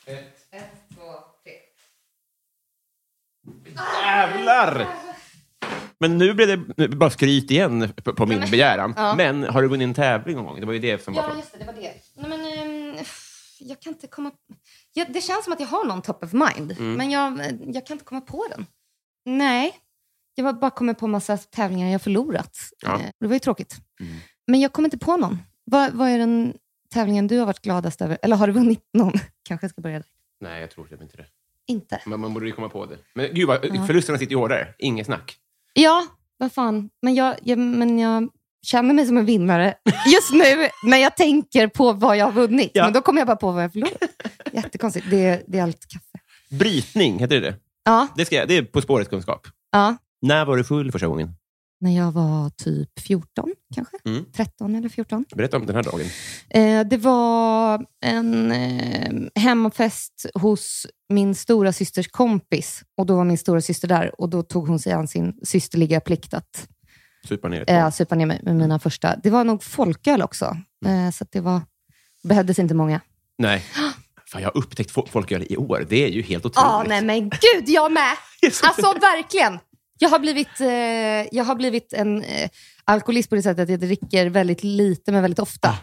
Speaker 2: Ett.
Speaker 3: Ett, två, tre.
Speaker 2: Jävlar! Men nu blev det nu- bara skryt igen på, på min begäran.
Speaker 3: ja.
Speaker 2: Men har du vunnit en tävling någon gång? Det var ju det som var
Speaker 3: Ja,
Speaker 2: frågan.
Speaker 3: just det. Det var det. Nej, men, ehm, jag kan inte komma... Ja, det känns som att jag har någon top of mind, men jag, jag kan inte komma på den. Nej, jag har bara kommit på massa tävlingar jag förlorat.
Speaker 2: Ja.
Speaker 3: Eh, Det var ju tråkigt. Men jag kommer inte på någon. Vad, vad är den tävlingen du har varit gladast över? Eller har du vunnit någon? Kanske jag ska börja där.
Speaker 2: Nej, jag tror typ inte det.
Speaker 3: Inte.
Speaker 2: Men man borde ju komma på det. Men gud, vad, förlusterna sitter ju hårdare. Inget snack.
Speaker 3: Ja, vad fan. Men jag, jag, men jag känner mig som en vinnare just nu när jag tänker på vad jag har vunnit.
Speaker 2: Ja.
Speaker 3: Men då kommer jag bara på vad jag förlorat. Jättekonstigt. Det, det är allt kaffe.
Speaker 2: Brytning, heter det det
Speaker 3: Ja,
Speaker 2: det? Ska jag, det är På spåret kunskap.
Speaker 3: ja.
Speaker 2: När var du full första gången?
Speaker 3: När jag var typ 14 kanske.
Speaker 2: Mm.
Speaker 3: 13 eller 14.
Speaker 2: Berätta om den här dagen.
Speaker 3: Eh, det var en eh, hemmafest hos min stora systers kompis. Och då var min stora syster där och då tog hon sig an sin systerliga plikt att
Speaker 2: Supa ner ett
Speaker 3: eh,
Speaker 2: barn.
Speaker 3: supa ner mig med mina första. Det var nog folköl också, eh, så att det var, behövdes inte många.
Speaker 2: Nej. Fan, jag har upptäckt fo- folköl i år. Det är ju helt otroligt.
Speaker 3: Ja, Ah, nej men gud, jag med!
Speaker 2: Yes.
Speaker 3: Alltså verkligen! Jag har blivit, eh, jag har blivit en eh, alkoholist på det sättet att jag dricker väldigt lite, men väldigt ofta.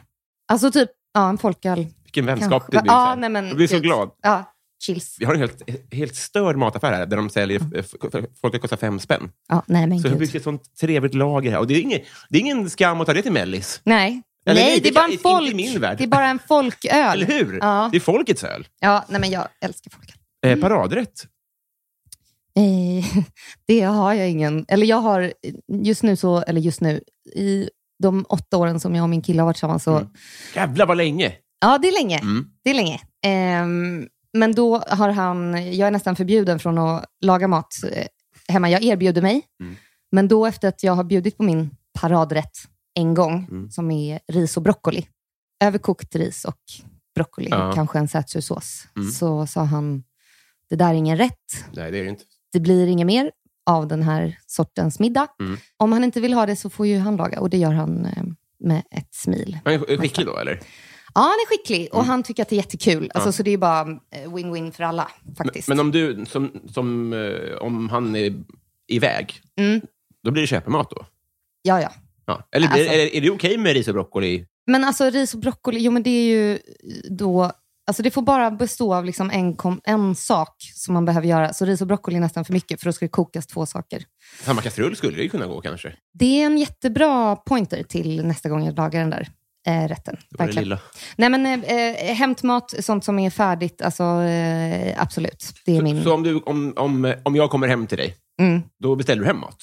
Speaker 3: Alltså typ ja, en folköl.
Speaker 2: Vilken vänskap
Speaker 3: kanske.
Speaker 2: det blir.
Speaker 3: Ja,
Speaker 2: sen.
Speaker 3: nej, men,
Speaker 2: jag blir så
Speaker 3: gud.
Speaker 2: glad.
Speaker 3: Ja, chills.
Speaker 2: Vi har en helt, helt störd mataffär här där de säljer... Folk kostar fem spänn.
Speaker 3: Ja, nej men
Speaker 2: Så det har
Speaker 3: gud.
Speaker 2: blivit ett sånt trevligt lager här. Och det, är ingen, det är ingen skam att ta det till mellis.
Speaker 3: Nej.
Speaker 2: Eller
Speaker 3: nej,
Speaker 2: nej,
Speaker 3: det
Speaker 2: det
Speaker 3: är bara
Speaker 2: kan-
Speaker 3: en
Speaker 2: inte i
Speaker 3: folk.
Speaker 2: min värld.
Speaker 3: Det är bara en folköl.
Speaker 2: Eller hur?
Speaker 3: Ja. Mm.
Speaker 2: Det är folkets öl.
Speaker 3: Ja, nej men jag älskar folköl.
Speaker 2: Eh, paradrätt.
Speaker 3: Eh, det har jag ingen. Eller jag har just nu, så, eller just nu, i de åtta åren som jag och min kille har varit tillsammans så...
Speaker 2: Jävlar vad länge!
Speaker 3: Ja, det är länge.
Speaker 2: Mm.
Speaker 3: Det är länge. Ehm, men då har han... Jag är nästan förbjuden från att laga mat eh, hemma. Jag erbjuder mig.
Speaker 2: Mm.
Speaker 3: Men då efter att jag har bjudit på min paradrätt en gång,
Speaker 2: Mm.
Speaker 3: som är ris och broccoli. Överkokt ris och broccoli,
Speaker 2: Ja.
Speaker 3: kanske en sätsursås.
Speaker 2: Mm.
Speaker 3: Så sa han, det där är ingen rätt
Speaker 2: Nej, det är det inte.
Speaker 3: det blir inget mer av den här sortens middag.
Speaker 2: Mm.
Speaker 3: Om han inte vill ha det så får ju han laga och det gör han eh, med ett smil.
Speaker 2: Han är skicklig då, eller?
Speaker 3: Ja, han är skicklig och han tycker att det är jättekul. Alltså,
Speaker 2: Mm. Ja.
Speaker 3: Så det är ju bara eh, win-win för alla faktiskt.
Speaker 2: Men om du, som, som eh, om han är iväg,
Speaker 3: Mm.
Speaker 2: då blir det köpemat då?
Speaker 3: Ja, ja.
Speaker 2: Ja. Eller blir,
Speaker 3: Alltså-
Speaker 2: är, är det okej med ris och broccoli?
Speaker 3: Men alltså ris och broccoli, jo men det är ju då... Alltså det får bara bestå av liksom en, kom, en sak som man behöver göra. Så ris och broccoli är nästan för mycket, för då ska det kokas två saker.
Speaker 2: Samma kastrull skulle det ju kunna gå kanske.
Speaker 3: Det är en jättebra pointer till nästa gång jag lagar den där eh, rätten.
Speaker 2: Det var det lilla.
Speaker 3: Nej, men eh, eh, hämtmat, sånt som är färdigt, alltså eh, absolut. Det är min...
Speaker 2: Så om, du, om, om, om jag kommer hem till dig,
Speaker 3: Mm.
Speaker 2: då beställer du hem mat?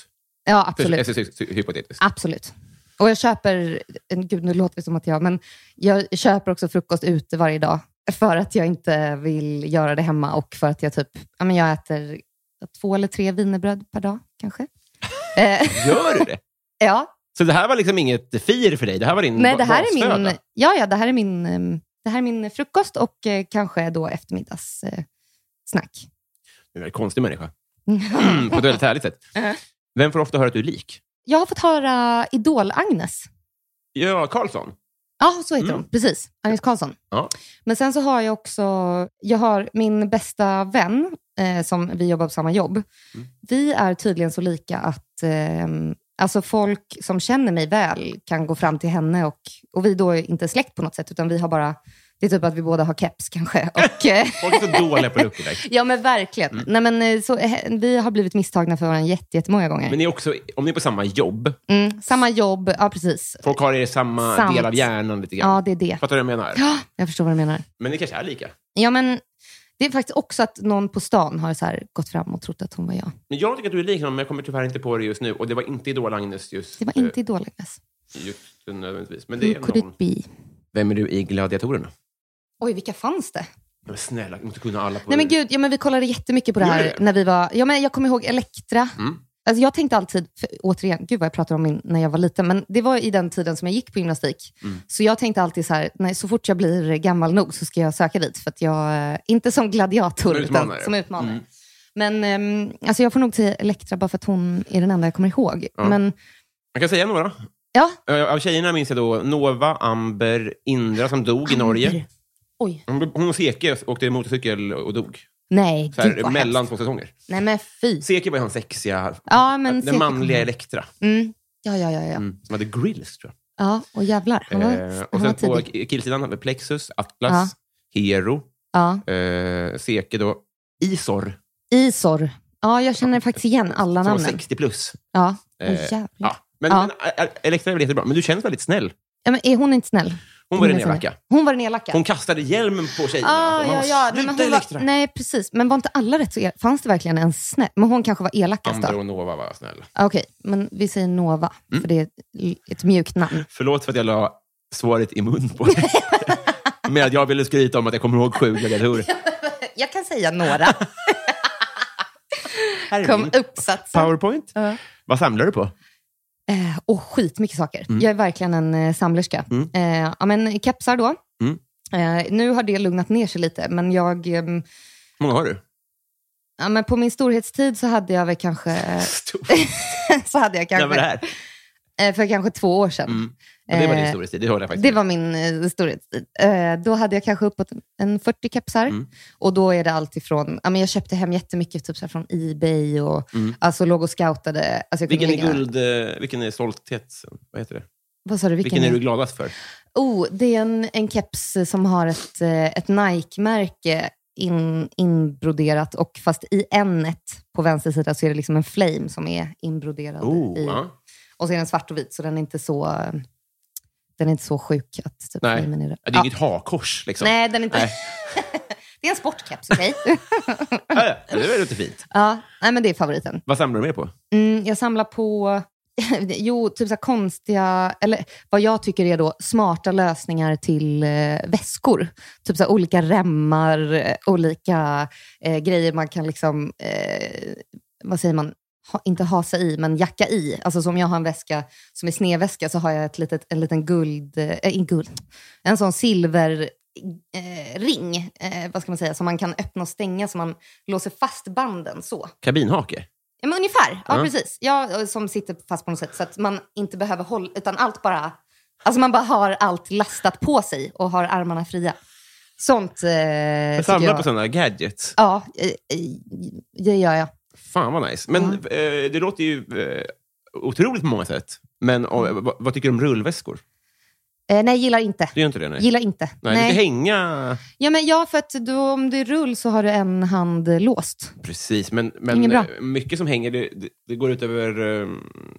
Speaker 3: Ja,
Speaker 2: För-
Speaker 3: absolut.
Speaker 2: alltså, hy- hy- Hypotetiskt.
Speaker 3: Absolut. Och jag köper, eh, gud nu låter det som att jag, men jag köper också frukost ute varje dag för att jag inte vill göra det hemma och för att jag typ, ja men jag äter två eller tre wienerbröd per dag kanske. eh,
Speaker 2: Gör du det?
Speaker 3: ja,
Speaker 2: Så det här var liksom inget fir för dig? Det här var din
Speaker 3: nej
Speaker 2: ba-
Speaker 3: det här är
Speaker 2: basföda.
Speaker 3: min, ja, ja, det här är min, eh, det här är min frukost och eh, kanske då eftermiddagssnack. Eh, snack.
Speaker 2: Du är en konstig människa. På ett
Speaker 3: Uh-huh.
Speaker 2: väldigt härligt sätt. Vem får ofta höra att du är lik?
Speaker 3: Jag har fått höra Idol-Agnes.
Speaker 2: Ja, Karlsson.
Speaker 3: Ja, så heter
Speaker 2: Mm.
Speaker 3: hon. Precis. Agnes Karlsson.
Speaker 2: Ja.
Speaker 3: Men sen så har jag också, jag har min bästa vän, eh, som vi jobbar på samma jobb.
Speaker 2: Mm.
Speaker 3: Vi är tydligen så lika att eh, alltså folk som känner mig väl kan gå fram till henne och, och vi då är inte släkt på något sätt, utan vi har bara, det är typ att vi båda har keps kanske. Och, eh,
Speaker 2: Folk är så dåliga på Lucky Day.
Speaker 3: ja men verkligen.
Speaker 2: Mm.
Speaker 3: Nej, men, eh, så, eh, vi har blivit misstagna för varandra jätte- jättemånga gånger.
Speaker 2: Men ni är också, om ni är på samma jobb,
Speaker 3: Mm, samma jobb, ja precis.
Speaker 2: folk har er samma
Speaker 3: Sant.
Speaker 2: del av hjärnan lite grann.
Speaker 3: Ja, det är det.
Speaker 2: Fattar du vad jag menar?
Speaker 3: Ja, jag förstår vad du menar.
Speaker 2: Men ni kanske är lika.
Speaker 3: Ja, men det är faktiskt också att någon på stan har så här gått fram och trott att hon var jag.
Speaker 2: Men jag tycker att du är lik honom, men jag kommer tyvärr inte på det just nu. Och det var inte Idol-Agnes just,
Speaker 3: Det var inte Mm, i dålig mess.
Speaker 2: eh, just nu nödvändigtvis. Men det
Speaker 3: Who
Speaker 2: är
Speaker 3: could
Speaker 2: någon.
Speaker 3: it be?
Speaker 2: Vem är du i Gladiatorerna?
Speaker 3: Oj, vilka fanns det?
Speaker 2: Men snälla, du måste kunna alla på
Speaker 3: Nej men gud, ja, men vi kollade jättemycket på det
Speaker 2: Gjorde
Speaker 3: här
Speaker 2: det?
Speaker 3: när vi var... Ja, men jag kommer ihåg Elektra.
Speaker 2: Mm.
Speaker 3: Alltså, jag tänkte alltid, för, återigen, gud vad jag pratade om min, när jag var liten, men det var i den tiden som jag gick på gymnastik.
Speaker 2: Mm.
Speaker 3: Så jag tänkte alltid så här, nej, så fort jag blir gammal nog så ska jag söka dit. För att jag, eh, inte som gladiator,
Speaker 2: Som
Speaker 3: utan
Speaker 2: utmanare. Mm.
Speaker 3: som utmanare. Men ehm, alltså, jag får nog säga Elektra bara för att hon är den enda jag kommer ihåg.
Speaker 2: Ja.
Speaker 3: Men
Speaker 2: Jag kan säga några.
Speaker 3: ja,
Speaker 2: Eh, Av tjejerna minns jag då Nova, Amber, Indra som dog i Norge.
Speaker 3: oj.
Speaker 2: Hon, hon och Seke åkte motorcykel och dog.
Speaker 3: Nej,
Speaker 2: Så här,
Speaker 3: gud vad
Speaker 2: mellan
Speaker 3: hemskt.
Speaker 2: två säsonger.
Speaker 3: Nej men fy.
Speaker 2: Seke var ju han sexiga,
Speaker 3: Ja, men
Speaker 2: den
Speaker 3: Seke
Speaker 2: manliga
Speaker 3: kom.
Speaker 2: Elektra.
Speaker 3: Mm. Ja, ja, ja. ja.
Speaker 2: Mm, som hade grills, tror jag.
Speaker 3: Ja, och jävlar. Han var,
Speaker 2: Eh, och
Speaker 3: han var
Speaker 2: sen på
Speaker 3: tidig.
Speaker 2: k- killsidan hade vi Plexus, Atlas, Hero,
Speaker 3: Ja.
Speaker 2: eh, Seke då, Isor,
Speaker 3: Isor. Ja, jag känner faktiskt igen alla
Speaker 2: som var
Speaker 3: namnen.
Speaker 2: 60 plus.
Speaker 3: Ja. Åh,
Speaker 2: Eh,
Speaker 3: jävlar.
Speaker 2: Ja. Men,
Speaker 3: Ja.
Speaker 2: men eh, eh, Elektra är väl jättebra, men du känns väldigt snäll.
Speaker 3: Ja, men är hon inte snäll?
Speaker 2: Hon var den
Speaker 3: är snäll.
Speaker 2: elaka.
Speaker 3: Hon var den elaka.
Speaker 2: Hon kastade hjälmen på tjejerna.
Speaker 3: Ah,
Speaker 2: Och man
Speaker 3: ja,
Speaker 2: bara,
Speaker 3: ja. Nej,
Speaker 2: Sluta
Speaker 3: men hon
Speaker 2: Elektra!
Speaker 3: var, nej, precis. Men var inte alla rätt så elaka? Fanns det verkligen en snäll? Men hon kanske var elakast
Speaker 2: Amber
Speaker 3: då?
Speaker 2: och Nova var snäll.
Speaker 3: Ah, Okej, men vi säger Nova, för det är ett- ett mjukt namn.
Speaker 2: Förlåt för att jag la svaret i mun på dig. Med att jag ville skryta om att jag kommer ihåg sju gladiatorer.
Speaker 3: Jag kan säga några.
Speaker 2: Här är
Speaker 3: Kom
Speaker 2: min
Speaker 3: uppsatsen.
Speaker 2: Powerpoint. Vad samlar du på?
Speaker 3: Eh, och skitmycket saker. Jag är verkligen en eh, samlerska. Eh, ja, men kepsar då.
Speaker 2: Mm.
Speaker 3: Eh, nu har det lugnat ner sig lite, men jag... ehm,
Speaker 2: Hur många har du?
Speaker 3: Ja, men på min storhetstid så hade jag väl kanske...
Speaker 2: Stor.
Speaker 3: så hade jag
Speaker 2: När var det
Speaker 3: kanske
Speaker 2: här?
Speaker 3: eh, för kanske två år sedan.
Speaker 2: Mm. Ja, det var din
Speaker 3: Eh,
Speaker 2: storhetstid, det håller jag faktiskt
Speaker 3: Det
Speaker 2: med.
Speaker 3: var min eh, storhetstid. Eh, då hade jag kanske uppåt en 40 kepsar.
Speaker 2: Mm.
Speaker 3: Och då är det allt ifrån... Ja, men jag köpte hem jättemycket typ så här från Ebay och alltså, låg och scoutade. Alltså, jag kunde
Speaker 2: Mm. Vilken är,
Speaker 3: lägga-
Speaker 2: guld, eh, vilken är stolthet? Vad heter det?
Speaker 3: Vad sa du?
Speaker 2: Vilken, är du gladast för?
Speaker 3: Oh, det är en, en keps som har ett, eh, ett Nike-märke in, inbroderat och fast i ännet på vänster sida så är det liksom en flame som är inbroderad.
Speaker 2: Oh,
Speaker 3: i,
Speaker 2: ja.
Speaker 3: Och så är den svart och vit så den är inte så, eh, den är inte så sjuk att typ,
Speaker 2: Nej.
Speaker 3: flamen är
Speaker 2: Ja, Det är
Speaker 3: Ja.
Speaker 2: inget hakors. Liksom.
Speaker 3: Nej, den är inte...
Speaker 2: Nej.
Speaker 3: det är en sportkeps, okej?
Speaker 2: Ja, ja. Ja, Det var lite fint.
Speaker 3: ja, nej, men det är favoriten.
Speaker 2: Vad samlar du mer på?
Speaker 3: Mm, jag samlar på jo, typ så här konstiga, eller vad jag tycker är då smarta lösningar till eh, väskor. Typ så här olika remmar, eh, olika eh, grejer man kan liksom, eh, vad säger man, ha, inte hasa i, men jacka i. Alltså som jag har en väska som är snedväska så har jag ett litet, en liten guld, eh, en guld, en sån silver eh, ring, eh, vad ska man säga, som man kan öppna och stänga så man låser fast banden så.
Speaker 2: Kabinhake?
Speaker 3: Ja, men ungefär. Ja,
Speaker 2: Ja.
Speaker 3: precis. Jag som sitter fast på något sätt så att man inte behöver hålla, utan allt bara... Alltså man bara har allt lastat på sig och har armarna fria. Sånt eh,
Speaker 2: Jag
Speaker 3: tycker
Speaker 2: samlar
Speaker 3: jag.
Speaker 2: på sådana gadgets.
Speaker 3: Ja, eh, eh, det gör jag.
Speaker 2: Fan vad nice. Men eh, det låter ju eh, otroligt på många sätt. Men och,
Speaker 3: Mm.
Speaker 2: vad, vad tycker du om rullväskor?
Speaker 3: Eh, nej, gillar inte.
Speaker 2: Du gör inte det? Nej.
Speaker 3: Gillar inte.
Speaker 2: nej, Du ska hänga...
Speaker 3: Ja, men ja, för att då, om det är rull så har du en hand eh, låst.
Speaker 2: Precis, men,
Speaker 3: Inget
Speaker 2: men
Speaker 3: bra.
Speaker 2: eh, mycket som hänger, det, det, det går ut över... eh,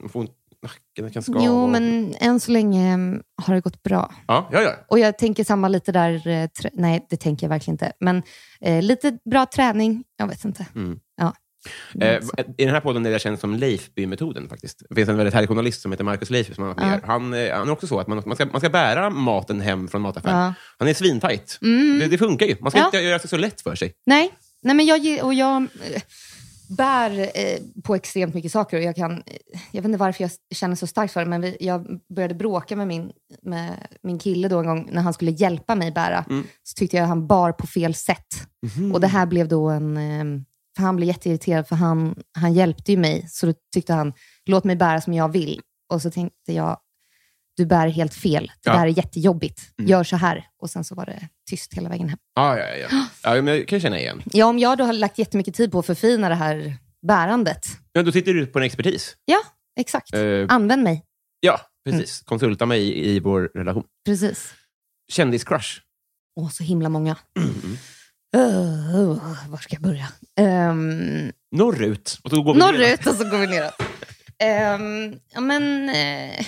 Speaker 2: man får ont- nacken, det kan skava.
Speaker 3: Jo, men än så länge mm, har det gått bra.
Speaker 2: Ja, ja, ja.
Speaker 3: Och jag tänker samma lite där... eh, Trä- nej, det tänker jag verkligen inte. Men eh, lite bra träning. Jag vet inte.
Speaker 2: Mm.
Speaker 3: Ja.
Speaker 2: Eh, I den här podden är det känd som Leifby-metoden. faktiskt. Det finns en väldigt härlig journalist som heter Markus Leifby. Som han,
Speaker 3: Ja.
Speaker 2: ja. han, eh, han är också så att man, man, ska, man ska bära maten hem från mataffären.
Speaker 3: Ja.
Speaker 2: Han är svintajt.
Speaker 3: Mm.
Speaker 2: Det, det funkar ju. Man ska
Speaker 3: Ja.
Speaker 2: inte göra sig så lätt för sig.
Speaker 3: Nej, nej men jag, ge- och jag eh, bär eh, på extremt mycket saker. Och jag, kan, eh, jag vet inte varför jag s- känner så starkt för det, men vi, jag började bråka med min, med min kille då en gång när han skulle hjälpa mig bära.
Speaker 2: Mm.
Speaker 3: Så tyckte jag han bar på fel sätt.
Speaker 2: Mhm.
Speaker 3: Och det här blev då en... eh, För han blev jätteirriterad för han, han hjälpte ju mig. Så då tyckte han, låt mig bära som jag vill. Och så tänkte jag, du bär helt fel. Det
Speaker 2: Ja.
Speaker 3: där är jättejobbigt.
Speaker 2: Mm.
Speaker 3: Gör så här. Och sen så var det tyst hela vägen hem.
Speaker 2: Ja, ja, ja. ja men jag kan känna igen.
Speaker 3: Ja, om jag då har lagt jättemycket tid på att förfina det här bärandet.
Speaker 2: Ja, då tittar du på en expertis.
Speaker 3: Exakt.
Speaker 2: Eh,
Speaker 3: Använd mig.
Speaker 2: ja, precis.
Speaker 3: Mm.
Speaker 2: Konsulta mig i, i vår relation.
Speaker 3: Precis.
Speaker 2: Kändiscrush.
Speaker 3: Åh, så himla många.
Speaker 2: Mm.
Speaker 3: Uh, uh, var ska jag börja? Ehm,
Speaker 2: Norrut. Och då går vi vidare.
Speaker 3: norrut och så går vi neråt. Ehm, ja, men, eh,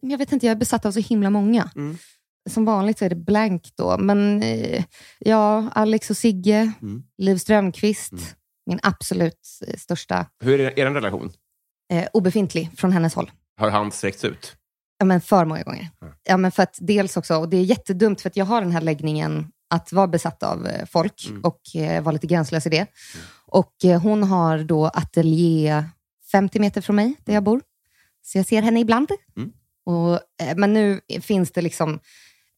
Speaker 3: jag vet inte, jag är besatt av så himla många.
Speaker 2: Mm.
Speaker 3: Som vanligt så är det blank då. Men eh, ja, Alex och Sigge,
Speaker 2: Mm.
Speaker 3: Liv Strömquist,
Speaker 2: Mm.
Speaker 3: min absolut eh, största
Speaker 2: Hur är er relation?
Speaker 3: eh, obefintlig från hennes håll.
Speaker 2: Har han sträckts ut?
Speaker 3: Ja, men för många gånger. Ja, men för att dels också, och det är jättedumt för att jag har den här läggningen att vara besatt av eh, folk och eh, vara lite gränslös i det. Och eh, hon har då ateljé 50 meter från mig, där jag bor. Så jag ser henne ibland.
Speaker 2: Mm.
Speaker 3: Och, eh, men nu finns det liksom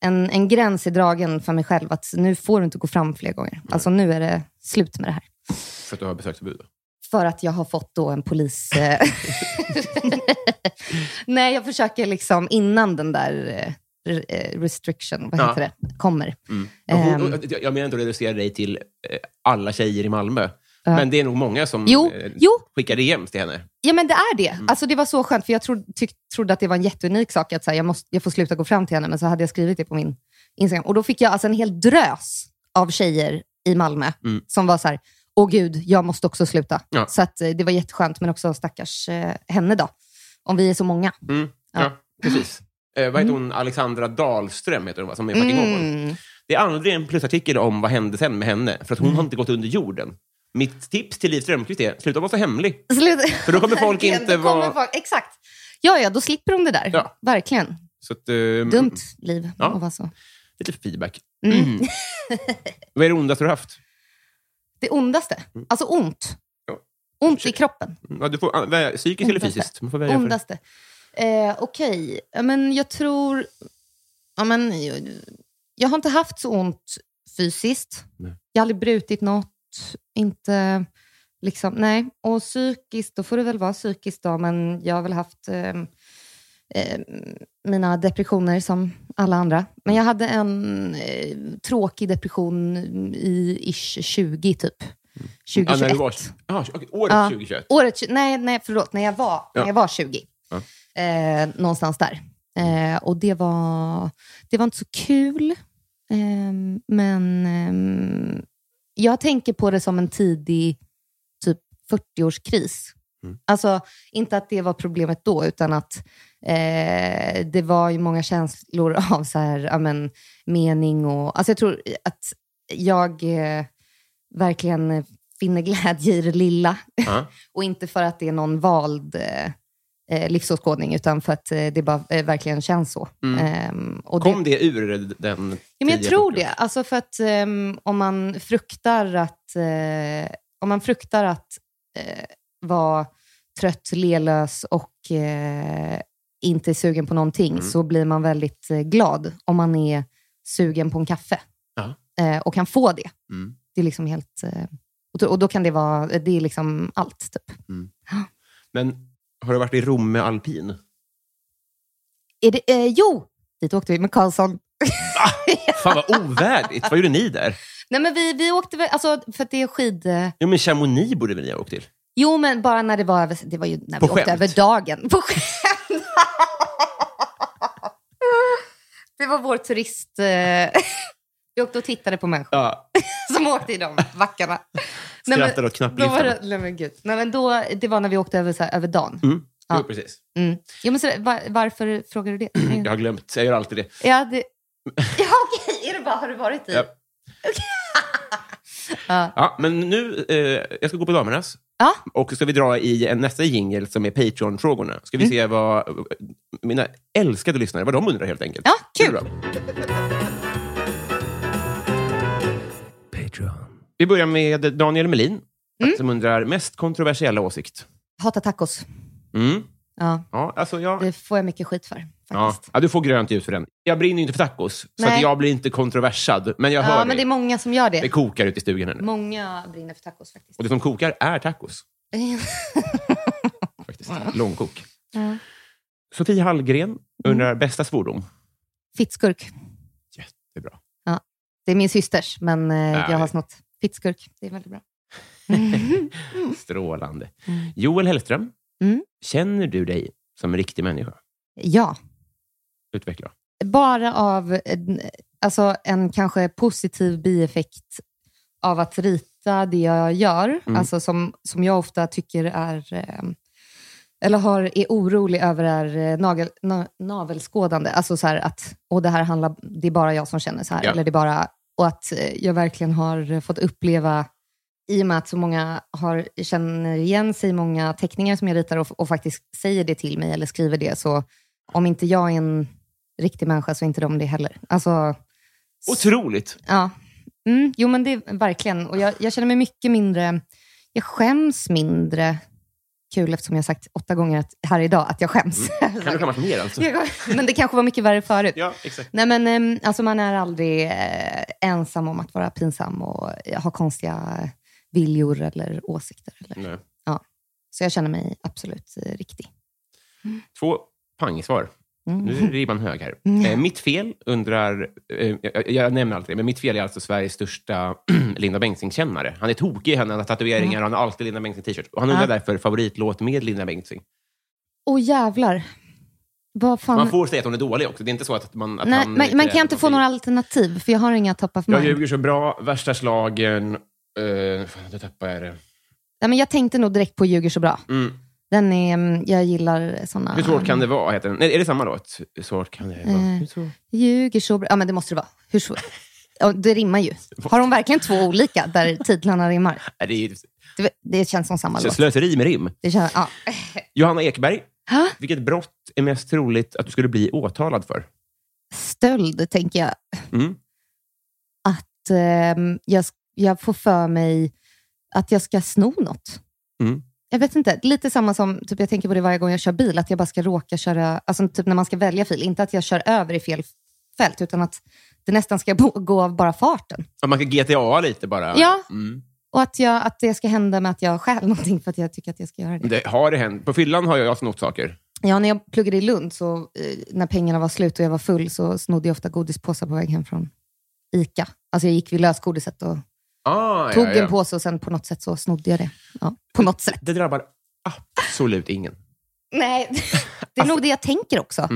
Speaker 3: en, en gräns i dragen för mig själv att nu får du inte gå fram fler gånger. Alltså nu är det slut med det här.
Speaker 2: För att du har besöksförbud?
Speaker 3: För att jag har fått då en polis... eh, Nej, jag försöker liksom innan den där eh, re- eh, restriction, vad
Speaker 2: Ja.
Speaker 3: heter det, kommer.
Speaker 2: Mm. Och hon-
Speaker 3: Ehm.
Speaker 2: och jag- jag menar inte att reducera dig till eh, alla tjejer i Malmö, men det är nog många som
Speaker 3: Jo,
Speaker 2: eh, mm.
Speaker 3: jo,
Speaker 2: skickar DMs till henne.
Speaker 3: ja men det är det. Alltså det var så skönt, för jag trodde, tyck, trodde att det var en jätteunik sak att så här, jag, måste, jag får sluta gå fram till henne, men så hade jag skrivit det på min Instagram. Och då fick jag alltså en hel drös av tjejer i Malmö
Speaker 2: Mm.
Speaker 3: som var så här, åh gud, jag måste också sluta.
Speaker 2: Ja.
Speaker 3: Så att, eh, det var jätteskönt, men också stackars eh, henne då. Om vi är så många.
Speaker 2: Mm. Ja.
Speaker 3: Ja.
Speaker 2: precis. Eh, vad heter hon? Alexandra Dahlström heter hon, va? som är Partingholm.
Speaker 3: Mm.
Speaker 2: Det är aldrig en plusartikel om vad hände sen med henne, för att hon har inte gått under jorden. Mitt tips till Liv Strömquist är, sluta vara så hemlig.
Speaker 3: Sluta.
Speaker 2: För då kommer folk
Speaker 3: Verkligen,
Speaker 2: inte
Speaker 3: då kommer
Speaker 2: vara...
Speaker 3: folk- Exakt. Ja, ja, då slipper de det där.
Speaker 2: Ja.
Speaker 3: Verkligen.
Speaker 2: Så att, ehm,
Speaker 3: Dumt liv
Speaker 2: Ja.
Speaker 3: att vara så.
Speaker 2: Lite feedback.
Speaker 3: Mm.
Speaker 2: Vad är det ondaste du har haft?
Speaker 3: Det ondaste. Alltså ont.
Speaker 2: Mm. Ja.
Speaker 3: Ont i kroppen.
Speaker 2: Ja, du får, ah, välja psykiskt eller
Speaker 3: Ondaste.
Speaker 2: fysiskt? Man får välja för.
Speaker 3: Ondaste. Eh, Okej, Ja, men jag tror... Ja, men, jag, jag har inte haft så ont fysiskt.
Speaker 2: Nej.
Speaker 3: Jag har aldrig brutit något. Inte liksom, nej. Och psykiskt, då får det väl vara psykiskt då, men jag har väl haft eh, eh, mina depressioner som alla andra. Men jag hade en eh, tråkig depression i ish 20 typ. 2021.
Speaker 2: Mm. Ja, när du var, ah, okej, året
Speaker 3: Ja.
Speaker 2: 2021.
Speaker 3: Året, tju- nej, nej, förlåt. När jag var,
Speaker 2: Ja.
Speaker 3: när jag var 20.
Speaker 2: Ja.
Speaker 3: Eh, någonstans där. Eh, och det var, det var inte så kul. Ehm, men ehm, jag tänker på det som en tidig typ 40-årskris.
Speaker 2: Mm.
Speaker 3: Alltså, inte att det var problemet då, utan att eh, det var ju många känslor av så här, ja, men, mening och... Alltså jag tror att jag eh, verkligen eh, finner glädje i det lilla.
Speaker 2: Ja.
Speaker 3: och inte för att det är någon vald eh, eh, livsåskådning, utan för att eh, det bara eh, verkligen känns så.
Speaker 2: Mm.
Speaker 3: Ehm, och det-
Speaker 2: Kom det ur den
Speaker 3: Ja, men jag
Speaker 2: tidiga
Speaker 3: tror
Speaker 2: 40-års?
Speaker 3: det. Alltså för att ehm, om man fruktar att, eh, om man fruktar att eh, vara trött, lelös och eh, inte är sugen på någonting
Speaker 2: Mm.
Speaker 3: så blir man väldigt eh, glad om man är sugen på en kaffe
Speaker 2: Ja.
Speaker 3: eh, och kan få det.
Speaker 2: Mm.
Speaker 3: Det är liksom helt... Eh, och då- och då kan det vara... Det är liksom allt, typ.
Speaker 2: Men har du varit i Rom med alpin?
Speaker 3: Är det, eh, jo! Dit åkte vi med Karlsson.
Speaker 2: Fan vad ovärdigt. vad gjorde ni där?
Speaker 3: Nej, men vi, vi åkte väl... Alltså, för att det är skid... Eh,
Speaker 2: Jo, men Chamonix borde väl ni ha åkt till?
Speaker 3: Jo, men bara när det var över, det var ju när
Speaker 2: På
Speaker 3: vi åkte
Speaker 2: skämt.
Speaker 3: över dagen. På skämt. det var vår turist. eh, vi åkte och tittade på människor
Speaker 2: Ja,
Speaker 3: som åkte i de vackarna. Nej, men,
Speaker 2: skrattade åt
Speaker 3: då var
Speaker 2: knappliftarna.
Speaker 3: det, nej, men gud. Nej, men då, det var när vi åkte över, så här, över dagen.
Speaker 2: Mm. Jo,
Speaker 3: Ja.
Speaker 2: precis.
Speaker 3: Mm. Jo, men så, va- varför frågar du det?
Speaker 2: Jag har glömt. Jag gör alltid det.
Speaker 3: Ja, det, ja okej. Är det bara, har du varit i?
Speaker 2: Ja.
Speaker 3: Ja.
Speaker 2: Ja, men nu, eh, jag ska gå på damernas.
Speaker 3: Ja.
Speaker 2: Och så ska vi dra i en, nästa jingel som är Patreon-frågorna. Ska vi
Speaker 3: Mm.
Speaker 2: se vad mina älskade lyssnare, vad de undrar helt enkelt.
Speaker 3: Ja,
Speaker 2: Det är
Speaker 3: kul.
Speaker 2: bra. Vi börjar med Daniel Melin,
Speaker 3: Mm.
Speaker 2: som undrar mest kontroversiella åsikt.
Speaker 3: Hata tacos.
Speaker 2: Mm.
Speaker 3: Ja,
Speaker 2: Ja, alltså jag...
Speaker 3: det får jag mycket skit för.
Speaker 2: Ja.
Speaker 3: Faktiskt.
Speaker 2: ja, du får grönt ljus för den. Jag brinner ju inte för tacos, så
Speaker 3: Nej.
Speaker 2: att jag blir inte kontroversad. Men jag
Speaker 3: Ja,
Speaker 2: hör
Speaker 3: men det
Speaker 2: dig.
Speaker 3: är många som gör
Speaker 2: Det.
Speaker 3: det.
Speaker 2: kokar ute i stugan här nu.
Speaker 3: Många brinner för tacos faktiskt.
Speaker 2: Och det som kokar är tacos. Faktiskt. Långkok.
Speaker 3: Ja. Mm.
Speaker 2: Sofie Hallgren Undrar, bästa svordom?
Speaker 3: Fittskurk.
Speaker 2: Jättebra.
Speaker 3: Det är min systers, men eh,
Speaker 2: Ja,
Speaker 3: jag har
Speaker 2: det-
Speaker 3: snott fittskurk. Det är väldigt bra.
Speaker 2: Strålande. Joel Hellström,
Speaker 3: Mm.
Speaker 2: känner du dig som en riktig människa?
Speaker 3: Ja,
Speaker 2: Utveckla.
Speaker 3: bara av en, alltså en kanske positiv bieffekt av att rita det jag gör,
Speaker 2: Mm.
Speaker 3: alltså som, som jag ofta tycker är eh, eller har, är orolig över är eh, nagel, na, navelskådande. Alltså så här att och det här handlar, det är bara jag som känner så här.
Speaker 2: Ja.
Speaker 3: Eller det är bara, och att eh, jag verkligen har fått uppleva, i och med att så många har, känner igen sig i många teckningar som jag ritar och, och faktiskt säger det till mig eller skriver det, så om inte jag är en riktig människa så är inte de det heller. Alltså,
Speaker 2: Otroligt!
Speaker 3: ja. Mm, jo, men det är verkligen. Och jag, jag känner mig mycket mindre... Jag skäms mindre. Kul, eftersom jag har sagt åtta gånger att, här idag att jag skäms.
Speaker 2: Kan du skämmas mer? Alltså?
Speaker 3: men det kanske var mycket värre förut.
Speaker 2: Ja, exakt.
Speaker 3: Nej, men em, alltså man är aldrig eh, ensam om att vara pinsam och ha konstiga eh, viljor eller åsikter. Eller.
Speaker 2: Nej.
Speaker 3: Så jag känner mig absolut eh, riktig.
Speaker 2: Två pangsvar. Nu är ribban hög här.
Speaker 3: Mm.
Speaker 2: Eh, mitt fel undrar... Eh, jag, jag nämner alltid det, men mitt fel är alltså Sveriges största Linda Bengtzing-kännare. Han är tokig i henne, han har tatueringar och han har alltid Linda Bengtzing-t-shirt. Och han undrar
Speaker 3: Mm. Ja.
Speaker 2: därför favoritlåt med Linda Bengtzing.
Speaker 3: Åh jävlar. Vad fan...
Speaker 2: Man får säga att hon är dålig också. Det är inte så att man... Att
Speaker 3: Nej,
Speaker 2: han,
Speaker 3: men, men kan jag inte få några alternativ? För jag har inga top of mind.
Speaker 2: Jag ljuger så bra, värsta slagen... Uh, fan, nu tappade jag det.
Speaker 3: Nej, men jag tänkte nog direkt på Ljuger så bra.
Speaker 2: Mm.
Speaker 3: Den är, mm, jag gillar såna...
Speaker 2: Hur svårt kan det vara? Heter den. Nej, är det samma låt? Hur svårt kan det vara?
Speaker 3: Eh.
Speaker 2: Hur svårt?
Speaker 3: Ljuger så bra. Ja, men det måste det vara. Hur svårt? Ja, det rimmar ju. Har de verkligen två olika där titlarna rimmar?
Speaker 2: Nej, Det är ju
Speaker 3: Det, det känns som samma
Speaker 2: slö-
Speaker 3: låt.
Speaker 2: slöseri med rim.
Speaker 3: Det känns, ja.
Speaker 2: Johanna Ekberg,
Speaker 3: Ha?
Speaker 2: vilket brott är mest troligt att du skulle bli åtalad för?
Speaker 3: Stöld, tänker jag.
Speaker 2: Mm.
Speaker 3: Att ehm, jag, sk- jag får för mig att jag ska sno något.
Speaker 2: Mm.
Speaker 3: Jag vet inte. Lite samma som, typ, jag tänker på det varje gång jag kör bil, att jag bara ska råka köra, alltså typ när man ska välja fil, inte att jag kör över i fel fält, utan att det nästan ska bo- gå av bara farten.
Speaker 2: Att man kan GTA lite bara?
Speaker 3: Ja.
Speaker 2: Mm.
Speaker 3: Och att, jag, att det ska hända med att jag stjäl någonting för att jag tycker att jag ska göra det.
Speaker 2: Det har det hänt. På fyllan har jag snott saker.
Speaker 3: Ja, när jag pluggade i Lund, så, eh, när pengarna var slut och jag var full, så snodde jag ofta godispåsar på väg hem från ICA. Alltså jag gick vid lösgodiset och
Speaker 2: Ah,
Speaker 3: tog
Speaker 2: ja, ja.
Speaker 3: en påse och sen på något sätt så snodde jag det. Ja, på något sätt.
Speaker 2: Det drabbar absolut ingen.
Speaker 3: Nej, det är nog det jag tänker också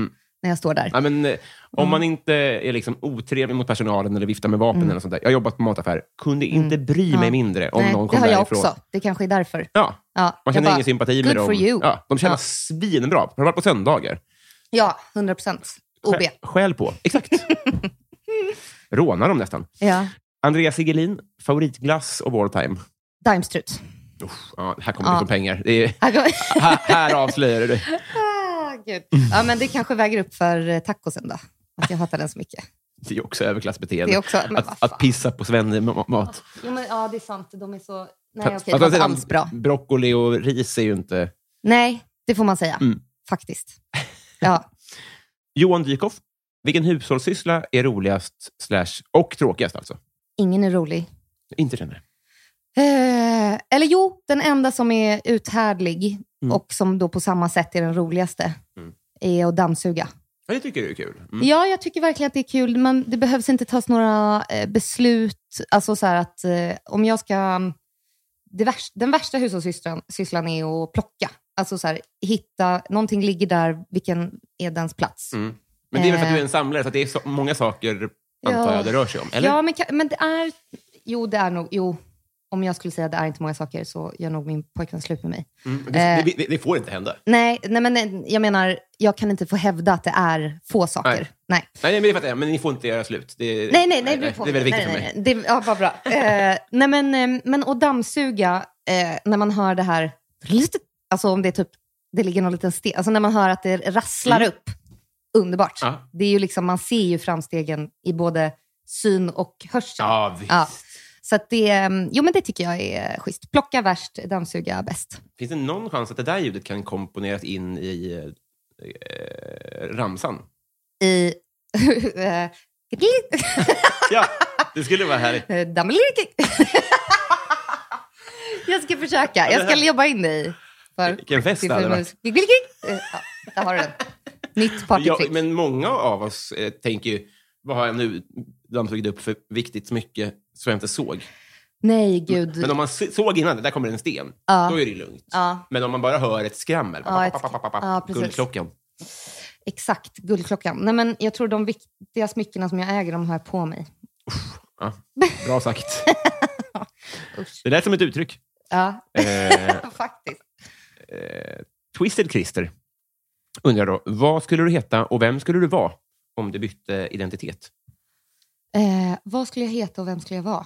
Speaker 3: när jag står där.
Speaker 2: Mm. Ja, men, eh,
Speaker 3: Mm.
Speaker 2: om man inte är liksom otrevlig mot personalen eller viftar med vapen eller sånt där. Jag har jobbat på mataffär. Kunde inte bry mig mindre om
Speaker 3: Mm. Nej,
Speaker 2: någon
Speaker 3: det
Speaker 2: kom
Speaker 3: har jag
Speaker 2: därifrån.
Speaker 3: också. Det kanske är därför.
Speaker 2: Ja.
Speaker 3: Ja,
Speaker 2: Man
Speaker 3: jag
Speaker 2: känner
Speaker 3: bara,
Speaker 2: ingen sympati med
Speaker 3: good
Speaker 2: dem.
Speaker 3: for you.
Speaker 2: Ja, de känner
Speaker 3: Ja.
Speaker 2: svinbra. Har du varit på söndagar?
Speaker 3: Ja, 100 procent. OB.
Speaker 2: Skä- Skäl på. Exakt. Rånar dem nästan.
Speaker 3: Ja.
Speaker 2: Andreas Sigelin, favoritglass of all time.
Speaker 3: Dimestrut.
Speaker 2: Ja, här kommer det
Speaker 3: Ja.
Speaker 2: från pengar. Det är,
Speaker 3: Här går-
Speaker 2: här, här avslöjar du.
Speaker 3: Ah, Gud. Ja, men det kanske väger upp för eh, tacosen då. Att jag hatar den så mycket.
Speaker 2: Det är också
Speaker 3: Det
Speaker 2: överklassbeteende.
Speaker 3: är också, men vad
Speaker 2: att,
Speaker 3: fan.
Speaker 2: att pissa på svennemat.
Speaker 3: Jo, men, ja, det är sant. De är så... Nej, okej,
Speaker 2: Fast
Speaker 3: det var
Speaker 2: å andra
Speaker 3: inte
Speaker 2: sidan,
Speaker 3: alls bra.
Speaker 2: Broccoli och ris är ju inte...
Speaker 3: Nej, det får man säga.
Speaker 2: Mm.
Speaker 3: Faktiskt. Ja.
Speaker 2: Johan Dykhoff, vilken hushållssyssla är roligast slash och tråkigast? alltså?
Speaker 3: Ingen är rolig.
Speaker 2: Inte den här.
Speaker 3: Eh, eller jo, den enda som är uthärdlig
Speaker 2: Mm.
Speaker 3: och som då på samma sätt är den roligaste
Speaker 2: Mm.
Speaker 3: är att dammsuga.
Speaker 2: Ja, det tycker du är kul. Mm.
Speaker 3: Ja, jag tycker verkligen att det är kul, men det behövs inte tas några eh, beslut. Alltså så här att eh, om jag ska... Det värst, den värsta hushållssysslan sysslan är att plocka. Alltså så här, hitta, någonting ligger där, vilken är dens plats?
Speaker 2: Mm. Men det är väl för att
Speaker 3: Eh.
Speaker 2: du är en samlare, så att det är så många saker antar
Speaker 3: Ja.
Speaker 2: jag det rör sig om? Eller?
Speaker 3: Ja, men, ka- men det är... Jo, det är nog... Jo, om jag skulle säga att det är inte många saker så gör nog min pojkvän slut med mig.
Speaker 2: Mm, det,
Speaker 3: Eh.
Speaker 2: det, det, det får inte hända.
Speaker 3: Nej, nej, men eh, jag menar, jag kan inte få hävda att det är få saker.
Speaker 2: Nej.
Speaker 3: Nej, nej,
Speaker 2: Nej, nej, men det fattar jag. Men ni får inte göra slut. Det,
Speaker 3: nej. nej, det,
Speaker 2: det är väldigt viktigt för mig.
Speaker 3: för mig. Det, ja, vad bra. Eh, nej, men, eh, men att dammsuga, eh, när man hör det här, lite, alltså om det är typ, det ligger någon liten sten, alltså när man hör att det rasslar
Speaker 2: Mm.
Speaker 3: upp, underbart.
Speaker 2: Ja.
Speaker 3: Det är ju liksom, man ser ju framstegen i både syn och hörsel.
Speaker 2: Ja, visst.
Speaker 3: Ja. Så att det, eh, jo, men det tycker jag är schysst. Plocka värst, dammsuga bäst.
Speaker 2: Finns det någon chans att det där ljudet kan komponeras in i eh, eh, ramsan?
Speaker 3: I... eh,
Speaker 2: Ja, det skulle vara härligt.
Speaker 3: Eh, Dammelirki. jag ska försöka. Jag ska jobba in dig. För
Speaker 2: Vilken fest det hade varit.
Speaker 3: Giggeligig. Eh, Ja, där har du den. Nytt
Speaker 2: Ja,
Speaker 3: partytrick.
Speaker 2: men många av oss eh, tänker ju, vad har jag nu dammsugit upp för viktigt mycket som jag inte såg?
Speaker 3: Nej, gud.
Speaker 2: Men om man se- såg innan, där kommer en sten,
Speaker 3: Ja.
Speaker 2: då är det lugnt.
Speaker 3: Ja,
Speaker 2: Men om man bara hör ett skrammel,
Speaker 3: Ja,
Speaker 2: pappa,
Speaker 3: ett-
Speaker 2: pappa, pappa, pappa,
Speaker 3: ja, precis.
Speaker 2: guldklockan.
Speaker 3: exakt. Guldklockan. Nej, men jag tror de viktiga smyckena som jag äger, de har jag på mig.
Speaker 2: Ja, bra sagt.
Speaker 3: Usch.
Speaker 2: Det där är som ett uttryck.
Speaker 3: Ja,
Speaker 2: Eh,
Speaker 3: faktiskt.
Speaker 2: Twisted Christer undrar då, vad skulle du heta och vem skulle du vara om du bytte identitet?
Speaker 3: Eh, vad skulle jag heta och vem skulle jag vara?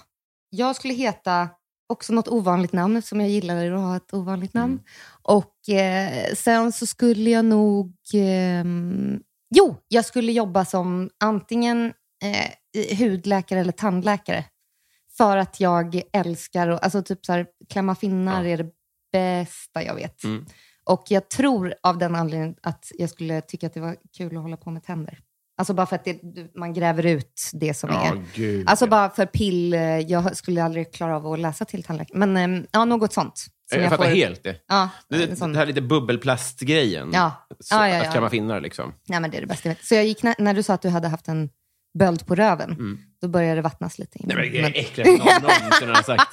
Speaker 3: Jag skulle heta också något ovanligt namn eftersom jag gillar att ha ett ovanligt namn.
Speaker 2: Mm.
Speaker 3: Och eh, sen så skulle jag nog... ehm, jo, jag skulle jobba som antingen eh, i- hudläkare eller tandläkare. För att jag älskar och, alltså typ så här, klämma finnar
Speaker 2: Ja.
Speaker 3: är det bästa jag vet.
Speaker 2: Mm.
Speaker 3: Och jag tror av den anledningen att jag skulle tycka att det var kul att hålla på med tänder. Alltså bara för att det, man gräver ut det som är.
Speaker 2: gud.
Speaker 3: Alltså bara för pill, eh, jag skulle aldrig klara av att läsa till tandläkare. Men ehm, ja, något sånt.
Speaker 2: jag, fattar helt det.
Speaker 3: Ja,
Speaker 2: Det,
Speaker 3: en sån,
Speaker 2: det här lite bubbelplastgrejen.
Speaker 3: Ja.
Speaker 2: Så,
Speaker 3: Ja, ja, ja.
Speaker 2: Att klämma finnar liksom.
Speaker 3: nej, men det är det bästa jag vet. Så jag gick, när, när du sa att du hade haft en böld på röven, då började det vattnas lite. i
Speaker 2: Mm. Nej, men
Speaker 3: munnen.
Speaker 2: det är äckligast någon någonsin har sagt.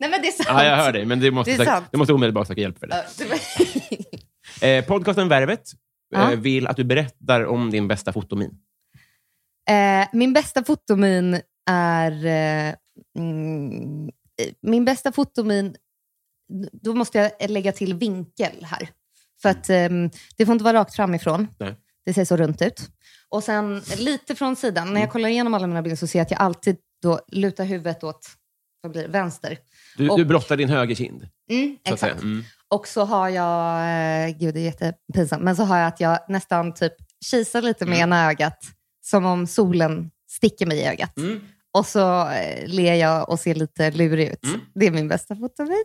Speaker 3: nej, men det är sant.
Speaker 2: Ja, jag hör dig, men du
Speaker 3: Det
Speaker 2: måste,
Speaker 3: är
Speaker 2: sagt-
Speaker 3: sant.
Speaker 2: du måste omedelbart söka hjälp för det.
Speaker 3: Ja, det var-
Speaker 2: Eh, podcasten Värvet
Speaker 3: Ja.
Speaker 2: eh, vill att du berättar om din bästa fotomin.
Speaker 3: Eh, min bästa fotomin är... Eh, mm, eh, min bästa fotomin... Då måste jag lägga till vinkel här. För att ehm, det får inte vara rakt framifrån.
Speaker 2: Nej.
Speaker 3: Det ser så runt ut. Och sen lite från sidan. När jag kollar igenom alla mina bilder så ser jag att jag alltid då lutar huvudet åt vad blir det, vänster.
Speaker 2: Du,
Speaker 3: Och-
Speaker 2: du brottar din högerkind.
Speaker 3: Mm,
Speaker 2: Så att säga.
Speaker 3: exakt.
Speaker 2: Mm.
Speaker 3: Och så har jag, eh, gud det är jättepinsamt, men så har jag att jag nästan typ kisar lite
Speaker 2: Mm.
Speaker 3: med ena ögat, som om solen sticker mig i ögat.
Speaker 2: Mm.
Speaker 3: Och så eh, ler jag och ser lite lurig ut.
Speaker 2: Mm.
Speaker 3: Det är min bästa fotomin.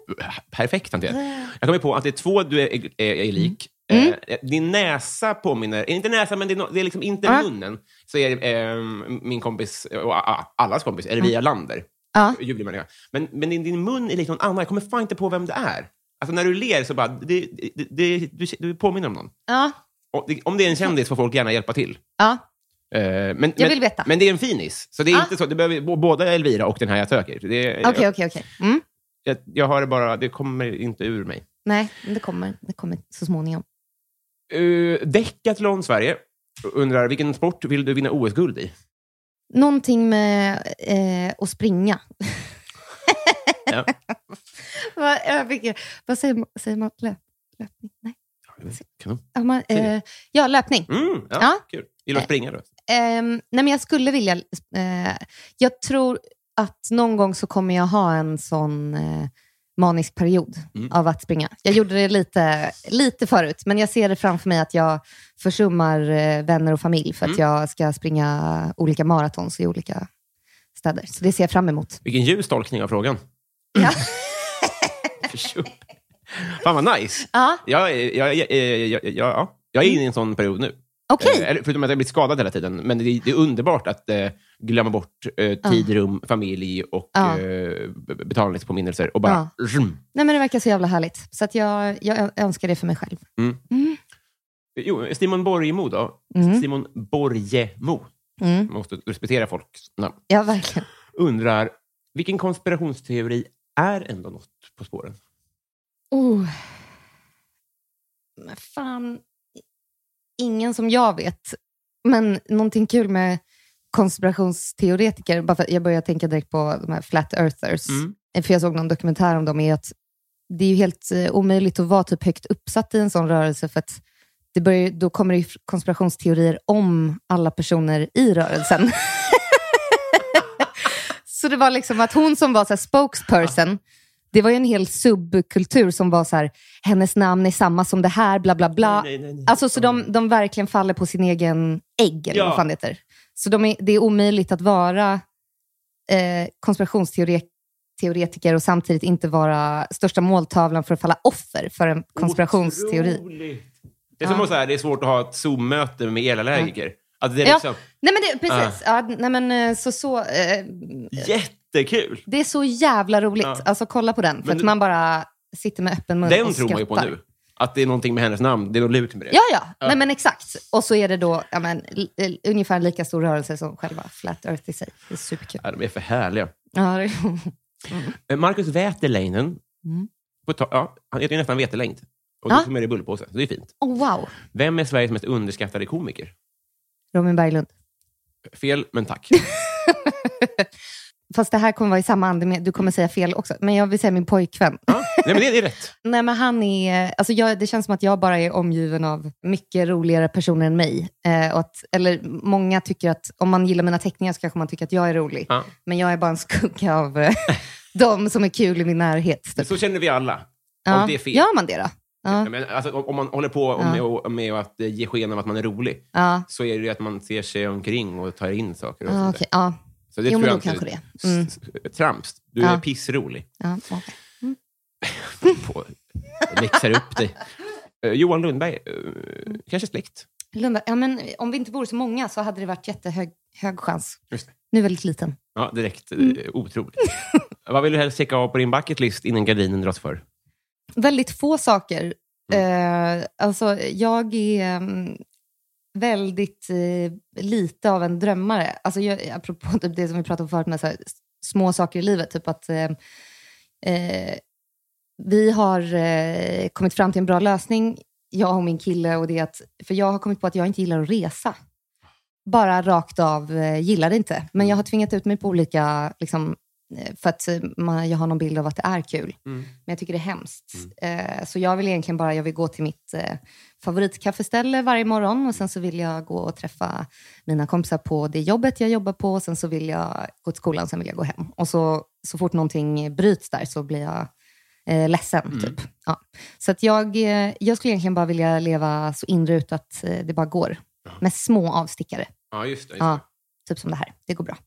Speaker 2: Perfekt hanterat. Jag kommer på att det är två du är, är, är lik.
Speaker 3: Mm.
Speaker 2: Eh, din näsa påminner, eh, inte näsa, men det är, no, det är liksom inte
Speaker 3: Ja.
Speaker 2: munnen. Så är det, eh, min kompis, och a- a- allas kompis, Elvia Lander.
Speaker 3: Ja.
Speaker 2: Julemänniska. Men, men din, din mun är lik någon annan. Jag kommer fan inte på vem det är. Alltså när du ler så bara, det, det, det, du, du påminner om någon.
Speaker 3: Ja,
Speaker 2: Och det- Om det är en kändis får folk gärna hjälpa till.
Speaker 3: ja.
Speaker 2: Eh, men,
Speaker 3: Jag
Speaker 2: men,
Speaker 3: vill veta.
Speaker 2: men det är en finis. Så det är
Speaker 3: Ah.
Speaker 2: inte så. Det behöver, bo- både Elvira och den här jag söker. Det,
Speaker 3: okej, okej, okej. Mm.
Speaker 2: jag, jag har det bara, det kommer inte ur mig.
Speaker 3: Nej, men det kommer, det kommer så småningom.
Speaker 2: Uh, Decathlon Sverige undrar, vilken sport vill du vinna OS-guld i?
Speaker 3: Någonting med eh, att springa.
Speaker 2: Ja.
Speaker 3: vad, jag fick, vad säger man? Säger man löp, löpning? Nej.
Speaker 2: Kanon.
Speaker 3: Ja, man,
Speaker 2: Säger
Speaker 3: eh, ja, löpning.
Speaker 2: Mm, ja,
Speaker 3: Ja.
Speaker 2: Kul. Gillar du att springa då?
Speaker 3: Ehm, nej men jag skulle vilja... eh, jag tror att någon gång så kommer jag ha en sån eh, manisk period
Speaker 2: Mm.
Speaker 3: av att springa. Jag gjorde det lite, lite förut, men jag ser det framför mig att jag försummar eh, vänner och familj för
Speaker 2: Mm.
Speaker 3: att jag ska springa olika maratons i olika städer. Så det ser jag fram emot.
Speaker 2: Vilken ljus tolkning av frågan.
Speaker 3: Ja.
Speaker 2: Försum. Fan vad nice.
Speaker 3: Ja, Mm.
Speaker 2: Jag, är- jag, jag, jag, jag, jag, ja. jag är inne i en sån period nu.
Speaker 3: okej.
Speaker 2: Eh, eller Förutom att jag har blivit skadad hela tiden. Men det, det är underbart att eh, glömma bort eh, tid, rum, familj och
Speaker 3: Ja.
Speaker 2: eh, b- betalningspåminnelser och bara... Rum.
Speaker 3: Nej men Det verkar så jävla härligt. Så att jag, jag ö- önskar det för mig själv.
Speaker 2: Jo, Simon Borgemo då.
Speaker 3: Mm.
Speaker 2: Simon Borgemo.
Speaker 3: Mm.
Speaker 2: Måste respektera folks namn.
Speaker 3: Ja, verkligen.
Speaker 2: undrar, vilken konspirationsteori är ändå något på spåren? Mm.
Speaker 3: Oh. Men fan, ingen som jag vet. Men någonting kul med konspirationsteoretiker, bara för att jag börjar tänka direkt på de här flat earthers,
Speaker 2: Mm.
Speaker 3: för jag såg någon dokumentär om dem, är att det är ju helt eh, omöjligt att vara typ högt uppsatt i en sån rörelse, för att det börjar, då kommer det ju konspirationsteorier om alla personer i rörelsen. så det var liksom att hon som var så här spokesperson, det var ju en hel subkultur som var så här, hennes namn är samma som det här, bla bla bla.
Speaker 2: Nej, nej, nej.
Speaker 3: Alltså så de, de verkligen faller på sin egen ägg, eller
Speaker 2: Ja.
Speaker 3: vad fan det heter. Så de är, det är omöjligt att vara eh, konspirationsteoretiker och samtidigt inte vara största måltavlan för att falla offer för en konspirationsteori.
Speaker 2: Otroligt. Det är som att så här, det är svårt att ha ett Zoom-möte med elallergiker. Alltså det är
Speaker 3: Ja.
Speaker 2: liksom Ah.
Speaker 3: Nej men det, precis. Ja, nej, men, eh, så, så, eh,
Speaker 2: jättekul.
Speaker 3: det är så jävla roligt.
Speaker 2: Ja.
Speaker 3: Alltså kolla på den, för
Speaker 2: Ah. Men
Speaker 3: att
Speaker 2: du-
Speaker 3: man bara sitter med öppen mun
Speaker 2: Den
Speaker 3: och
Speaker 2: tror man ju på
Speaker 3: skrattar.
Speaker 2: nu. Ah. Att det är någonting med hennes namn. Det är något lurt med det.
Speaker 3: Ja, ja. Nej, men exakt. Och så är det då ja, men, l- l- ungefär lika stor rörelse som själva Flat Earth i sig. Det är superkul.
Speaker 2: Ja, de är för härliga.
Speaker 3: Ja, det,
Speaker 2: Eh, Marcus Wäterleinen. På ta- ja, han heter ju nästan Väterlängd. Och då
Speaker 3: Mm. Ja.
Speaker 2: får man det i bullpåse, så det är fint.
Speaker 3: oh, wow.
Speaker 2: Vem är Sveriges mest underskattade komiker?
Speaker 3: Robin Berglund.
Speaker 2: Fel, men tack.
Speaker 3: Fast det här kommer vara i samma ande. Med, du kommer säga fel också. Men jag vill säga min pojkvän.
Speaker 2: Ja, nej, men det är rätt.
Speaker 3: Nej, men han är, alltså jag, det känns som att jag bara är omgiven av mycket roligare personer än mig. Eh, och att, eller många tycker att om man gillar mina teckningar så kanske man tycker att jag är rolig.
Speaker 2: Ja.
Speaker 3: Men jag är bara en skugga av eh, de som är kul i min närhet. typ.
Speaker 2: Så känner vi alla.
Speaker 3: ja.
Speaker 2: Om det är fel.
Speaker 3: Gör man det då? Ja.
Speaker 2: Men, alltså, om- om man håller på
Speaker 3: Ja.
Speaker 2: med, och- med att eh, ge sken av att man är rolig,
Speaker 3: Ja.
Speaker 2: så är det ju att man ser sig omkring och tar in saker. Och
Speaker 3: Ja,
Speaker 2: sånt där.
Speaker 3: okej. ja.
Speaker 2: Så det
Speaker 3: Jo,
Speaker 2: tror
Speaker 3: men
Speaker 2: jag
Speaker 3: då kanske
Speaker 2: inte-
Speaker 3: det. Mm.
Speaker 2: s- s- Trams. Du är
Speaker 3: Ja.
Speaker 2: pissrolig.
Speaker 3: Ja, okej.
Speaker 2: På, växer upp dig. Eh, Johan Lundberg, eh, kanske släkt?
Speaker 3: Lundberg, ja, men om vi inte vore så många så hade det varit jättehög hög chans.
Speaker 2: Just det.
Speaker 3: Nu väldigt liten.
Speaker 2: Ja, direkt. eh,
Speaker 3: Mm.
Speaker 2: Otroligt. Vad vill du helst checka av på din bucket list innan gardinen dras för?
Speaker 3: Väldigt få saker. Eh, alltså, jag är mm, väldigt eh, lite av en drömmare. Alltså, jag, apropå typ det som vi pratade om förut med så här, s- små saker i livet. Typ att eh, eh, vi har eh, kommit fram till en bra lösning, jag och min kille. Och det är att, för jag har kommit på att jag inte gillar att resa. Bara rakt av eh, gillar det inte. Men jag har tvingat ut mig på olika, liksom, eh, för att eh, man, jag har någon bild av att det är kul. Men jag tycker det är hemskt. Eh, så jag vill egentligen bara jag vill gå till mitt eh, favoritkaffeställe varje morgon och sen så vill jag gå och träffa mina kompisar på det jobbet jag jobbar på. Sen så vill jag gå till skolan, sen vill jag gå hem. Och så, så fort någonting bryts där så blir jag eh, ledsen. Typ. Ja. Så att jag, eh, jag skulle egentligen bara vilja leva så inrutat eh, det bara går. Med små avstickare.
Speaker 2: Ja, just det. Just
Speaker 3: Ja, typ som det här. Det går bra.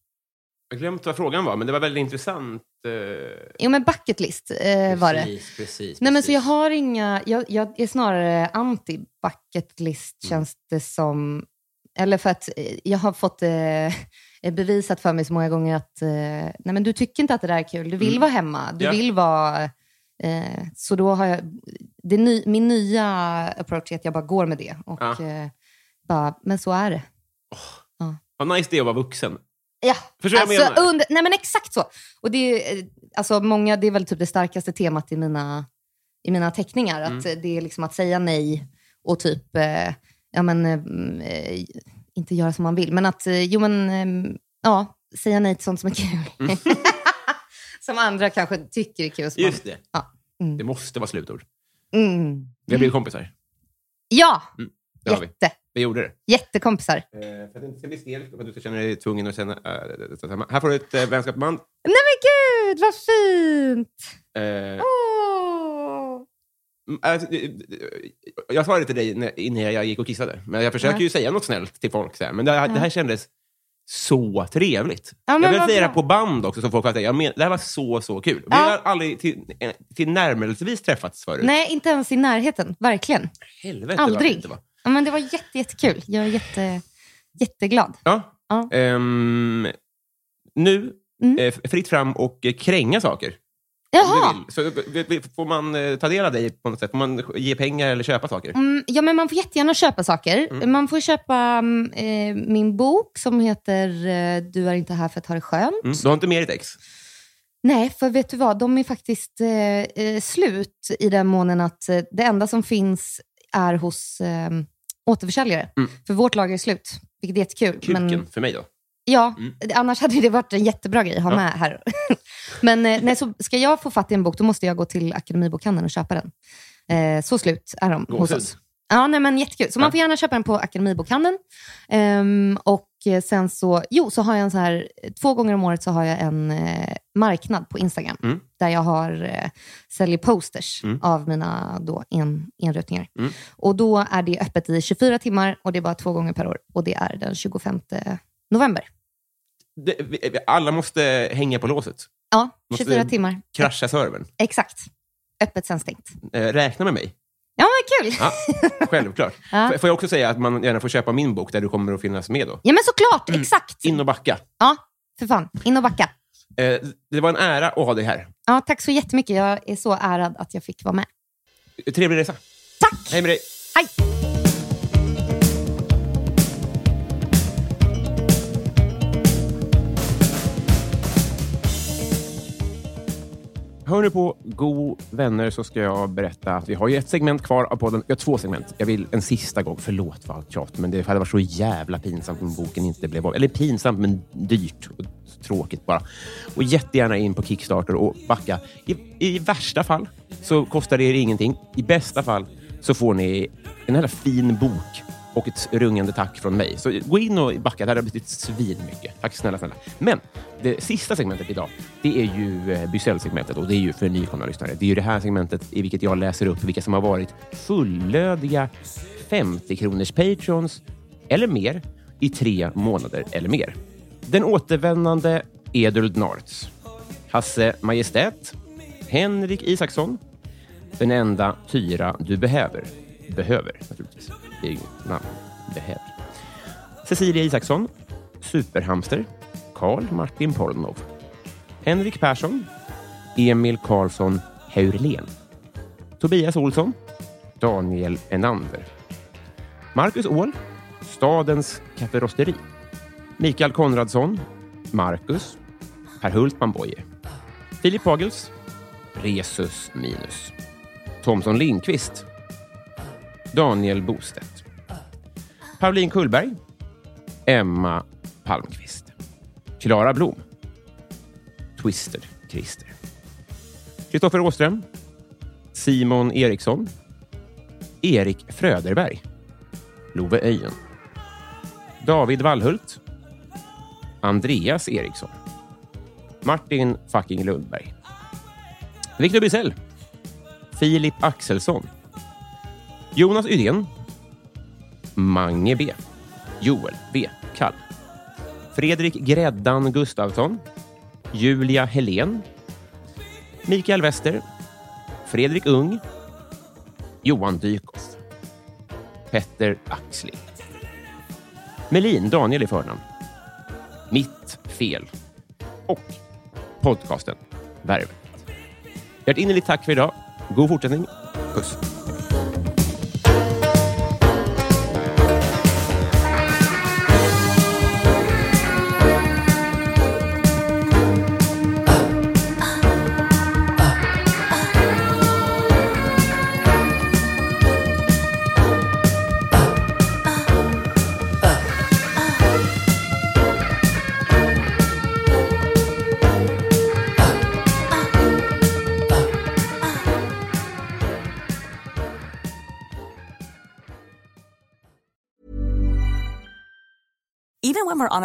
Speaker 2: Jag har glömt vad frågan var, men det var väldigt intressant. eh,
Speaker 3: Jo, men bucket list eh, var det.
Speaker 2: Precis, precis.
Speaker 3: Nej, men
Speaker 2: precis.
Speaker 3: så jag har inga... Jag, jag är snarare anti-bucket
Speaker 2: Mm.
Speaker 3: list, känns det som. Eller för att eh, jag har fått eh, bevisat för mig så många gånger att eh, nej, men du tycker inte att det där är kul. Du vill
Speaker 2: Mm.
Speaker 3: vara hemma. Du
Speaker 2: Ja.
Speaker 3: vill vara... Eh, så då har jag... Det ny, min nya approach är att jag bara går med det. Och
Speaker 2: Ja.
Speaker 3: eh, bara, men så är det.
Speaker 2: Vad nice det är att vara vuxen.
Speaker 3: Ja,
Speaker 2: Förstår du vad jag
Speaker 3: alltså,
Speaker 2: menar?
Speaker 3: under, nej men exakt så. Och det, är, eh, alltså, många, det är väl typ det starkaste temat i mina, i mina teckningar. Att
Speaker 2: Mm.
Speaker 3: eh, Det är liksom att säga nej och typ, eh, ja men, eh, mm, eh, inte göra som man vill, men att, eh, jo men, eh, ja, säga nej till sånt som är kul.
Speaker 2: Mm.
Speaker 3: som andra kanske tycker är kul. som
Speaker 2: Just det.
Speaker 3: Ja. Mm.
Speaker 2: Det måste vara slutord.
Speaker 3: man- Mm.
Speaker 2: Vi har blivit kompisar.
Speaker 3: Ja,
Speaker 2: Mm, Det har vi.
Speaker 3: jätte.
Speaker 2: Vi gjorde det.
Speaker 3: Jättekompisar.
Speaker 2: Eh, för att det inte ska bli stelt och för att du inte känner dig tvungen att känna... eh, det- det- det- här får du ett eh, vänskapsband.
Speaker 3: Nej men gud, vad fint!
Speaker 2: Eh,
Speaker 3: Åh.
Speaker 2: Mm, Alltså, det- det- jag sa det till dig när- innan jag gick och kissade, men jag försöker ju säga något snällt till folk. Så här. Men det, här- det här kändes så trevligt.
Speaker 3: Ja, men
Speaker 2: jag vill
Speaker 3: vad
Speaker 2: säga det här på
Speaker 3: bra.
Speaker 2: band också, så folk fattar. Jag men, det här var så, så kul. Vi
Speaker 3: Ja.
Speaker 2: har aldrig till, eh, till närmelsevis träffats förut.
Speaker 3: Nej, inte ens i närheten. Verkligen.
Speaker 2: Helvete vad
Speaker 3: Aldrig.
Speaker 2: fint det var.
Speaker 3: Ja, men det var jätte, jättekul. Jag är jätte, jätteglad.
Speaker 2: Ja.
Speaker 3: Ja.
Speaker 2: Ehm, nu,
Speaker 3: Mm.
Speaker 2: eh, fritt fram och eh, kränga saker.
Speaker 3: Jaha!
Speaker 2: Om du vill. Så, eh, vi- vi- får man eh, ta del av dig på något sätt? Får man ge pengar eller köpa saker?
Speaker 3: Mm, ja, men man får jättegärna köpa saker. Man får köpa mm, eh, min bok som heter eh, Du är inte här för att ha det skönt.
Speaker 2: Mm. Du har inte med ditt ex?
Speaker 3: Nej, för vet du vad? De är faktiskt eh, eh, slut i den månen att eh, det enda som finns är hos eh, återförsäljare.
Speaker 2: Mm.
Speaker 3: För vårt lager är slut, vilket är jättekul.
Speaker 2: Kuken,
Speaker 3: Men,
Speaker 2: för mig då.
Speaker 3: Ja,
Speaker 2: Mm.
Speaker 3: det- annars hade ju det varit en jättebra grej att ha
Speaker 2: Ja.
Speaker 3: med här. Men eh, nej, så ska jag få fatt i en bok, då måste jag gå till Akademibokhandeln och köpa den. Eh, så slut är de hos
Speaker 2: Gåshud.
Speaker 3: oss. Ja, nej, men jättekul. Så
Speaker 2: Ja.
Speaker 3: man får gärna köpa den på Akademibokhandeln. Ehm, och eh, sen så, jo, så har jag en så här, två gånger om året så har jag en eh, marknad på Instagram
Speaker 2: Mm.
Speaker 3: där jag har, eh, säljer posters
Speaker 2: Mm.
Speaker 3: av mina då en, enrutningar.
Speaker 2: Mm.
Speaker 3: Och då är det öppet i 24 timmar och det är bara två gånger per år. Och det är den 25 november.
Speaker 2: det, vi, vi- alla måste hänga på låset.
Speaker 3: Ja,
Speaker 2: Måste
Speaker 3: 24
Speaker 2: vi-
Speaker 3: timmar.
Speaker 2: Krascha servern.
Speaker 3: Exakt. Öppet sen stängt.
Speaker 2: Eh, räkna med mig.
Speaker 3: Ja, vad kul!
Speaker 2: Ja, självklart.
Speaker 3: Ja.
Speaker 2: F- Får jag också säga att man gärna får köpa min bok där du kommer att finnas med då?
Speaker 3: Ja, men såklart! Exakt!
Speaker 2: Mm. In och backa.
Speaker 3: Ja, för fan. In och backa.
Speaker 2: Eh, det var en ära att ha dig här.
Speaker 3: Ja, tack så jättemycket. Jag är så ärad att jag fick vara med.
Speaker 2: Trevlig resa.
Speaker 4: Tack!
Speaker 2: Hej med dig!
Speaker 4: Hej!
Speaker 2: Hör nu på Go vänner så ska jag berätta att vi har ju ett segment kvar av podden. Vi har två segment. Jag vill en sista gång, förlåt för allt tjat, men det hade varit så jävla pinsamt om boken inte blev av. Eller pinsamt, men dyrt och tråkigt bara. Och jättegärna in på Kickstarter och backa. I, I värsta fall så kostar det er ingenting. I bästa fall så får ni en jävla fin bok och ett rungande tack från mig. Så gå in och backa. Det här har betytt svinmycket. Tack snälla, snälla. Men det sista segmentet idag, det är ju eh, Bysell-segmentet och det är ju för nykomna lyssnare. Det är ju det här segmentet i vilket jag läser upp vilka som har varit fullödiga 50-kronors patrons eller mer i tre månader eller mer. Den återvändande Eduld Narts, Hasse Majestät, Henrik Isaksson, den enda Tyra du behöver. Behöver, naturligtvis. Det är ju namn. Behöver. Cecilia Isaksson, Superhamster, Karl Martin Pornov, Henrik Persson, Emil Karlsson Heurlen, Tobias Olsson, Daniel Enander, Marcus Åhl, Stadens kafferosteri, Mikael Konradsson, Marcus, Per Hultman Boye, Filip Pagels, Resus Minus. Thomson Lindqvist. Daniel Bostedt. Pauline Kullberg. Emma Palmqvist. Klara Blom. Twister Christer. Kristoffer Åström. Simon Eriksson. Erik Fröderberg. Love Öjen. David Wallhult. Andreas Eriksson. Martin fucking Lundberg. Victor Bysell. Filip Axelsson. Jonas Ydén. Mange B. Joel B. Kall. Fredrik Gräddan Gustafsson. Julia Helén. Mikael Wester. Fredrik Ung. Johan Dykhoff. Petter Axling. Melin Daniel i förnamn. Mitt fel. Och podcasten Värvet. Hjärtinnerligt tack för idag. God fortsättning. Puss.
Speaker 7: Even when we're on